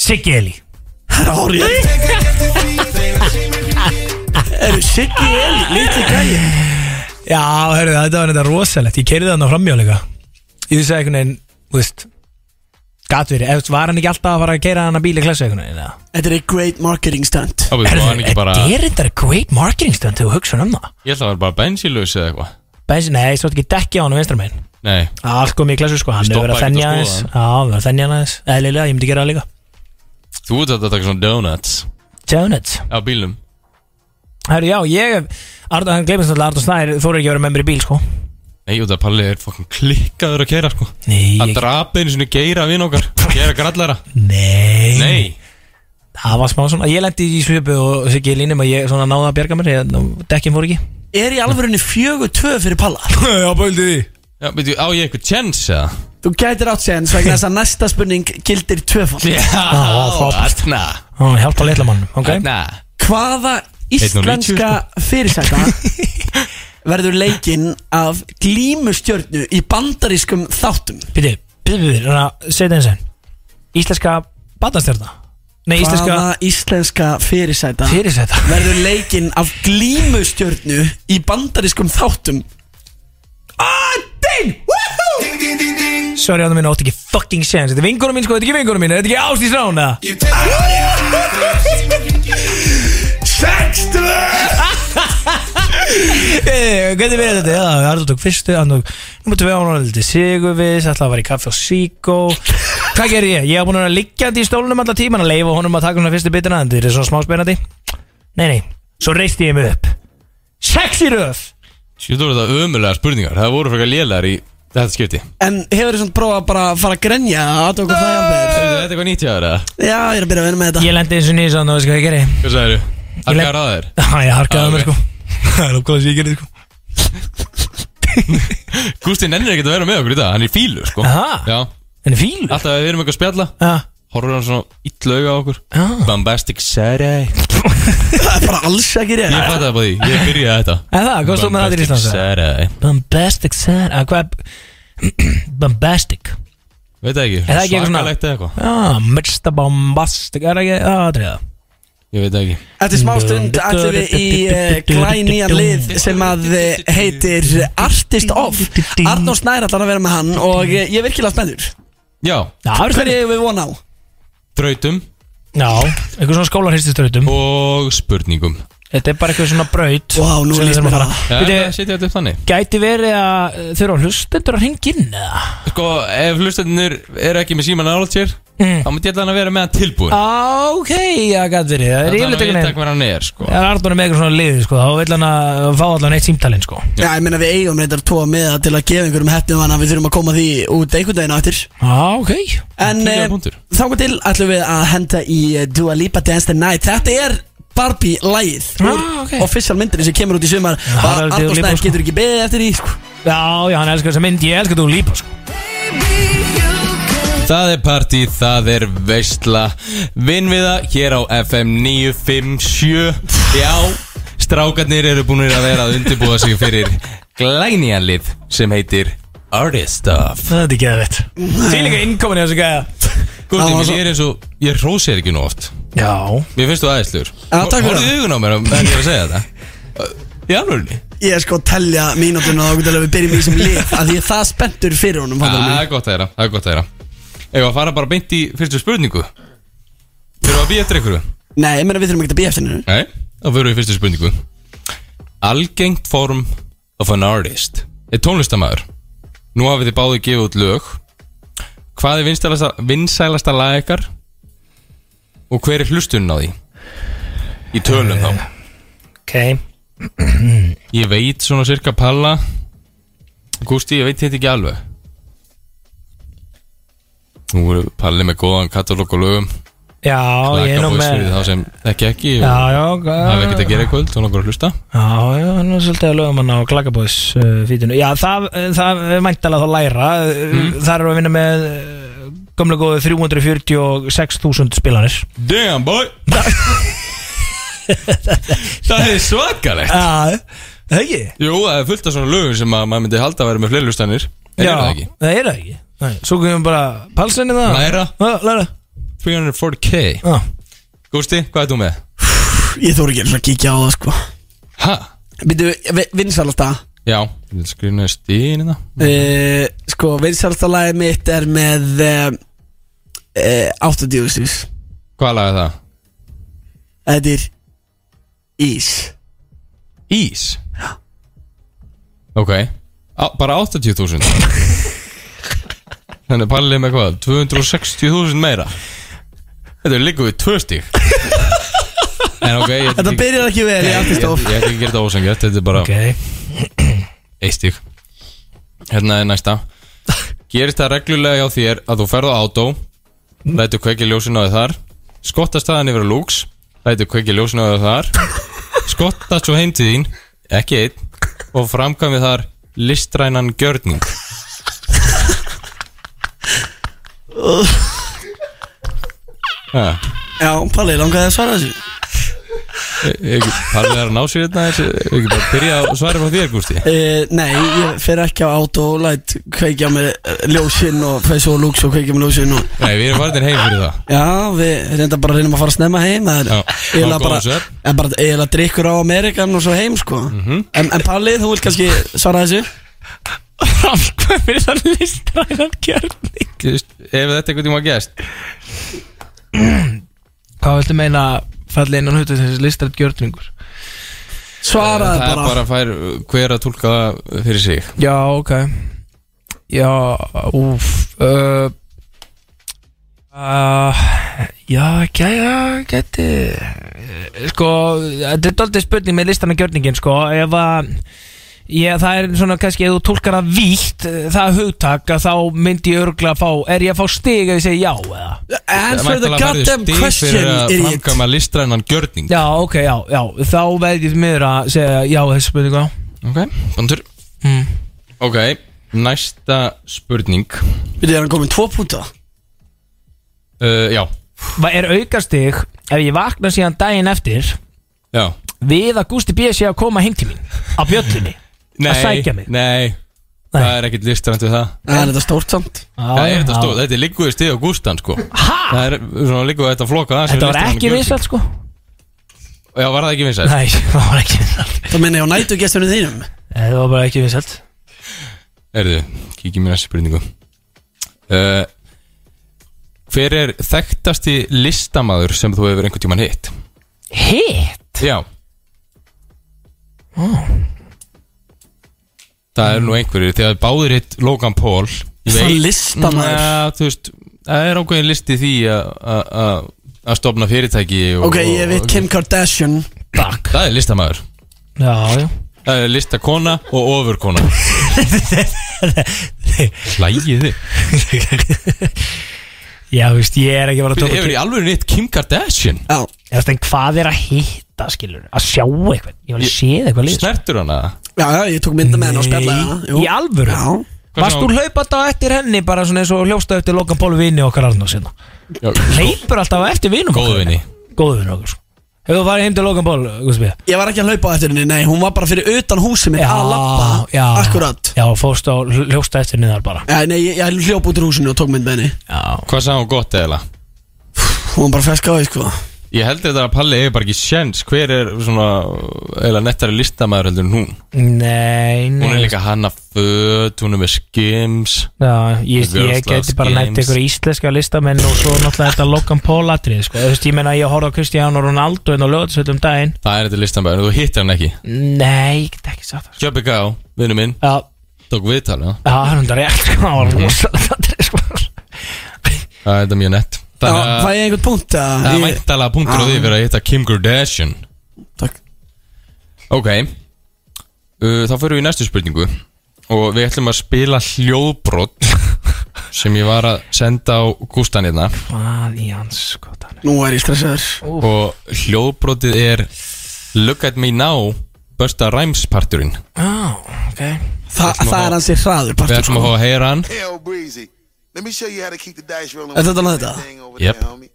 Speaker 2: Siggi Eli
Speaker 4: Það er hórið Eru Siggi Eli, litli gæði
Speaker 2: Já, hörðu, þetta var þetta rosalegt Ég keiriði hann á framjáleika Ég vissi að einhvern veginn, þú veist Gat verið, eða þú veist, var hann ekki alltaf að fara að keira hann að bíl í klassu einhvern veginn eða? Eh,
Speaker 4: Þetta er a great marketing stunt
Speaker 3: Ábygg, var hann ekki bara
Speaker 2: þetta er þetta great marketing stunt þegar þú hugsa um það
Speaker 3: Ég ætla að vera bara bensílaus eða eitthvað
Speaker 2: Bensin, nei, svo ekki dekki á hann á vinstramegin
Speaker 3: Nei,
Speaker 2: Allt kom í klassu sko, hann hefur verið að þennja aðeins Já, hann hefur
Speaker 3: Stoppa ekkert að skoða
Speaker 2: verið að þennja hann aðeins Eðlilega, ég myndi gera það líka
Speaker 3: þú ert að taka svona donuts
Speaker 2: Donuts
Speaker 3: Á bílnum
Speaker 2: Herru, já, ég Arda, hann gleymist alltaf Arda Snær Þú ekki að vera með mér í bíl, sko
Speaker 3: Nei, út af Palli er fokkin klikkaður að keira sko
Speaker 2: Nei,
Speaker 3: Hann
Speaker 2: ég,
Speaker 3: drapi einu sinni geira vinn okkar Geira grallara
Speaker 2: nei,
Speaker 3: Nei,
Speaker 2: Það var smá svona Ég lendi í svipu og Siggi línum að ég svona náða að bjarga mér ég, Dekkin fór ekki
Speaker 4: Er í alvörunni fjögur tvö fyrir Palla
Speaker 2: Já, bældi því
Speaker 3: já, veitu, á ég eitthvað tjens eða?
Speaker 4: Þú gætir átt séðan vegna þess að næsta spurning gildir tvöfald
Speaker 3: Já,
Speaker 2: frábært.
Speaker 3: þarna
Speaker 2: Hún hjálpa litla mann, ok
Speaker 3: Þarna
Speaker 4: Hvaða
Speaker 3: og níutíu,
Speaker 4: íslenska
Speaker 2: sko.
Speaker 4: fyrirsæta verður leikinn af glímustjörnu í bandarískum þáttum?
Speaker 2: Býti, býti, býti, reyna Setja eins enn Íslenska batastjörna Nei, íslenska
Speaker 4: Hvaða íslenska fyrirsæta
Speaker 2: fyrirsæta
Speaker 4: verður leikinn af glímustjörnu í bandarískum þáttum? Ah, ding! Woohoo!
Speaker 2: Sorry, Arda minn, átti ekki fucking séns Þetta er vingunum mín, sko, þetta er ekki vingunum mín Þetta er ekki ást í srána
Speaker 4: Sextu!
Speaker 2: Hvernig verið þetta? Já, Arda tók fyrstu, hann tók Númer 2, hann var lítið sigurvis Ætlaði að fara í kaffi og síkó Hvað gerði ég? Ég haf búin að vera liggjandi í stólunum alltaf tíman Að leifa honum að taka svona fyrstu bitina En þetta er svona smá spennandi Nei, nei, svo reisti ég mig upp Sex í röf
Speaker 3: Sjöðu voru þetta ömulega spurningar Það voru frekar lélegar í þetta skipti
Speaker 4: En hefur þessum prófað bara að fara að grenja að aðtöku hvað ég að
Speaker 3: Heyrðu,
Speaker 4: byrja?
Speaker 3: Þetta er eitthvað nýtt hjá þér eða?
Speaker 4: Já, ég er að byrja að vinna með þetta
Speaker 2: Ég lendi eins og nýs og þú veist hvað ég gerði
Speaker 3: Hvað sagðir þú?
Speaker 2: Ég
Speaker 3: Hann
Speaker 2: lef-
Speaker 3: gæra að þér
Speaker 2: Já, ég harkaði
Speaker 3: Ah,
Speaker 2: mér
Speaker 3: ok.
Speaker 2: sko Það er okkur að ég gerði sko
Speaker 3: Gústi nennir ekkert að vera með okkur í dag Hann er í fílu sko
Speaker 2: Aha.
Speaker 3: Já
Speaker 2: En fíl
Speaker 3: Alltaf að við erum eitthvað að spjalla
Speaker 2: Já,
Speaker 3: Horfur hann svona illa auga á okkur
Speaker 2: já
Speaker 3: Bombastic Saturday Ég
Speaker 4: Það er bara alls ekki rétt
Speaker 3: fatt það bara því Ég byrjaði þetta
Speaker 2: En það, Ah, hvað stóð með það til Íslands? eða?
Speaker 3: Saturday
Speaker 2: Bombastic sad að Hvað Bombastic
Speaker 3: Veit það ekki
Speaker 2: það ekki eitthvað svona-
Speaker 3: Svakalegt eða eitthvað
Speaker 2: Já, Mr. Bombastic Er það ekki Það er það
Speaker 3: Ég veit það ekki
Speaker 4: Eftir smá stund ætlum við í uh, glænýjan lið sem að eh, heitir Artist Off Arnór Snær ætlar að vera með hann og eh, ég er virkilega spennur
Speaker 3: Já
Speaker 2: Já, það er
Speaker 4: Hverju
Speaker 2: fyrir
Speaker 4: hefur við von á?
Speaker 3: Drautum
Speaker 2: Já, eitthvað svona skólarhistustrautum
Speaker 3: og spurningum
Speaker 2: Þetta er bara eitthvað svona braut
Speaker 4: Vá, nú
Speaker 2: sem við
Speaker 4: líst
Speaker 2: þurfum
Speaker 4: mér
Speaker 2: að fara.
Speaker 4: það.
Speaker 3: Já,
Speaker 2: Bíddu,
Speaker 3: það setja þetta upp þannig
Speaker 2: Gæti verið að eh, þurfa hlustendur að ringa inn eða?
Speaker 3: Sko, ef hlustendunir eru ekki með síman nálægt sér
Speaker 2: Mm.
Speaker 3: Þá myndi ég ætla hann að vera með hann tilbúin
Speaker 2: Á, Ok, já, gæti verið Það er yfirleitt
Speaker 3: Þannig að
Speaker 2: ekki
Speaker 3: við
Speaker 2: neinn
Speaker 3: takk hver hann er, sko
Speaker 2: Það er Arnur með eitthvað svona lið sko, þá vil hann að fá allan eitt símtalinn sko.
Speaker 4: Já, ég meina við eigum reyndar tóa með það til að gefa einhverjum hefnum hann að við þurfum að koma því út einhvern daginn á eftir
Speaker 2: ah, ok
Speaker 4: En
Speaker 3: Klikkaðu
Speaker 4: eh,
Speaker 3: punktur.
Speaker 4: þangað til ætlum við að henda í eh, Dua Lipa Dance the Night Þetta er Barbie-lægið
Speaker 2: Ah, ok.
Speaker 4: Official myndinni sem kemur út í sumar og
Speaker 2: það er Dua
Speaker 4: Arnór
Speaker 2: Lipa,
Speaker 4: Snær
Speaker 2: sko.
Speaker 4: getur ekki beðið eftir því sko.
Speaker 2: Já, já, hann elskar þessa mynd, ég elskar þú lípa sko.
Speaker 3: Það er partí, það er veistla Vinn við það hér á FM 957 Já, strákarnir eru búin að vera að undirbúa sig fyrir glænýjanlið sem heitir Artist of
Speaker 2: Það er ekki að veit Sýlinga innkomin í þessu gæða
Speaker 3: Góði,
Speaker 4: Það var
Speaker 3: mér
Speaker 4: svo-
Speaker 3: er eins og, ég rósi þér ekki nú oft
Speaker 2: Já,
Speaker 3: Mér finnst þú aðeinslur
Speaker 4: Já, takk fyrir það.
Speaker 3: augun á mér um þegar ég er að segja þetta Í alvörunni
Speaker 4: Ég er sko að telja mínútuna og við byrjum í sem lið að því ég er það spenntur fyrir honum
Speaker 3: Já, Ah,
Speaker 4: fattarðu
Speaker 3: Það
Speaker 4: mig?
Speaker 3: er gott að þeirra, það er gott að þeirra Ef að fara bara beint í fyrstu spurningu Fyrir að býja eftir einhverju
Speaker 4: Nei, ég meina við þurfum ekki að býja eftir hennu
Speaker 3: Nei, þá fyrir við í fyrstu spurningu Algengt form of an artist Er tónlistamæður Nú hafið þið báðið gefið út lög Hvað er vinsælasta, vinsælasta lag ykkar Og hver er hlustunum á því Í tölum þá
Speaker 2: ok
Speaker 3: Ég veit svona cirka palla Gústi, ég veit þetta ekki alveg Nú eru palli með góðan katalóg og lögum
Speaker 2: Já, ég er
Speaker 3: Laka
Speaker 2: nú
Speaker 3: bóðsfyrir
Speaker 2: með
Speaker 3: þá sem ekki ekki
Speaker 2: Já,
Speaker 3: og
Speaker 2: já,
Speaker 3: hafa ekkert að
Speaker 2: já,
Speaker 3: gera í kvöld og langar að hlusta
Speaker 2: já, hann er svolítið að lögum hann á klakabóðs uh, fítinu Já, það, það er mæntalega þá læra mm.
Speaker 3: Mhm.
Speaker 2: Það eru að vinna með uh, gamla góðu 346.000 spilanir
Speaker 3: Damn boy Það er svakalegt
Speaker 2: Já, það ekki
Speaker 3: Jú, það er fullt af svona lögum sem að maður myndi halda að vera með fleirlustanir En
Speaker 2: Já,
Speaker 3: er það ekki
Speaker 2: það er það ekki Nei, Svo komum við bara palsinni það
Speaker 3: Læra.
Speaker 2: Já, Læra
Speaker 3: 340k
Speaker 2: Já.
Speaker 3: Gústi, hvað er þú með?
Speaker 4: Ég þóru ekki einu sinni að kíkja á það sko
Speaker 3: Ha?
Speaker 4: Býtu, vinsalasta
Speaker 3: Já, ég vil skrifa hérna. stíðin það
Speaker 4: uh, Sko, vinsalasta lagið mitt er með uh, uh, 80 stús
Speaker 3: Hvað laga það?
Speaker 4: Þetta er Ís
Speaker 3: Ís? Já Ok Á, Bara 80.000 Þannig pallið með hvað? 260.000 meira Þetta er líka við tvö stík En ok ég ætla
Speaker 4: Þetta
Speaker 3: ekki-
Speaker 4: byrjar ekki vel í
Speaker 3: Ég-
Speaker 4: aftistóf
Speaker 3: Ég ég ætla ekki að gera þetta ósengjart Þetta er bara
Speaker 2: Ok
Speaker 3: okay. eitt stík Hérna er næsta Gerist það reglulega hjá þér að þú ferð á átó Lætur kveikja ljósin á þér þar Skottast þaðan yfir að lúks Lætur kveikja ljósin á þér þar Skottast svo heim til þín Ekki einn Og framkvæmið þar listrænan gjörning Ha,
Speaker 4: Já, Palli, langaði að svara þessu
Speaker 3: e- ekki- Palli er að ná sér hérna þessu- Ekki bara byrja að svara frá þér Gústi
Speaker 4: Uh, nei, ég fer ekki á át og læt kveikja með ljósinn og fer svo á lúks og kveikja með ljósinn og
Speaker 3: Nei, við erum varðin heim fyrir það
Speaker 4: já, við reynda bara reynum að fara snemma heim það er
Speaker 3: Já,
Speaker 4: eiginlega
Speaker 3: og
Speaker 4: bara,
Speaker 3: góðan svefn.
Speaker 4: er bara eiginlega drikkur á Amerikan og svo heim sko en, en Palli, þú vil kannski svara þessu
Speaker 2: Framkvæmir það listræðan kjörni
Speaker 3: Þú veist, Ef þetta einhvern tíma gæst
Speaker 2: Hvað viltu meina fallið innan hútið þessi listræðan kjörningur?
Speaker 4: svaraði
Speaker 3: Það er
Speaker 4: bara,
Speaker 3: bara að fær hver að tólka það fyrir sig
Speaker 2: Já, ok Já, úf uh, uh, Já, gæja, gæti eh, Sko, þetta er doldið spurning með listan og gjörningin, sko Ef að, ég, það er svona kannski Ef þú tólkar það vítt, eh, það hugtak að Þá myndi ég örgulega fá Er ég að fá stig ef ég segi já, eða?
Speaker 4: answer the goddamn question
Speaker 3: fyrir að
Speaker 4: idiot
Speaker 3: framkama listrænan gjörning
Speaker 2: Já, ok, já, já Þá veð ég miður að segja já þessi spurningu já.
Speaker 3: Ok, bandur Hmm.
Speaker 2: Mm.
Speaker 3: Ok, næsta spurning
Speaker 4: við erum komin tvo púnta
Speaker 3: uh, Já,
Speaker 2: Hvað er aukastig ef ég vakna síðan daginn eftir
Speaker 3: já
Speaker 2: við að Gústi B. sé að koma heim til mín á bjöllunni að sækja mig
Speaker 3: nei, það er ekkit listrænt við það
Speaker 4: það er þetta stórt samt
Speaker 3: Það er þetta stóð, þetta er líkuði stið á Gústan sko
Speaker 2: Hæ?
Speaker 3: Það er svona líkuði þetta flokka það sem
Speaker 2: Þetta var
Speaker 3: listrænan
Speaker 2: ekki
Speaker 3: gjörning.
Speaker 2: vinsalt sko
Speaker 3: Já, var það ekki vinsælt
Speaker 2: Nei, það var ekki vinsalt
Speaker 4: þá minna ég á nætu gestunum þínum
Speaker 2: Það var bara ekki vinsalt
Speaker 3: Erðu, kíkjum í næsta spurningu uh, Hver er þekktasti listamaður sem þú hefur einhvern tímann hitt?
Speaker 2: Hitt?
Speaker 3: Já Það er nú einhverjir Þegar báðir hitt Logan Paul ég
Speaker 4: Það
Speaker 3: veit-
Speaker 4: listamaður.
Speaker 3: Næ, þú veist, Það er ákveðin listi því að- að að- að stopna fyrirtæki og,
Speaker 4: ok, ég veit
Speaker 3: og-
Speaker 4: Kim Kardashian
Speaker 2: Bakk
Speaker 3: Það er listamaður
Speaker 2: Já, já
Speaker 3: Það er listakona og ofurkona Hlægið þið
Speaker 2: Já, þú veist, ég er ekki bara að tóka
Speaker 3: Hefur í alveg hitt Kim Kardashian
Speaker 4: já,
Speaker 2: Ég veist, en hvað er að hitta, skilur Að sjá eitthvað Ég var að séð eitthvað lið
Speaker 3: Snertur hana
Speaker 4: já, já, ég tók mynda með henn og spjallaði
Speaker 2: Í
Speaker 4: hana hérna, jú.
Speaker 2: alvöru
Speaker 4: já,
Speaker 2: Varst þú hlaupandi á eftir henni bara svona eins og hljósta eftir Logan Paul vini okkar hérna? Arnó sinna
Speaker 3: Já,
Speaker 2: Hleypur alltaf á eftir vinum
Speaker 3: Góðu vini.
Speaker 2: Góðu vini okkar sko. Hefur þú farið heim til Logan Paul, Guðsby?
Speaker 4: Ég var ekki að hlaupa á eftir henni, nei, hún var bara fyrir utan húsið mitt að lappa,
Speaker 2: já
Speaker 4: akkurat
Speaker 2: Já, fórst á hljósta eftir niður bara
Speaker 4: Já, nei, ég, ég hljóp út úr húsinu og tók mynd með henni
Speaker 2: Já
Speaker 3: Hvað sagði hún gott eða?
Speaker 4: Hún var bara fesk á því, sko
Speaker 3: Ég heldur þetta að Palli hefur bara ekki sjens Hver er svona eða nettari listamaður heldur en hún
Speaker 2: Nei, nei
Speaker 3: Hún er líka hanna föt, hún er með skims
Speaker 2: Já, ég,
Speaker 3: Girls
Speaker 2: ég
Speaker 3: Love
Speaker 2: geti bara
Speaker 3: Games.
Speaker 2: nætt ykkur íslenska listamenn og svo náttúrulega þetta Logan Paul atrið sko. Þú veist, ég meina ég horfði á Kristján og Ronaldo en á lögatisveitum daginn
Speaker 3: Það er þetta listamaður, en þú hittir hann ekki
Speaker 2: Nei, ég get ekki sagt það sko.
Speaker 3: Kjöpi Gá, vinnu minn,
Speaker 2: Já,
Speaker 3: tók viðtal við hann.
Speaker 2: já, það er hundar rétt sko, það
Speaker 3: Mhm.
Speaker 2: var rosalega atrið sko
Speaker 3: Það er þetta mjög nett
Speaker 4: Já,
Speaker 3: Þannig
Speaker 4: fæ
Speaker 3: að
Speaker 4: ég einhvern punkt að
Speaker 3: það er
Speaker 4: ég,
Speaker 3: mæntalega punktur á því fyrir að hitta Kim Kardashian
Speaker 4: Takk
Speaker 3: Ok uh, Þá fyrir við í næstu spurningu Og við ætlum að spila hljóðbrot Sem ég var að senda á Gústan hérna
Speaker 2: Hvað í hans sko, það
Speaker 4: Nú er ég stressaður
Speaker 3: Og hljóðbrotið er Look at me now Börsta Rhymes parturinn
Speaker 2: Já, ok
Speaker 4: Þa, Það er hans í hraður
Speaker 3: Við
Speaker 4: partur,
Speaker 3: ætlum
Speaker 4: sko
Speaker 3: að fá að heyra hann
Speaker 10: Hell breezy. Let me show you how to keep the dice rolling.
Speaker 4: Er þetta alveg þetta?
Speaker 10: Thing over
Speaker 3: Yep.
Speaker 10: there, homie.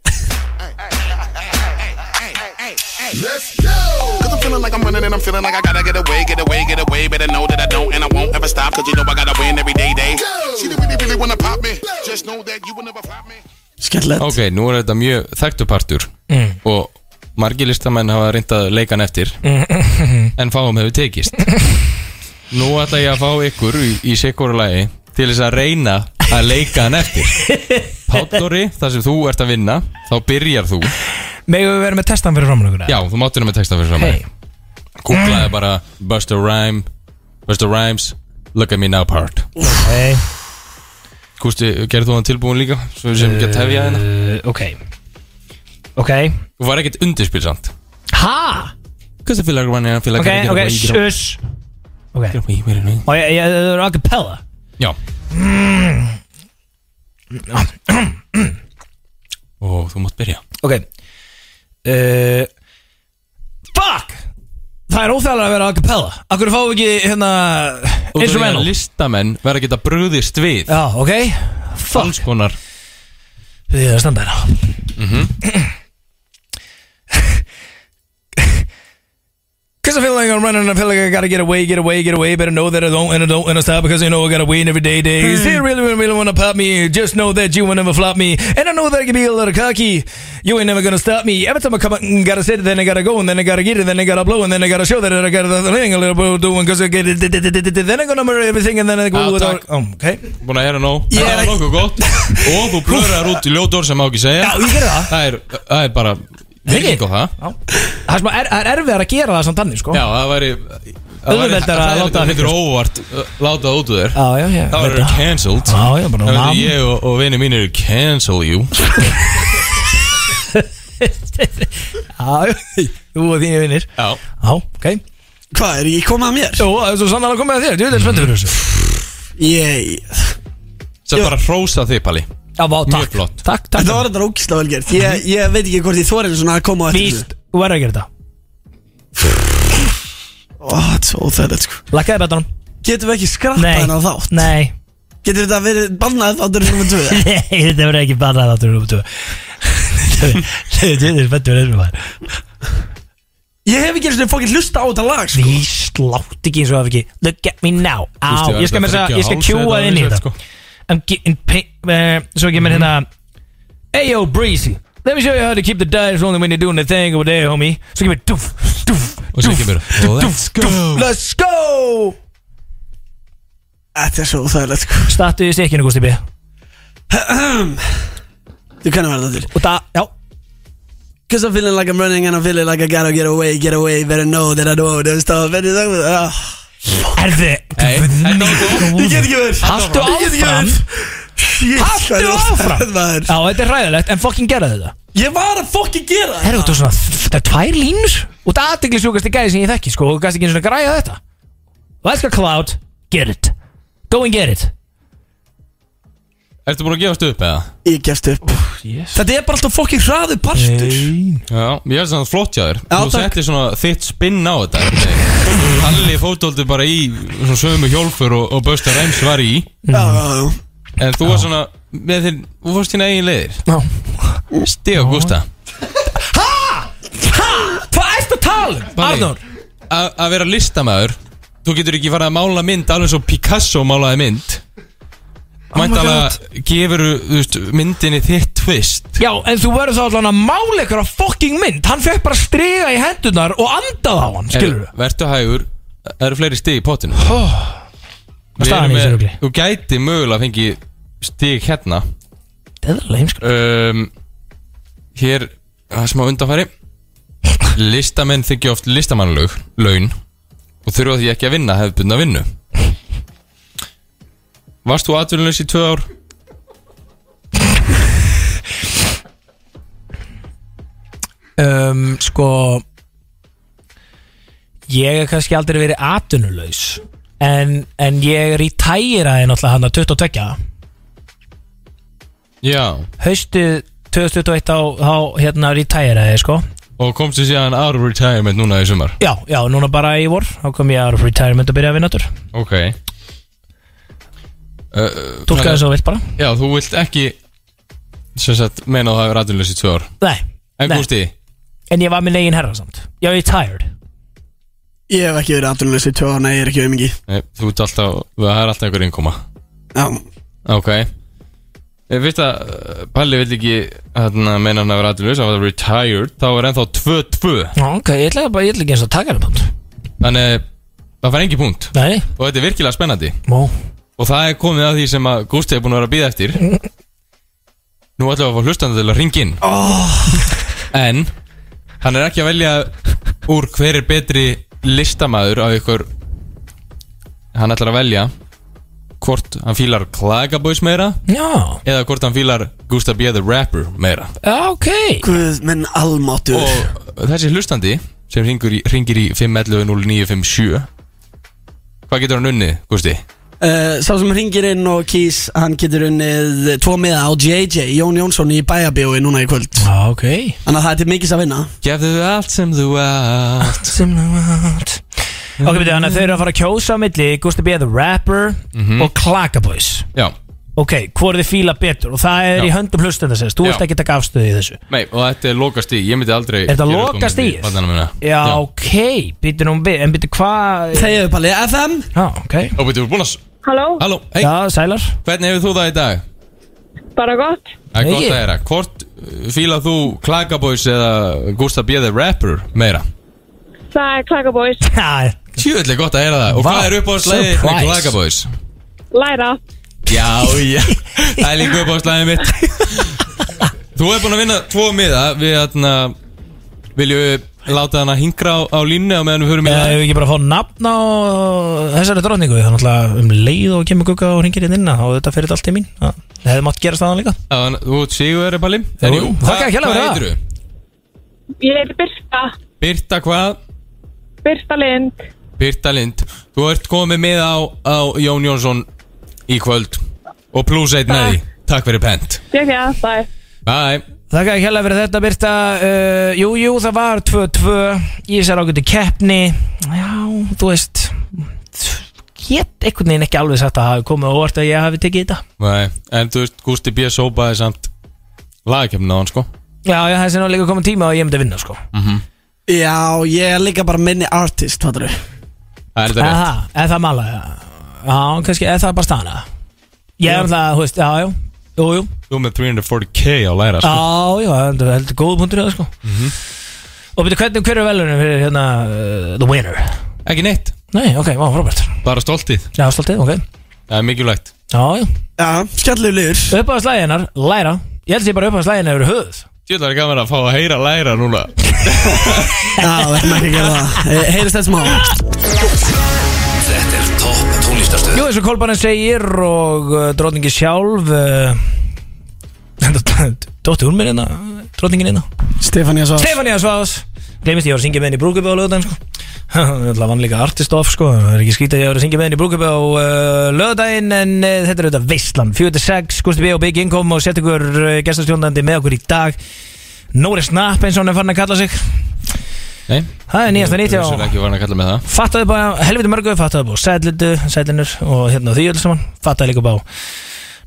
Speaker 10: Hey, hey, hey, hey, hey, hey, hey, hey, Let's go. Cause I'm feeling like I'm running and I'm feeling like I gotta get away, get away, get away. Better know that I don't and I won't ever stop. Cause you know I gotta win every day, day. She didn't really, really wanna pop me. Just know that you will never pop me.
Speaker 4: Skellett
Speaker 3: Ok, nú er þetta mjög þekktu partur
Speaker 2: Mm.
Speaker 3: Og margir listamenn hafa reyndað leikan eftir
Speaker 2: Mm.
Speaker 3: En fáum hefur tekist Nú ætla ég að fá ykkur í, í sikkur lagi Til þess að reyna að leika hann eftir Páttóri, þar sem þú ert að vinna Þá byrjar þú
Speaker 2: Megum við vera með testan fyrir framlöguna?
Speaker 3: Já, þú máttir með texta fyrir saman hey. Kúklaði bara Busta Rhyme Busta Rhymes Look at me now part
Speaker 2: Ok
Speaker 3: Kústi, gerðu þú hann tilbúin líka? Svo við sem ekki að tefja hérna
Speaker 2: Eh, Ok Ok
Speaker 3: Þú var ekkert undirspil samt
Speaker 2: Ha?
Speaker 3: Hvað það fylgir að hann fylgir
Speaker 2: Ok, ok, shush Ok Og ég, ég, það eru acapella
Speaker 3: Já Ó, þú mátt byrja
Speaker 2: Ok
Speaker 3: Eh,
Speaker 2: uh, Fuck Það er óþægilega að vera acapella Akkur fáum við ekki hérna
Speaker 3: Þú veist að
Speaker 2: Instrumental
Speaker 3: listamenn verða að geta brugðist við
Speaker 2: Já, ok
Speaker 3: Alls
Speaker 2: Fuck
Speaker 3: konar
Speaker 2: Við erum að standa hérna Cause I feel like I'm running, I feel like I gotta get away, get away, get away. Better know that I don't, and I don't, and I stop because I know I gotta win every day, day. Is it really, really, really wanna pop me? Just know that you will never flop me. And I know that I can be a little cocky. You ain't never gonna stop me. Every time I come out and gotta sit, then I gotta go, and then I gotta get it, then I gotta blow, and then I gotta show that I got the thing a little bit doing, cause I get it, d- d- d- d- d- d- then I gonna murder everything, and then I
Speaker 3: Já,
Speaker 2: go
Speaker 3: takk.
Speaker 2: without. Um, okay.
Speaker 3: Búin að hera nóg
Speaker 2: Ég
Speaker 3: Það
Speaker 2: er-
Speaker 3: var nokkuð gott Og þú blöðrar út í ljótur sem má ekki segja
Speaker 2: Já, ég gerði það.
Speaker 3: Það er, það er bara Virking á það
Speaker 2: Já. Það er smá er, það er erfiðar að gera það samt þannig, sko.
Speaker 3: Já, það væri Það væri
Speaker 2: Auðveldara að
Speaker 3: það
Speaker 2: láta
Speaker 3: er-
Speaker 2: það
Speaker 3: heitir óvart uh, Láta það út úr þér
Speaker 2: Já, já, já.
Speaker 3: Það
Speaker 2: veit
Speaker 3: verður cancelled
Speaker 2: Já, já, bara
Speaker 3: Það
Speaker 2: nam.
Speaker 3: verður ég og, og vinni mínir cancel you
Speaker 2: Já, já, þú og þínu vinnir
Speaker 3: Já
Speaker 2: Já, ok Jú,
Speaker 4: Hvað, er ég komað að mér?
Speaker 2: það er svo sann að koma að þér, þú er spenntur fyrir þessu
Speaker 4: Ég
Speaker 3: Sem bara hrósa þig, Palli
Speaker 2: Já, vá, takk
Speaker 3: Mjög flott.
Speaker 2: Takk, takk
Speaker 4: Þetta var þetta ógislega velgert ég, ég veit ekki hvort ég þorinn svona að koma á eftir þessu.
Speaker 2: Víst, þú verður að gera þetta
Speaker 4: Ó, þetta er svo óþægilegt sko
Speaker 2: Lakkaði betanum
Speaker 4: Getum við ekki skrappað
Speaker 2: Nei,
Speaker 4: hennar þátt?
Speaker 2: nei
Speaker 4: Getur þetta verið bannað þáttur nummer 2?
Speaker 2: Nei, þetta verður ekki bara þáttur um tvö Þetta er spenntur fyrir þessu
Speaker 4: Ég hef ekki eins og fokkin hlusta á þetta lag sko
Speaker 2: Víst, látt ekki eins og það ekki Look at me now Á, ég skal með þess að, ég skal kjúa inn í
Speaker 3: sko.
Speaker 2: þetta I'm getting paid uh, Svo
Speaker 3: Mhm.
Speaker 2: kemur hérna Hey yo Breezy Let me show you how to keep the dice rolling when you're doing the thing over there homie Svo kemur duf, duf,
Speaker 3: Og svo kemur Let's go
Speaker 2: Let's go
Speaker 4: Þetta er svo óþægilegt sko
Speaker 2: Stattu í stikkinu Gusti B Og
Speaker 4: Þú kannum verða þetta til
Speaker 2: það, já
Speaker 4: Cause I'm feeling like I'm running and I'm feeling like I gotta get away, get away Better know that I don't, don't stop Better know that
Speaker 2: Erði
Speaker 4: Ég get ekki verið
Speaker 2: Haltu áfram
Speaker 4: Haltu
Speaker 2: áfram? Já, þetta er ræðilegt En fucking gera þetta
Speaker 4: Ég var að fokkin gera
Speaker 2: Herru, þetta er svona Þetta er tvær línur Og það aðtegli sjúkast í gæði sem ég þekki Sko, þú gæst ekki einu svona græja þetta Let's go cloud Get it Go and get it
Speaker 3: Ertu búin að gefast upp eða?
Speaker 4: Ég gefst upp
Speaker 2: Yes
Speaker 4: Þetta er bara alltaf fokkin hraðu partur
Speaker 3: Já, ég er svona flott hjá þér
Speaker 4: Já,
Speaker 3: Þú
Speaker 4: takk.
Speaker 3: settir svona þitt spinn á þetta Nei. Halli fótóldi bara í Svona sömu hjólfur og, og Bösta Reims var í
Speaker 4: Já, já, já
Speaker 3: En þú var svona með þinn Þú fórst þín eigin leiðir
Speaker 2: Já.
Speaker 3: Stig og Gústa
Speaker 2: Hvað ertu að tala um?
Speaker 3: Palli,
Speaker 2: Arnór
Speaker 3: Að að vera listamæður Þú getur ekki farið að mála mynd Alveg svo Picasso málaði mynd
Speaker 4: Oh
Speaker 3: Mæntalega gefuru þú veist, myndinni þitt tvist
Speaker 2: Já, en þú verður þá allan að mála ykkur á fucking mynd Hann fekk bara striga í hendunar og andað á hann, skilur
Speaker 3: Heyrðu, Vertu hægur, það eru fleiri stig í potinu
Speaker 2: staðan
Speaker 3: Við
Speaker 2: í
Speaker 3: erum
Speaker 2: þessu
Speaker 3: með,
Speaker 2: rugli?
Speaker 3: þú gæti mögulega að fengi stig hérna
Speaker 2: Það er leimsk
Speaker 3: um, Hér, það er smá undanfæri Listamenn þykja oft listamannlaug, laun Og þurfa því ekki að vinna, hefði byrna vinnu Varst þú atvinnulegs í tvö ár?
Speaker 2: um, Sko Ég hef kannski aldrei verið atvinnulaus En, en ég er í tæra En alltaf hann að 22
Speaker 3: Já,
Speaker 2: Haustið 2021 þá, þá hérna er í tæra sko.
Speaker 3: og komstu síðan out of retirement núna í sumar
Speaker 2: Já, já, núna bara í vor Þá kom ég að retirement að byrja að vinna þurr
Speaker 3: Ok uh,
Speaker 2: Tólka þess að þú vilt bara
Speaker 3: Já, þú vilt ekki sem sagt meina að það hefur atvinnulegs í tvö ár
Speaker 2: Nei,
Speaker 3: En
Speaker 2: Nei.
Speaker 3: Gústi,
Speaker 2: En ég var minn eigin herra samt Já, ég er tired
Speaker 4: Ég hef ekki verið aðdurlega sér tjóð, nei, ég er ekki auðmingi
Speaker 3: Nei, eh, Þú ert alltaf, það er alltaf einhver innkoma
Speaker 4: Já
Speaker 3: Ok Ég veist að uh, Palli vil ekki hérna, meina hann að vera aðlunus hann var retired, þá er ennþá 2-2
Speaker 2: Ok, ég ætla bara, ég ætla ekki eins og að taka hann punkt
Speaker 3: Þannig eh, það fær engi punkt
Speaker 2: Nei
Speaker 3: Og þetta er virkilega spennandi
Speaker 2: Mó
Speaker 3: Og það er komið að því sem að Gústi er búin að vera að býða eftir Nú ætlum við að fá hlustandi til að ringa inn
Speaker 2: oh.
Speaker 3: En hann er ekki að velja úr hver er betri listamaður af ykkur Hann ætlar að velja hvort hann fílar Klagaboys meira
Speaker 2: Já
Speaker 3: eða hvort hann fílar Gustaf B. the Rapper meira
Speaker 2: Ok
Speaker 4: Guð, menn almáttur
Speaker 3: Og þessi hlustandi sem ringur í, ringir í 511-0957 Hvað getur hann unnið, Gusti?
Speaker 4: Uh, sá sem ringir inn og kýs hann getur unnið tvo miða á JJ Jón Jónsson í bæjabjói núna í kvöld
Speaker 2: ah, ok
Speaker 4: þannig að það er til mikils að vinna
Speaker 3: Gefðu allt sem þú átt
Speaker 2: Sem nátt Ok, betur, þannig að þau eru að fara að kjósa á milli Gusti B. The Rapper
Speaker 3: Mhm.
Speaker 2: og Klakaboys
Speaker 3: Já,
Speaker 2: Ok, hvor þið fíla betur og það er
Speaker 3: Já.
Speaker 2: í höndum hlustenda sérst Þú
Speaker 3: Já.
Speaker 2: ert ekki að taka afstöðu í þessu
Speaker 3: nei, og þetta er lokast í, ég myndi aldrei
Speaker 2: Er þetta lokast í?
Speaker 3: Já,
Speaker 2: Já, ok, býtur nú við, en býtur hvað
Speaker 4: Þegar við palið FM
Speaker 2: Já, ok
Speaker 3: Og betur við búin að
Speaker 11: Halló,
Speaker 3: Halló, hei,
Speaker 2: Já, sælar
Speaker 3: hvernig hefur þú það í dag?
Speaker 11: bara gott.
Speaker 3: Það er
Speaker 2: Nei.
Speaker 3: gott að heyra Hvort uh, fílar þú Klagaboys eða Gustaf B. the Rapper meira?
Speaker 11: Það er Klakaboys.
Speaker 2: Já,
Speaker 3: Tjöðlega gott að heyra það Og
Speaker 2: Vá,
Speaker 3: hvað er uppáðslegið með
Speaker 2: surprise.
Speaker 3: Klagaboys?
Speaker 11: Læra.
Speaker 3: Já, já, það er líka upp á slæðið mitt Þú er búin að vinna tvo miða Við hérna Viljum við láta hana hingra á, á línu á meðan við höfum í
Speaker 2: Já,
Speaker 3: það
Speaker 2: ef við ekki bara fá nafn á þessari drotningu Þannig að um leið og kemur gugga og ringir inn inn og þetta fyrir allt í mín Já, Það hefði mátt gera staðan líka
Speaker 3: Já, en Þú ert sigur er palli
Speaker 2: Jú, þakka þér kærlega
Speaker 3: Hvað
Speaker 2: fyrir það.
Speaker 3: heitir þú?
Speaker 11: Ég heiti Birta.
Speaker 3: Birta hvað?
Speaker 11: Birta Lind.
Speaker 3: Birta Lind Þú ert komið með á, á Jón Jónsson Í kvöld Og plus eitt með því Takk fyrir pent
Speaker 11: Ég ekki að það er.
Speaker 3: Bye
Speaker 2: Þakka ekki hella fyrir þetta Birta uh, Jú, jú, það var 2-2 Ég sér ágættu keppni Já, þú veist Get einhvern veginn ekki alveg sagt að það hafi komið og orðið að ég hafi tekið þetta
Speaker 3: Nei, en þú veist Gústi B. sópaði samt Lagakefnina á hann sko
Speaker 2: Já, já, þessi er nú líka komin tíma og ég myndi að vinna sko
Speaker 4: Já, ég er líka bara minni artist fattar við
Speaker 3: Það er þetta rétt
Speaker 2: Aha, eða það mala Já, Já, kannski, eða það er bara stana Ég er alltaf, þú veist, já, já Jú, jú,
Speaker 3: Þú með 340k á læra sko
Speaker 2: Já, já, það er heldur góð punktur í það sko
Speaker 3: Mhm.
Speaker 2: Og betur hvernig, hver er velunum fyrir hérna uh, The winner?
Speaker 3: Ekki neitt
Speaker 2: Nei, ok, vá, Robert
Speaker 3: Bara stoltið
Speaker 2: Já, stoltið, ok
Speaker 3: Það er mikilvægt
Speaker 2: Já, já
Speaker 4: Já, skjallið liður
Speaker 2: Uppáðslæginar, læra Ég held að sé bara uppáðslæginar yfir höfuð
Speaker 3: Tjóðlega er gaman að fá að heyra læra núna
Speaker 4: Já, við erum ekki að gera það Eh, Heyrist þessum á
Speaker 6: Þetta er topp tónlistarstöð
Speaker 2: Jú, eins og Kolbarni segir og uh, drotningi sjálf uh, Dóttir hún mér hérna, drotningin hérna
Speaker 4: Stefania svo
Speaker 2: Stefania Sváðs Gleimist ég var að syngja með henni í brúkubi á lögudaginn sko Það vann líka artist of sko Það er ekki skrítið að ég var að syngja með henni í brúkubi á uh, lögudaginn En uh, þetta er auðvitað veistlan 46, Gusti B og Big Income Og sett ykkur uh, gestastjóndandi með okkur í dag Nóri Snapp eins og hann er fann að kalla sig
Speaker 3: Nei
Speaker 2: Það er nýjasta nýtt
Speaker 3: Þú er
Speaker 2: já
Speaker 3: ekki varin að kalla með það
Speaker 2: Fattaði bara helviti mörgu Fattaði bara sætlutu, sætlunur og hérna því öll saman Fattaði líka bara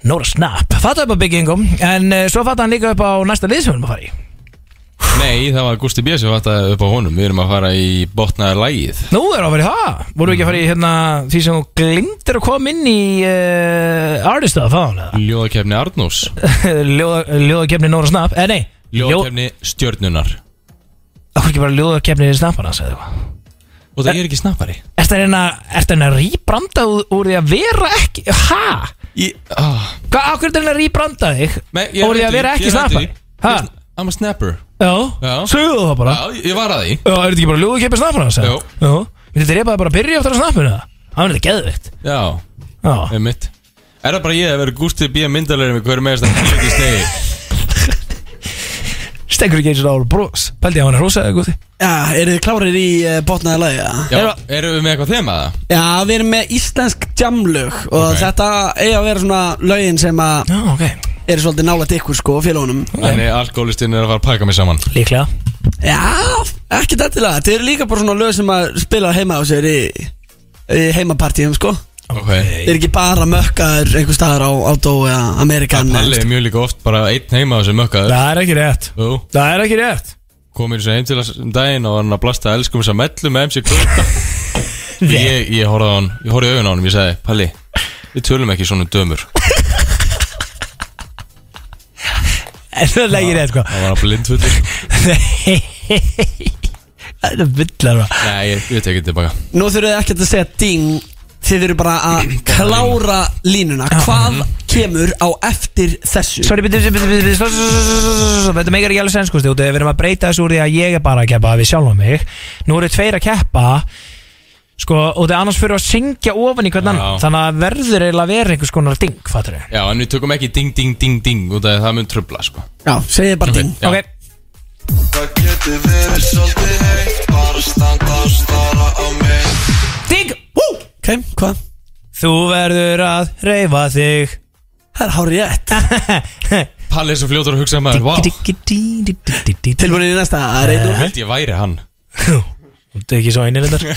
Speaker 2: Nóra Snapp Fattaði bara Big Income En uh, svo fattaði hann líka upp á næsta lið sem við erum að fara í
Speaker 3: Nei, það var Gusti B. sem fattaði upp á honum Við erum að fara í botnaðar lægið
Speaker 2: Nú er að fara í það Voru við ekki að fara í hérna Því sem þú glimtir að koma inn í uh, Artist of Fáðan
Speaker 3: Ljóðakefni Arnús
Speaker 2: Ljóða, Ljóðakefni Nóra Snapp Eh nei Ljóð-
Speaker 3: Ljóðakefni Stjörnunar
Speaker 2: Af hverju ekki bara ljóðakefni Snappana segðu eitthvað
Speaker 3: Og það er ekki snappari
Speaker 2: Er það hérna Er það hérna rýbranda úr, úr því að vera ekki Ha?
Speaker 3: Í, ah.
Speaker 2: Hvað af hverju er það hérna rýbranda þig?
Speaker 3: Men,
Speaker 2: Úr því að vera ekki snappari Ha?
Speaker 3: I'm a snapper
Speaker 2: Já
Speaker 3: Já.
Speaker 2: Sögðu þú það bara
Speaker 3: Já, ég var að því
Speaker 2: Já, er þetta ekki bara ljóðakefni Snappana segðu
Speaker 3: Jú.
Speaker 2: Jú Myndi þetta reypaði bara að byrja eftir að snappuna Það var þetta geðvikt
Speaker 3: Já,
Speaker 2: Já
Speaker 3: með mitt Er það bara ég að vera Gusti B. myndalegri með hverju meðast að hann ekki stegi
Speaker 2: Stengur ekki eins og ára brós Pældi ég að hann er hrósaði góði
Speaker 4: Já, eru þið klárir í uh, botnaði lagi? eða?
Speaker 3: Já, erum við með eitthvað þema það?
Speaker 4: Já, við erum með íslensk jamlög og
Speaker 3: Ok.
Speaker 4: þetta eiga að vera svona lögin sem að
Speaker 2: Já, ok
Speaker 4: eru svolítið nálægt ykkur sko, félagunum
Speaker 3: Þannig alkoholistinn er að fara að pæka mig saman
Speaker 2: Líklega
Speaker 4: Já, ekki dættilega Þetta eru líka bara svona lög sem að spila heima á sér í, í heimapartíum sko
Speaker 3: Ok
Speaker 4: Þeir eru ekki bara mökkaður einhver staðar á Átó eða Amerikan
Speaker 3: Palli er mjög líka oft bara einn heima á þessu mökkaður
Speaker 2: Það er ekki rétt
Speaker 3: Jú,
Speaker 2: Það er ekki rétt
Speaker 3: kom mér svo heim til þess um daginn og var hann að blasta elskum þess að mellu með MC Kvölda ég, ég horfði á hann, ég horfði í augun á hann og ég sagði, Palli, við tölum ekki svona um dömur
Speaker 2: En það er legið rétt sko
Speaker 3: það var að blindfullir
Speaker 2: Nei Það er bullar það
Speaker 3: Nei, ég, ég tekið tilbaka
Speaker 4: Nú þurfum við ekkert að segja ding Þið eru bara að klára línuna Hvað kemur á eftir þessu?
Speaker 2: Mhm. Sorry, bitur, bitur, bitur, bitur Þetta meikar ekki alveg sens, skusti Við erum að breyta þessu úr því að ég er bara að keppa við sjálfum mig Nú eru tveir að keppa Sko, og það annars fyrir að syngja ofan í hvern annan Þannig að verður eiginlega að vera einhvers konar ding, fattur við
Speaker 3: Já, en við tökum ekki ding, ding, ding, ding út af því það mun trubla, sko
Speaker 4: Já, segið bara ding
Speaker 3: Já.
Speaker 2: Ok. Ding! Wú!
Speaker 4: Ok, hvað?
Speaker 2: Þú verður að reyfa þig
Speaker 4: Það er hárið
Speaker 2: rétt
Speaker 3: Palli er svo fljótur að hugsa um maður, vá
Speaker 4: Tilbúin í næsta
Speaker 2: Eh,
Speaker 4: að
Speaker 3: Ég
Speaker 4: reyna
Speaker 3: held ég væri hann
Speaker 2: Þetta er ekki svo einir þetta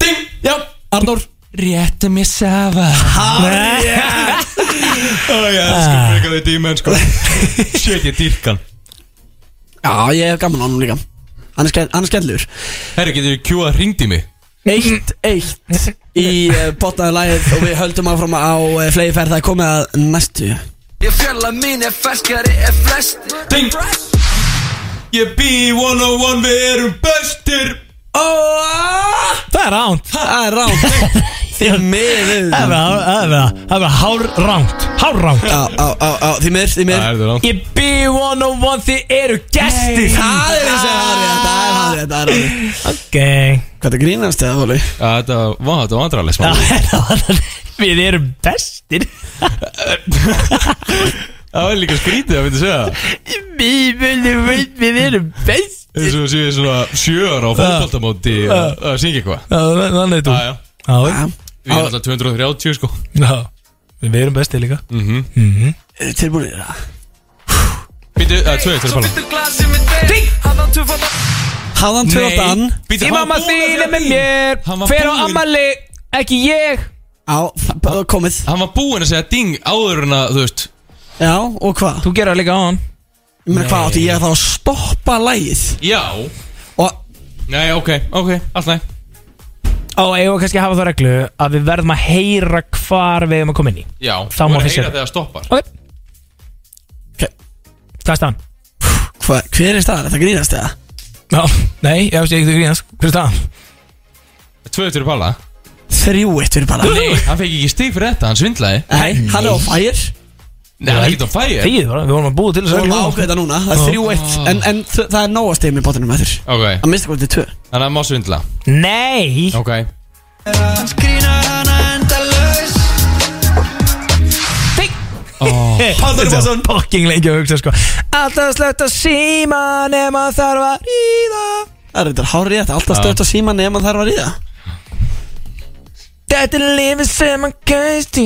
Speaker 4: Ding, já, Arnór Rétti mér sefa Hárið
Speaker 3: Ó, ég elsku frekar því dímen, sko Ah. Shit, ég dýrkan
Speaker 4: Já, ég hef gaman á hann líka Hann er skell- hann er skellur
Speaker 3: Herru, getur við kjúað hringd í mig?
Speaker 4: Eitt, eitt Í uh, botnaðu lagið Og við höldum áfram á uh, flegi ferð Það er komið að næstu
Speaker 12: Ég fjalla mín er ferskari er flest
Speaker 3: Ding Ég bý 101, við erum bestir ah.
Speaker 2: Það er ránt
Speaker 4: Það er ránt Því miður
Speaker 2: Það er bara- það er bara- það er bara hár ránt Hár ránt
Speaker 4: Á, á, á, á, því miður, því miður
Speaker 3: Það er ránt
Speaker 2: Ég bý 101 þið eru gestir
Speaker 4: Það er þessi hárið, það er hárið, það er hárið
Speaker 2: Ok
Speaker 4: Hvað það grínast eða, Hóli?
Speaker 3: Þetta var, þetta var andrarlega smá
Speaker 2: Við erum bestir
Speaker 3: Það var líka skrítið að finna að segja það.
Speaker 2: Við erum- við erum bestir
Speaker 3: Eins og séu svona sjöar á fótboltamóti að að syngja eitthvað
Speaker 2: Þannig þú
Speaker 3: Já, já.
Speaker 2: Já,
Speaker 3: Við erum alltaf 230 sko
Speaker 2: já Við erum bestir líka
Speaker 3: Mm.
Speaker 4: Tilbúinir Eh, það
Speaker 3: Býtu, það er tveit, það er falla
Speaker 12: Glasi með þeir Ding Hafðan tvöfald
Speaker 4: Hafðan tvöftan
Speaker 3: býtu,
Speaker 2: Því
Speaker 3: hann var
Speaker 2: mamma
Speaker 3: búinn að
Speaker 2: þín
Speaker 3: segja
Speaker 2: er með
Speaker 3: ding.
Speaker 2: mér
Speaker 3: Hann var
Speaker 2: Fer á
Speaker 3: búinn-
Speaker 2: ammali Ekki ég
Speaker 4: Á, það- það er komið
Speaker 3: Hann var búinn að segja ding áður en að, þú veist
Speaker 4: Já, og hvað?
Speaker 2: Þú gerir það líka á hann
Speaker 4: Ég meina hvað átti ég þá að stoppa lagið
Speaker 3: Já
Speaker 4: Og
Speaker 3: Nei, ok, ok, allt næ
Speaker 2: Og eigum við kannski að hafa þá reglu Að við verðum að heyra hvar við erum að koma inn í
Speaker 3: Já,
Speaker 2: Þá má við
Speaker 3: þú verður að
Speaker 2: sjá.
Speaker 3: heyra þegar stoppar
Speaker 2: Ok
Speaker 4: Ok.
Speaker 2: Hvað er staðan?
Speaker 4: hva, hver er staðan? Þetta grínast eða?
Speaker 2: Já, nei, ég veist ekki þú grínast Hver er staðan?
Speaker 3: Tveit fyrir falla
Speaker 4: Þrjú eitt fyrir bara
Speaker 3: Nei, hann fekk ekki stig fyrir þetta, hann svindlaði
Speaker 4: Nei, hann er á fire
Speaker 3: Nei, hann er ekki á fæja
Speaker 2: Þegið bara, við vorum að búa til
Speaker 4: Þú
Speaker 2: þessu
Speaker 4: erum að
Speaker 2: reglu.
Speaker 4: ákveða núna Það er þrjú eitt En, en þ- það er nóga stegum í botinum eftir
Speaker 3: Ok,
Speaker 4: Að mista komið til tvö
Speaker 3: þannig að hann má svindla
Speaker 2: Nei
Speaker 3: Ok
Speaker 12: Hann skrýnar hana enda laus
Speaker 2: Haldur Jónsson Fucking lengi að hugsa sko Alltaf slögt að síma nema þarf að ríða
Speaker 4: Það er þetta hárið þetta Alltaf stöðt á síma nema þarf að ríða
Speaker 2: Þetta er lifið sem að gæst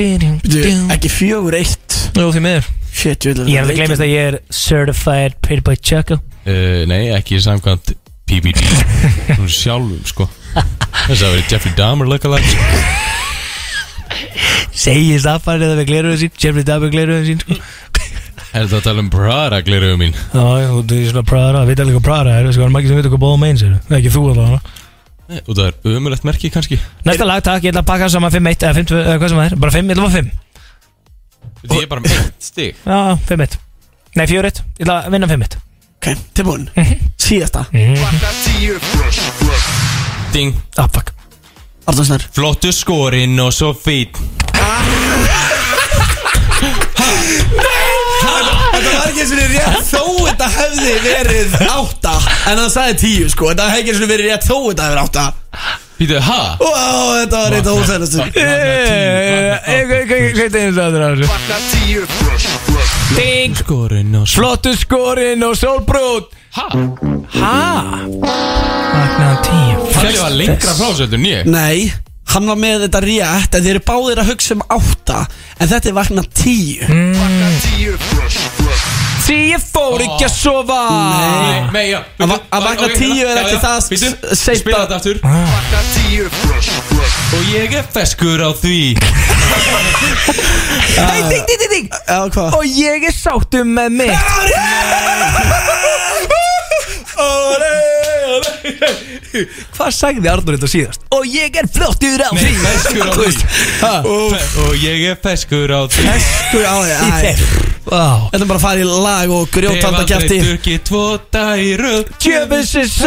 Speaker 4: Bíddu,
Speaker 2: Jú,
Speaker 4: Ekki fjögur eitt
Speaker 2: því miður
Speaker 4: Shit, ég vil
Speaker 2: Ég hef að glemist að ég er Certified Pretty Boy Choco
Speaker 3: uh, Nei, ekki samkvæmt PBD Hún sjálfum, sko Þess að verið Jeffrey Dahmer lögkalagt
Speaker 2: Segist affarið að við gleruðum sín Jeffrey Dabber gleruðum sín sko
Speaker 3: Er þetta að tala um Prada gleruðu mín?
Speaker 2: Já, já, þú þú er svona Prada, veit alveg hvað Prada er Sko, það er margir sem veit hvað bóðum eins er Ekki þú alveg hana
Speaker 3: Nei, Og það er ömulegt merki kannski
Speaker 2: Næsta lag, takk, ég ætla að pakka saman 5-1 Eða 5-2, eða hvað sem það er Bara 5, ég ætla að fá 5
Speaker 3: Þetta er bara með eitt stig
Speaker 2: Já, 5-1 Nei, 4-1, ég ætla að vinna 5-1
Speaker 4: Ok, tilbúin
Speaker 2: Mhm.
Speaker 4: Síðasta
Speaker 3: Ding
Speaker 2: Ah, fuck
Speaker 4: Arnarsnær
Speaker 3: Flottu skorinn og svo fít
Speaker 4: Þetta var ekki eins og rétt þó þetta hefði verið átta En hann sagði tíu sko Þetta hefði ekki eins og verið rétt þó þetta hefði verið átta
Speaker 3: Býtu, ha?
Speaker 4: Ó, þetta var rétt ósæðast
Speaker 2: Eh,
Speaker 4: Eh,
Speaker 2: Ding
Speaker 3: Skorinn og svo
Speaker 2: Flottu skorinn og sólbrútt
Speaker 3: Ha?
Speaker 2: Ha? Vaknaðan um tíu
Speaker 3: Kalli var lengra frá þessu heldur en ég
Speaker 4: Nei, hann var með þetta rétt En þeir eru báðir að hugsa um átta En þetta er vakna tíu
Speaker 2: Því ég fór ekki að sofa
Speaker 4: Nei.
Speaker 3: Nei, já
Speaker 4: Að va- að vakna tíu er ekki það s-
Speaker 3: Býtu,
Speaker 4: seint
Speaker 3: spila
Speaker 4: að-
Speaker 3: þetta aftur
Speaker 2: Ah.
Speaker 3: Og ég Ég er feskur á því
Speaker 2: Hei, ding, ding, ding, ding Og ég er sáttum með mitt Hvað sagði Arnur þetta síðast? Og ég er fljóttur á því
Speaker 3: Feskur á
Speaker 2: Þú
Speaker 3: því
Speaker 2: veist,
Speaker 3: Ha, fe- Og ég er feskur á því
Speaker 4: Feskur á því æ. Þetta er bara að fara í lag og grjótanda kæfti
Speaker 3: Hef aldrei drukkið tvo dag í röð
Speaker 2: Jöfnsis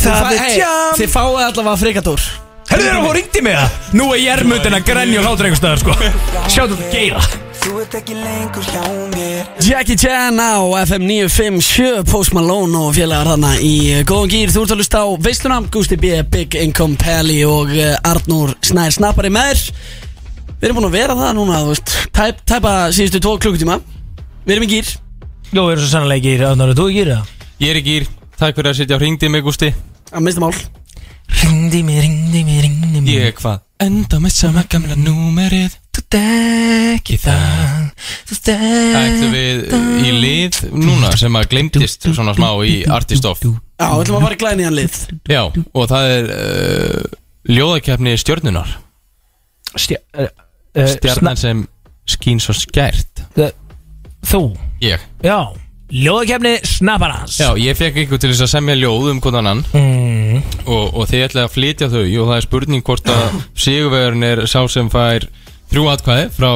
Speaker 4: Það er jam Þið fáið allavega frikadór
Speaker 2: Herðu þér að hún ringdi mig það? Nú er jærmundin að grenja og hlátur einhverstaðar sko Sjáttu þú geira
Speaker 12: Þú ert ekki lengur hjá mér
Speaker 4: Jackie Chan á FM 957 Post Malone og félagar hana í eh, góðan gýr Þú ert að lusta á veisluna Gusti B, Big Income Pally og eh, Arnór Snær Snappari með þér Við erum búin að vera það núna þú veist, tæp, Tæpa síðustu tvo klukkutíma Við erum í gýr
Speaker 2: Jó, við erum svo sannlega ekki í rafnar og þú ekki í rafnar
Speaker 3: Ég er ekki ír Takk fyrir að sitja á hringdi mig, Gústi
Speaker 4: Að minnsta mál
Speaker 2: Ringdi mig, ringdi mig, ringdi mig
Speaker 3: Ég er hvað?
Speaker 2: Enda með sama gamla númerið Þú dekki það Þú dekki
Speaker 3: Ættu við í lið núna sem að glemtist svona smá í Artist of
Speaker 4: Já, við ætlum að fara í glæni hann lið
Speaker 3: Já, og það er uh, ljóðakefni stjörnunar
Speaker 2: Stjör,
Speaker 3: Eh, Stjarnan sem skín svo skært
Speaker 2: Þú
Speaker 3: Ég
Speaker 2: Já Ljóðakefni snapparans
Speaker 3: Já, ég fekk einhver til þess að semja ljóð um hvort annan
Speaker 2: mm.
Speaker 3: og, og þið ætlaði að flytja þau og það er spurning hvort að Sigurvegarinn er sá sem fær þrjú atkvæði frá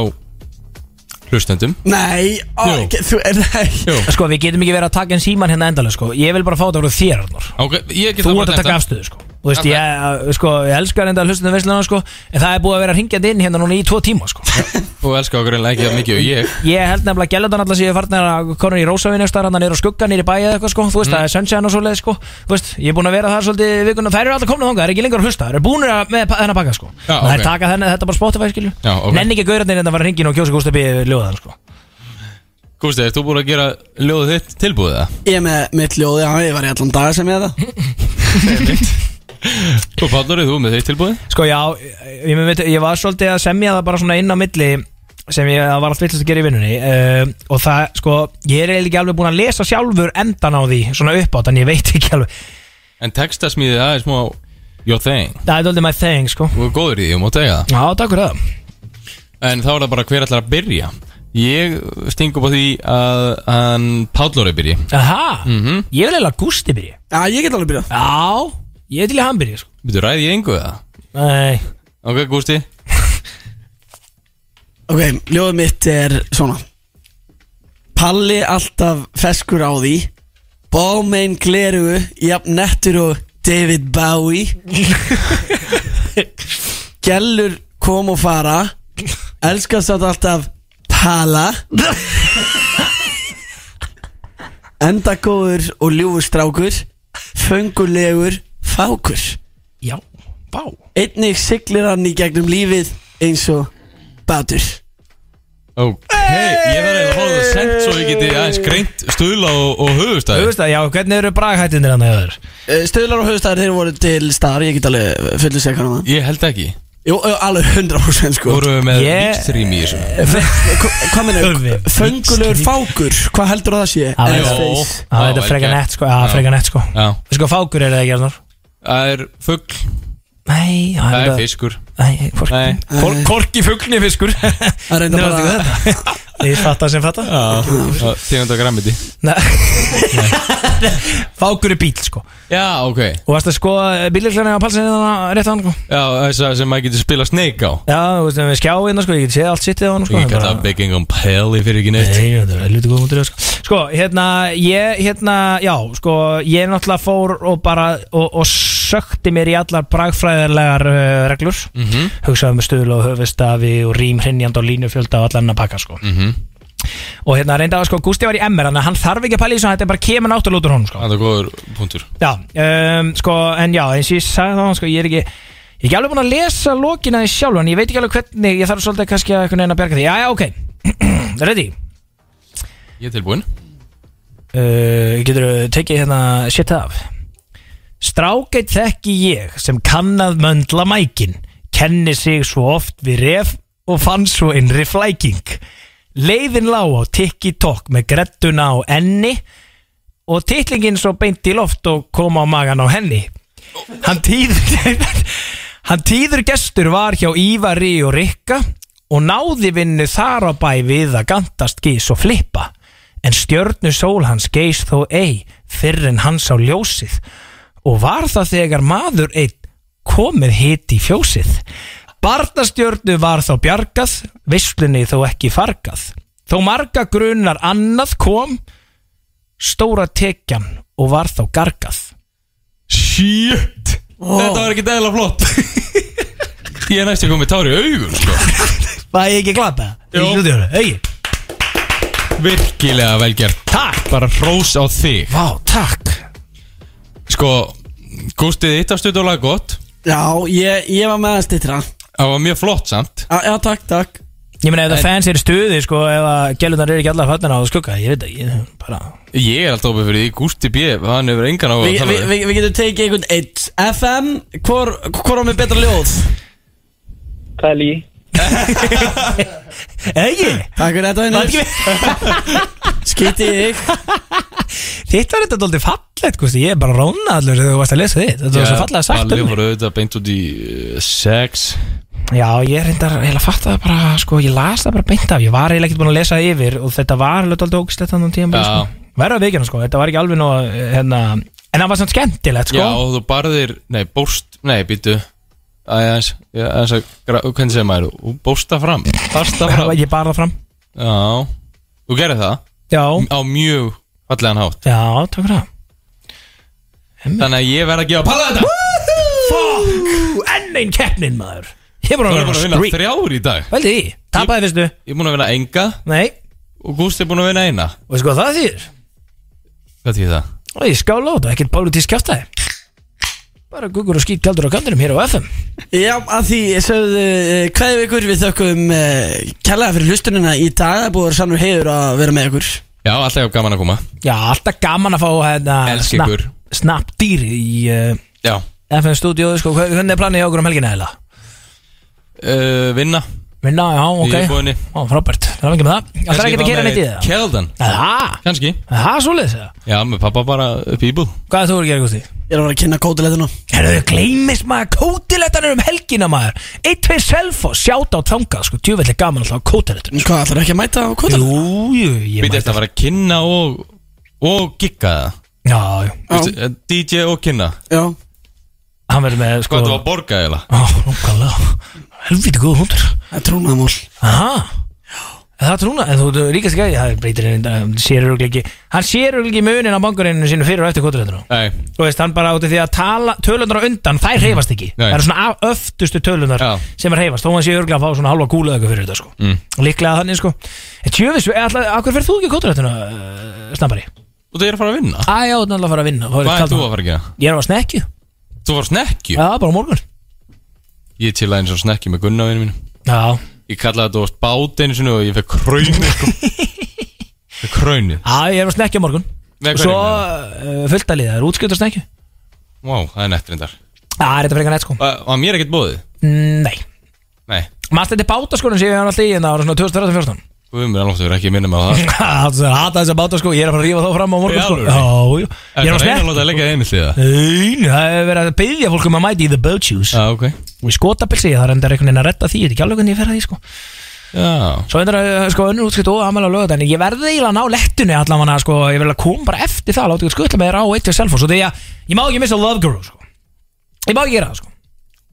Speaker 3: hlustendum
Speaker 4: Nei, ó,
Speaker 3: Jú.
Speaker 4: ekki, þú er það
Speaker 3: Jú,
Speaker 2: Sko, við getum ekki verið að taka en síman hérna endalega sko Ég vil bara fá þetta frá þér, Arnór
Speaker 3: ok, ég get
Speaker 2: Þú
Speaker 3: það
Speaker 2: ert
Speaker 3: bara
Speaker 2: að taka
Speaker 3: þetta.
Speaker 2: afstöðu sko Þú veist, ég, sko, ég elskar enda að hlusta um veistlana sko En það er búið að vera ringjandi inn hérna núna í tvo tíma sko
Speaker 3: Þú elskar okkur einlega ekki það mikið og ég
Speaker 2: Ég held nefnilega að Gjellandan alltaf séu farnir að konur í Rósavínu star, hann er á skugga nýri bæja eitthvað sko, þú veist,
Speaker 3: Mm.
Speaker 2: það er sunshine og svoleið sko þú veist, ég er búin að vera það svolítið vikuna það eru alltaf komna þangað, það er ekki lengur að hlusta, það eru búin að með pa- þennan pakka sko,
Speaker 3: Já,
Speaker 2: það er
Speaker 3: ok.
Speaker 2: taka þennan, þetta er bara Spotify skilju,
Speaker 3: Já, ok.
Speaker 2: nenni ekki gaurarnir hérna en það var hringin og kjósa Gústa B. ljóðan sko
Speaker 3: Gústi, ert þú búin að gera ljóðið þitt tilbúið það?
Speaker 4: Ég er með mitt ljóð, já, ég var í allan dag sem ég það
Speaker 3: Þú Pallur, er þú með þitt tilbúið?
Speaker 2: Sko já, ég, ég, veit, ég var svolítið að semja það bara svona inn á milli sem ég það var allt villast að gera í vinnunni uh, og það, sko, ég er eiginlega ekki alveg búin að lesa sjálfur endan á því, svona uppátt en ég veit ekki alveg,
Speaker 3: En textasmíðið, það er smá your thing
Speaker 2: það er doldið my thing, sko
Speaker 3: Þú er góður í því, ég má tega það
Speaker 2: Já, takk fyrir það
Speaker 3: En þá er það bara hver ætlar að byrja Ég sting upp á því að hann Pallur er byrji
Speaker 2: Aha,
Speaker 3: Mhm.
Speaker 2: ég vil eiginlega að Gústi byrja
Speaker 4: Já, ég get alveg byrjað
Speaker 2: Já, ég er til í að hann byrja sko.
Speaker 3: Þú ræði ég engu það?
Speaker 2: Nei,
Speaker 3: Ok, Gústi
Speaker 4: Ok, ljóðið mitt er svona Palli alltaf feskur á því Bómein glerugu Jafn nettur og David Bowie Gjellur kom og fara Elskast þetta alltaf Pala Endagóður og ljúfustrákur Föngulegur Fákur
Speaker 2: já, bá
Speaker 4: Einnig siglir hann í gegnum lífið Eins og Bátur
Speaker 3: Ok, ég verði að hóða það sent svo ég geti aðeins greint stuðla og, og
Speaker 2: Þú
Speaker 3: höfustæði
Speaker 2: veist það, já, hvernig eru braghættinir hann eða þér?
Speaker 4: Eh, Stöðlar og höfustæðir þeir voru til staðar Ég get alveg fullið segja hann
Speaker 3: Ég held ekki
Speaker 4: Jú, ö, alveg 100% sko
Speaker 3: Þú eru með
Speaker 2: Ég-
Speaker 3: víkstrým í þessu
Speaker 4: Eh, hva- Hvað meina,
Speaker 2: Öfvi.
Speaker 4: föngulegur fákur Hvað heldur það sé?
Speaker 2: Ah,
Speaker 4: Eh,
Speaker 2: já.
Speaker 4: face.
Speaker 2: Já, þetta
Speaker 3: vel
Speaker 2: er frekar
Speaker 3: gert.
Speaker 2: nett sko, já,
Speaker 3: Já.
Speaker 2: frekar nett sko
Speaker 3: Já,
Speaker 2: Sko, fákur er það ekki, Arnór?
Speaker 3: það er fugg,
Speaker 2: Nei, hann
Speaker 3: það
Speaker 2: er
Speaker 3: er
Speaker 2: það
Speaker 3: fiskur
Speaker 2: Nei,
Speaker 3: Nei.
Speaker 2: hvorki Kor- Hvorki fuglni fiskur
Speaker 4: Það er reyndar bara
Speaker 2: Ég fatta sem fatta
Speaker 3: Já, tegunda grammiti
Speaker 2: Nei. Fákur er bíl sko Og
Speaker 3: Já, ok
Speaker 2: varst að skoða bílirklarni á palsinni þannig rétt á hann sko
Speaker 3: Já, þess að sem maður getur spila snake á
Speaker 2: Já, þú veist, við skjáðum sko, ég get séð allt sittið á hann sko
Speaker 3: Ég
Speaker 2: en
Speaker 3: get
Speaker 2: bara-
Speaker 3: það bygging um peli fyrir ekki neitt
Speaker 2: Nei, þetta er helviti góð mútur sko. sko, hérna, ég, hérna, já, sko Ég náttúrulega fór og bara Og, og sökti mér í allar bragfræðarlegar uh, reglur
Speaker 3: Mhm.
Speaker 2: Hugsaði með stuðl og höfustafi Og rím hrinnjand og línufjölda og allan að pakka sko.
Speaker 3: Mhm.
Speaker 2: Og hérna reynda að sko, Gústi var í MR Þannig að hann þarf ekki að pæla í þessu Þetta er bara kemur náttúrulega út úr honum sko.
Speaker 3: Það er góður punktur
Speaker 2: Já, um, sko, en já, eins og ég sagði þá, sko, ég er ekki Ég er ekki alveg búin að lesa lokina því sjálf En ég veit ekki alveg hvernig, ég þarf svolítið kannski að einhvern veginn að berga því Já, já, ok, ready
Speaker 3: Ég er tilbúinn
Speaker 2: uh, Getur tekið hérna shit af Strákeitt þekki ég sem kann að möndla mækin Kenni sig svo oft við ref og fann svo innri flæking Leiðin lá á tikki-tok með grettuna á enni og titlingin svo beint í loft og kom á magan á henni hann tíð Hann tíður gestur var hjá Ívari og Rikka og náði vinnu þar á bæ við að gantast gís og flippa. En stjörnu sól hans geis þó ei fyrr en hann sá ljósið og var það þegar maður einn komið hiti í fjósið. Barnastjörnu var þá bjargað, vislunni þó ekki fargað. Þó marga grunar annað kom, stóra tekjan og var þá gargað.
Speaker 3: Shit Þetta var ekki dæla flott Ég er næstu að koma með tári í augun sko.
Speaker 2: Var ég ekki glata?
Speaker 3: Jó.
Speaker 2: Egi,
Speaker 3: Virkilega velgjert
Speaker 2: Takk
Speaker 3: Bara hrós á þig
Speaker 2: Vá, takk
Speaker 3: Sko, gústið þitt að stuðdóla gott
Speaker 4: Já, ég, ég var með að stittra
Speaker 3: Það var mjög flott samt
Speaker 4: Já, já, takk, takk
Speaker 2: Ég meina ef það
Speaker 3: En-
Speaker 2: fans er í stuði sko ef að gælunar eru ekki allar fattina á skugga ég veit ekki, ég- bara
Speaker 3: Ég er alltaf opið fyrir því Gústi B, hann hefur engan á að
Speaker 4: Við vi,
Speaker 3: tala
Speaker 4: vi, vi getum tekið einhvern eitt FM, hvor, hvor á mig betra ljóð?
Speaker 9: Kali
Speaker 2: Egi,
Speaker 4: Takk fyrir þetta
Speaker 2: Var
Speaker 4: vinnur Skýti þig
Speaker 2: þitt var þetta doldið fallegt, Gústi, ég er bara róna allur þegar þú varst að lesa þitt, þetta var svo fallega sagt
Speaker 3: Allir
Speaker 2: um mig
Speaker 3: voru auðvitað beint út í uh, sex
Speaker 2: Já, ég reyndar eiginlega fatt að bara, sko, ég las það bara beint af, ég var eiginlega ekkert búin að lesa það yfir og þetta var alveg doldið ógislegt þannig tíma
Speaker 3: Já.
Speaker 2: sko. Verða að veikina, sko, þetta var ekki alveg nóg, hérna, en það var samt skemmtilegt, sko
Speaker 3: Já, og þú barðir, nei, bóst, nei, býtu Æjans, æjans að, gra- hvernig segir maður Þú Bósta fram, barsta fram
Speaker 2: Ég bar það fram,
Speaker 3: Já, þú gerir það
Speaker 2: já,
Speaker 3: Á mjög fallegan hátt
Speaker 2: já, takk fyrir það
Speaker 3: Þannig að ég verð að gefa palla þetta
Speaker 2: Fuck, enn einn keppnin, maður Ég er búin að
Speaker 3: Þú
Speaker 2: vera
Speaker 3: er búin að
Speaker 2: á
Speaker 3: vinna
Speaker 2: streak
Speaker 3: þrjár í dag
Speaker 2: Veldi í, tapaði fyrstu
Speaker 3: Ég er búin að vinna enga
Speaker 2: Nei,
Speaker 3: og Gústi er búin að vinna eina
Speaker 2: og sko það þýr
Speaker 3: Hvað þýð það?
Speaker 2: Og ég skála á þetta, ekkert pólitísk kjáftæði Bara guggur og skýt kaldur á kantinum hér á FM
Speaker 4: Já, að því sögðu uh, hverju ykkur við þökkum uh, kærlega fyrir hlustunina í dag Það er búið að vera sannur heiður að vera með ykkur
Speaker 3: Já, alltaf gaman að koma
Speaker 2: Já, alltaf gaman að fá hérna
Speaker 3: Elska ykkur.
Speaker 2: Snapp dýr í uh,
Speaker 3: Já,
Speaker 2: FM stúdíóðu sko, hver- hvernig er planið hjá okkur um helgina eða?
Speaker 3: uh, vinna
Speaker 2: Vinna, já, ok
Speaker 3: Ég er búinni
Speaker 2: Ó, frábært, það er ekki með það Það er ekki að gera neitt í það
Speaker 3: Keldan,
Speaker 2: Það,
Speaker 3: kannski
Speaker 2: það er svoleiðis eða?
Speaker 3: Já, með pappa bara upp í íbúð
Speaker 2: Hvað er þú að gera, Gusti?
Speaker 4: Ég er að vera að kynna kótilegðinu
Speaker 2: Herðu, gleymis maður, kótilettanir um helgina maður 1-2 selfos, sjátt á þangað sko, tjúvelli gaman alltaf á kótilettunum
Speaker 4: Sko, Hvað, ætlar ekki að mæta á kótilegðinu?
Speaker 2: Jú, jú, ég
Speaker 3: Býtu eftir að fara að kynna og, og gigga það
Speaker 2: Já, jú,
Speaker 4: Já,
Speaker 3: Veistu, eh, DJ og kynna
Speaker 4: já
Speaker 2: hann verður með sko
Speaker 3: Hvað þú var að borga eða?
Speaker 2: Ó, nákvæmlega Helviti góð hundur
Speaker 4: Það er trúnaðamál
Speaker 2: Aha Er Það trúna, en þú þú- líkast ekki Það breytir henni, sér eru ekki Hann sér eru ekki munin á bankarinu sinu fyrir og eftir kótilettunum
Speaker 3: Nei,
Speaker 2: Þú veist, hann bara átti því að tala, tölunar á undan, þær hreyfast ekki
Speaker 3: Nei.
Speaker 2: Það eru svona af- öftustu tölunar
Speaker 3: Já.
Speaker 2: sem er hreyfast Þó hann sé örglega að fá svona halva kúla eitthvað fyrir þetta sko mm. Líklega þannig sko En tjöfis, akkur fyrir þú ekki kótirættuna, uh, snabbari?
Speaker 3: og þú er að fara að vinna
Speaker 2: Æ, já, þannig að fara að vinna þá
Speaker 3: Hvað er
Speaker 2: kalt
Speaker 3: þú
Speaker 2: á-
Speaker 3: að fara að gera?
Speaker 2: Ég er á snekju,
Speaker 3: Þú var snekju
Speaker 2: já, bara á morgun
Speaker 3: Ég til aðeins á snekju með Gunna vinnu mínu
Speaker 2: Já,
Speaker 3: Ég kallaði þetta oft bát einu sinni og ég fekk kráni sko. Fekk kráni
Speaker 2: já ég er á snekju á morgun
Speaker 3: Með
Speaker 2: Svo
Speaker 3: hverju?
Speaker 2: uh, fullt að liða, það er útskjöld á snekju
Speaker 3: Vá, það er nett reyndar
Speaker 2: Já, er þetta frekar neitt sko
Speaker 3: Og og að mér er ekkert bóðið
Speaker 2: Mm, Nei,
Speaker 3: Nei,
Speaker 2: maður þetta bátaskonum sem ég hann alltaf í en það var svona 2014
Speaker 3: við mér alveg ekki að minna mig á það
Speaker 2: Hata þess að báta sko, ég er að fara að rífa þá fram á
Speaker 3: Í
Speaker 2: morgun sko
Speaker 3: alvöru?
Speaker 2: Já, já,
Speaker 3: Það
Speaker 2: ég er á sko.
Speaker 3: er reyna að
Speaker 2: snekju
Speaker 3: láta að leggja einmitt í það
Speaker 2: Nein, það hefur verið að byggja fólk um að mæti í The Boat Shoes
Speaker 3: Já, ok
Speaker 2: Og í skotapilsi, það er endur einhvern veginn að redda því Þetta er ekki alveg hvernig ég fer að því sko
Speaker 3: Já,
Speaker 2: Svo endur að sko önnur útskipt og aðmæla lögut En ég verði eiginlega að ná lettunni allan manna sko Ég verði að koma bara eftir það, láta ekki skutla með þér á eitt til selfos Og því að ég má ekki missa Love Guru sko Ég má ekki gera það sko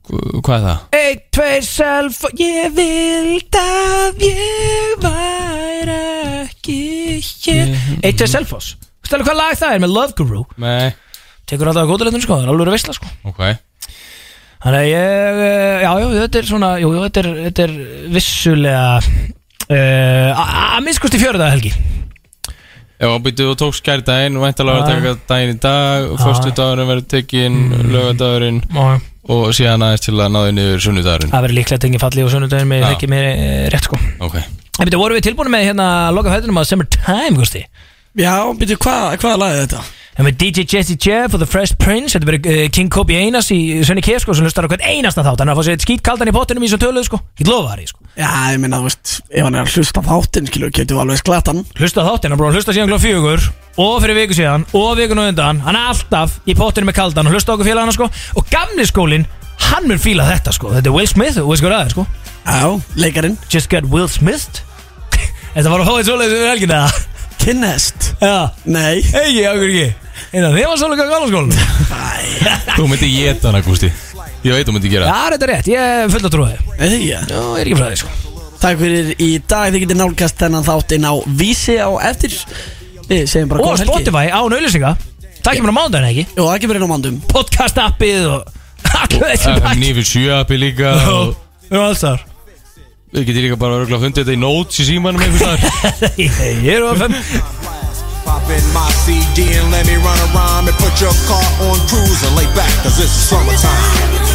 Speaker 3: Hva- hvað er það?
Speaker 2: Eitt, tveir, selfos Ég vild að ég væri ekki hér Eitt, tveir, selfos Stælu hvað lag það er með Love Guru
Speaker 3: Nei,
Speaker 2: Tekur alltaf að góðaleginn sko, það er alveg að veistla sko
Speaker 3: ok
Speaker 2: Þannig að ég, eh, já, já, þetta er svona, jú, jú, þetta er, þetta er vissulega eh, að uh, minnskust í fjöruða helgi
Speaker 3: Já, býttu og tókst skær daginn Væntalega að taka daginn í dag Föstu dagurinn verður tekinn Lögadagurinn
Speaker 2: og
Speaker 3: Og síðan aðeins til að náðu niður sunnudagurinn
Speaker 2: það verður líklegt engin falli og sunnudaginn með
Speaker 3: Já.
Speaker 2: ekki mér eh, rétt sko.
Speaker 3: Ok
Speaker 2: En betur, vorum við tilbúin með hérna að loka fætunum að Summertime, gústi?
Speaker 4: Já, býttu, hvað, hvað lagði þetta?
Speaker 2: En með DJ Jesse Jeff og The Fresh Prince, þetta verður uh, King Kobe Einas í Svenni Kef sko, sem hlustar á hvern einasta þátt, hann er að fá sér eitt skýt kaldan í pottinum í svo töluðu sko, ég lofa það sko.
Speaker 4: Já, ég minna, þú veist, ef hann er að hlusta á þáttinn, skilur, getur við alveg sklatan
Speaker 2: Hlusta á þáttinn, hann búið að hlusta síðan klá fjögur og fyrir viku síðan og vikun og undan hann er alltaf í pottinu með kaldan og hlusta á okkur félagana sko og gamli skólinn Hann mun fíla þetta sko Þetta er Will Smith og veist hvað það er sko
Speaker 4: Já, leikarinn
Speaker 2: Just got Will Smith Þetta var að hóðið svoleiðis við helgina
Speaker 4: Kynnest
Speaker 2: Já
Speaker 4: Nei
Speaker 2: Egi, okkur ekki Eða þið var svoleiðis ganga alveg
Speaker 3: Þú myndi geta hana, Gústi Ég veit þú myndi gera
Speaker 2: Já,
Speaker 3: það.
Speaker 2: þetta er rétt, ég er fullt að trúa þig
Speaker 4: Eða ég?
Speaker 2: Já, ég er ekki frá þig sko
Speaker 4: Takk fyrir í dag Þið getur nálgast þennan þáttinn á vísi á eftir Við segjum bara
Speaker 2: Og
Speaker 4: góða helgi.
Speaker 2: Spotify án auðlýsinga Það kemur á mándaginn ekki
Speaker 4: Jú, það kemur inn á mándum
Speaker 2: Podcast appið og Allir þessi
Speaker 3: FM 9 fyrir 7 appi líka og
Speaker 2: Við erum alls þar
Speaker 3: Við getum líka bara örgulega fundið þetta í notes í símanum einhvers þar
Speaker 2: Ég er á FM
Speaker 13: Pop in my CD and let me run a rhyme and put your car on cruise and lay back, cause it's summertime.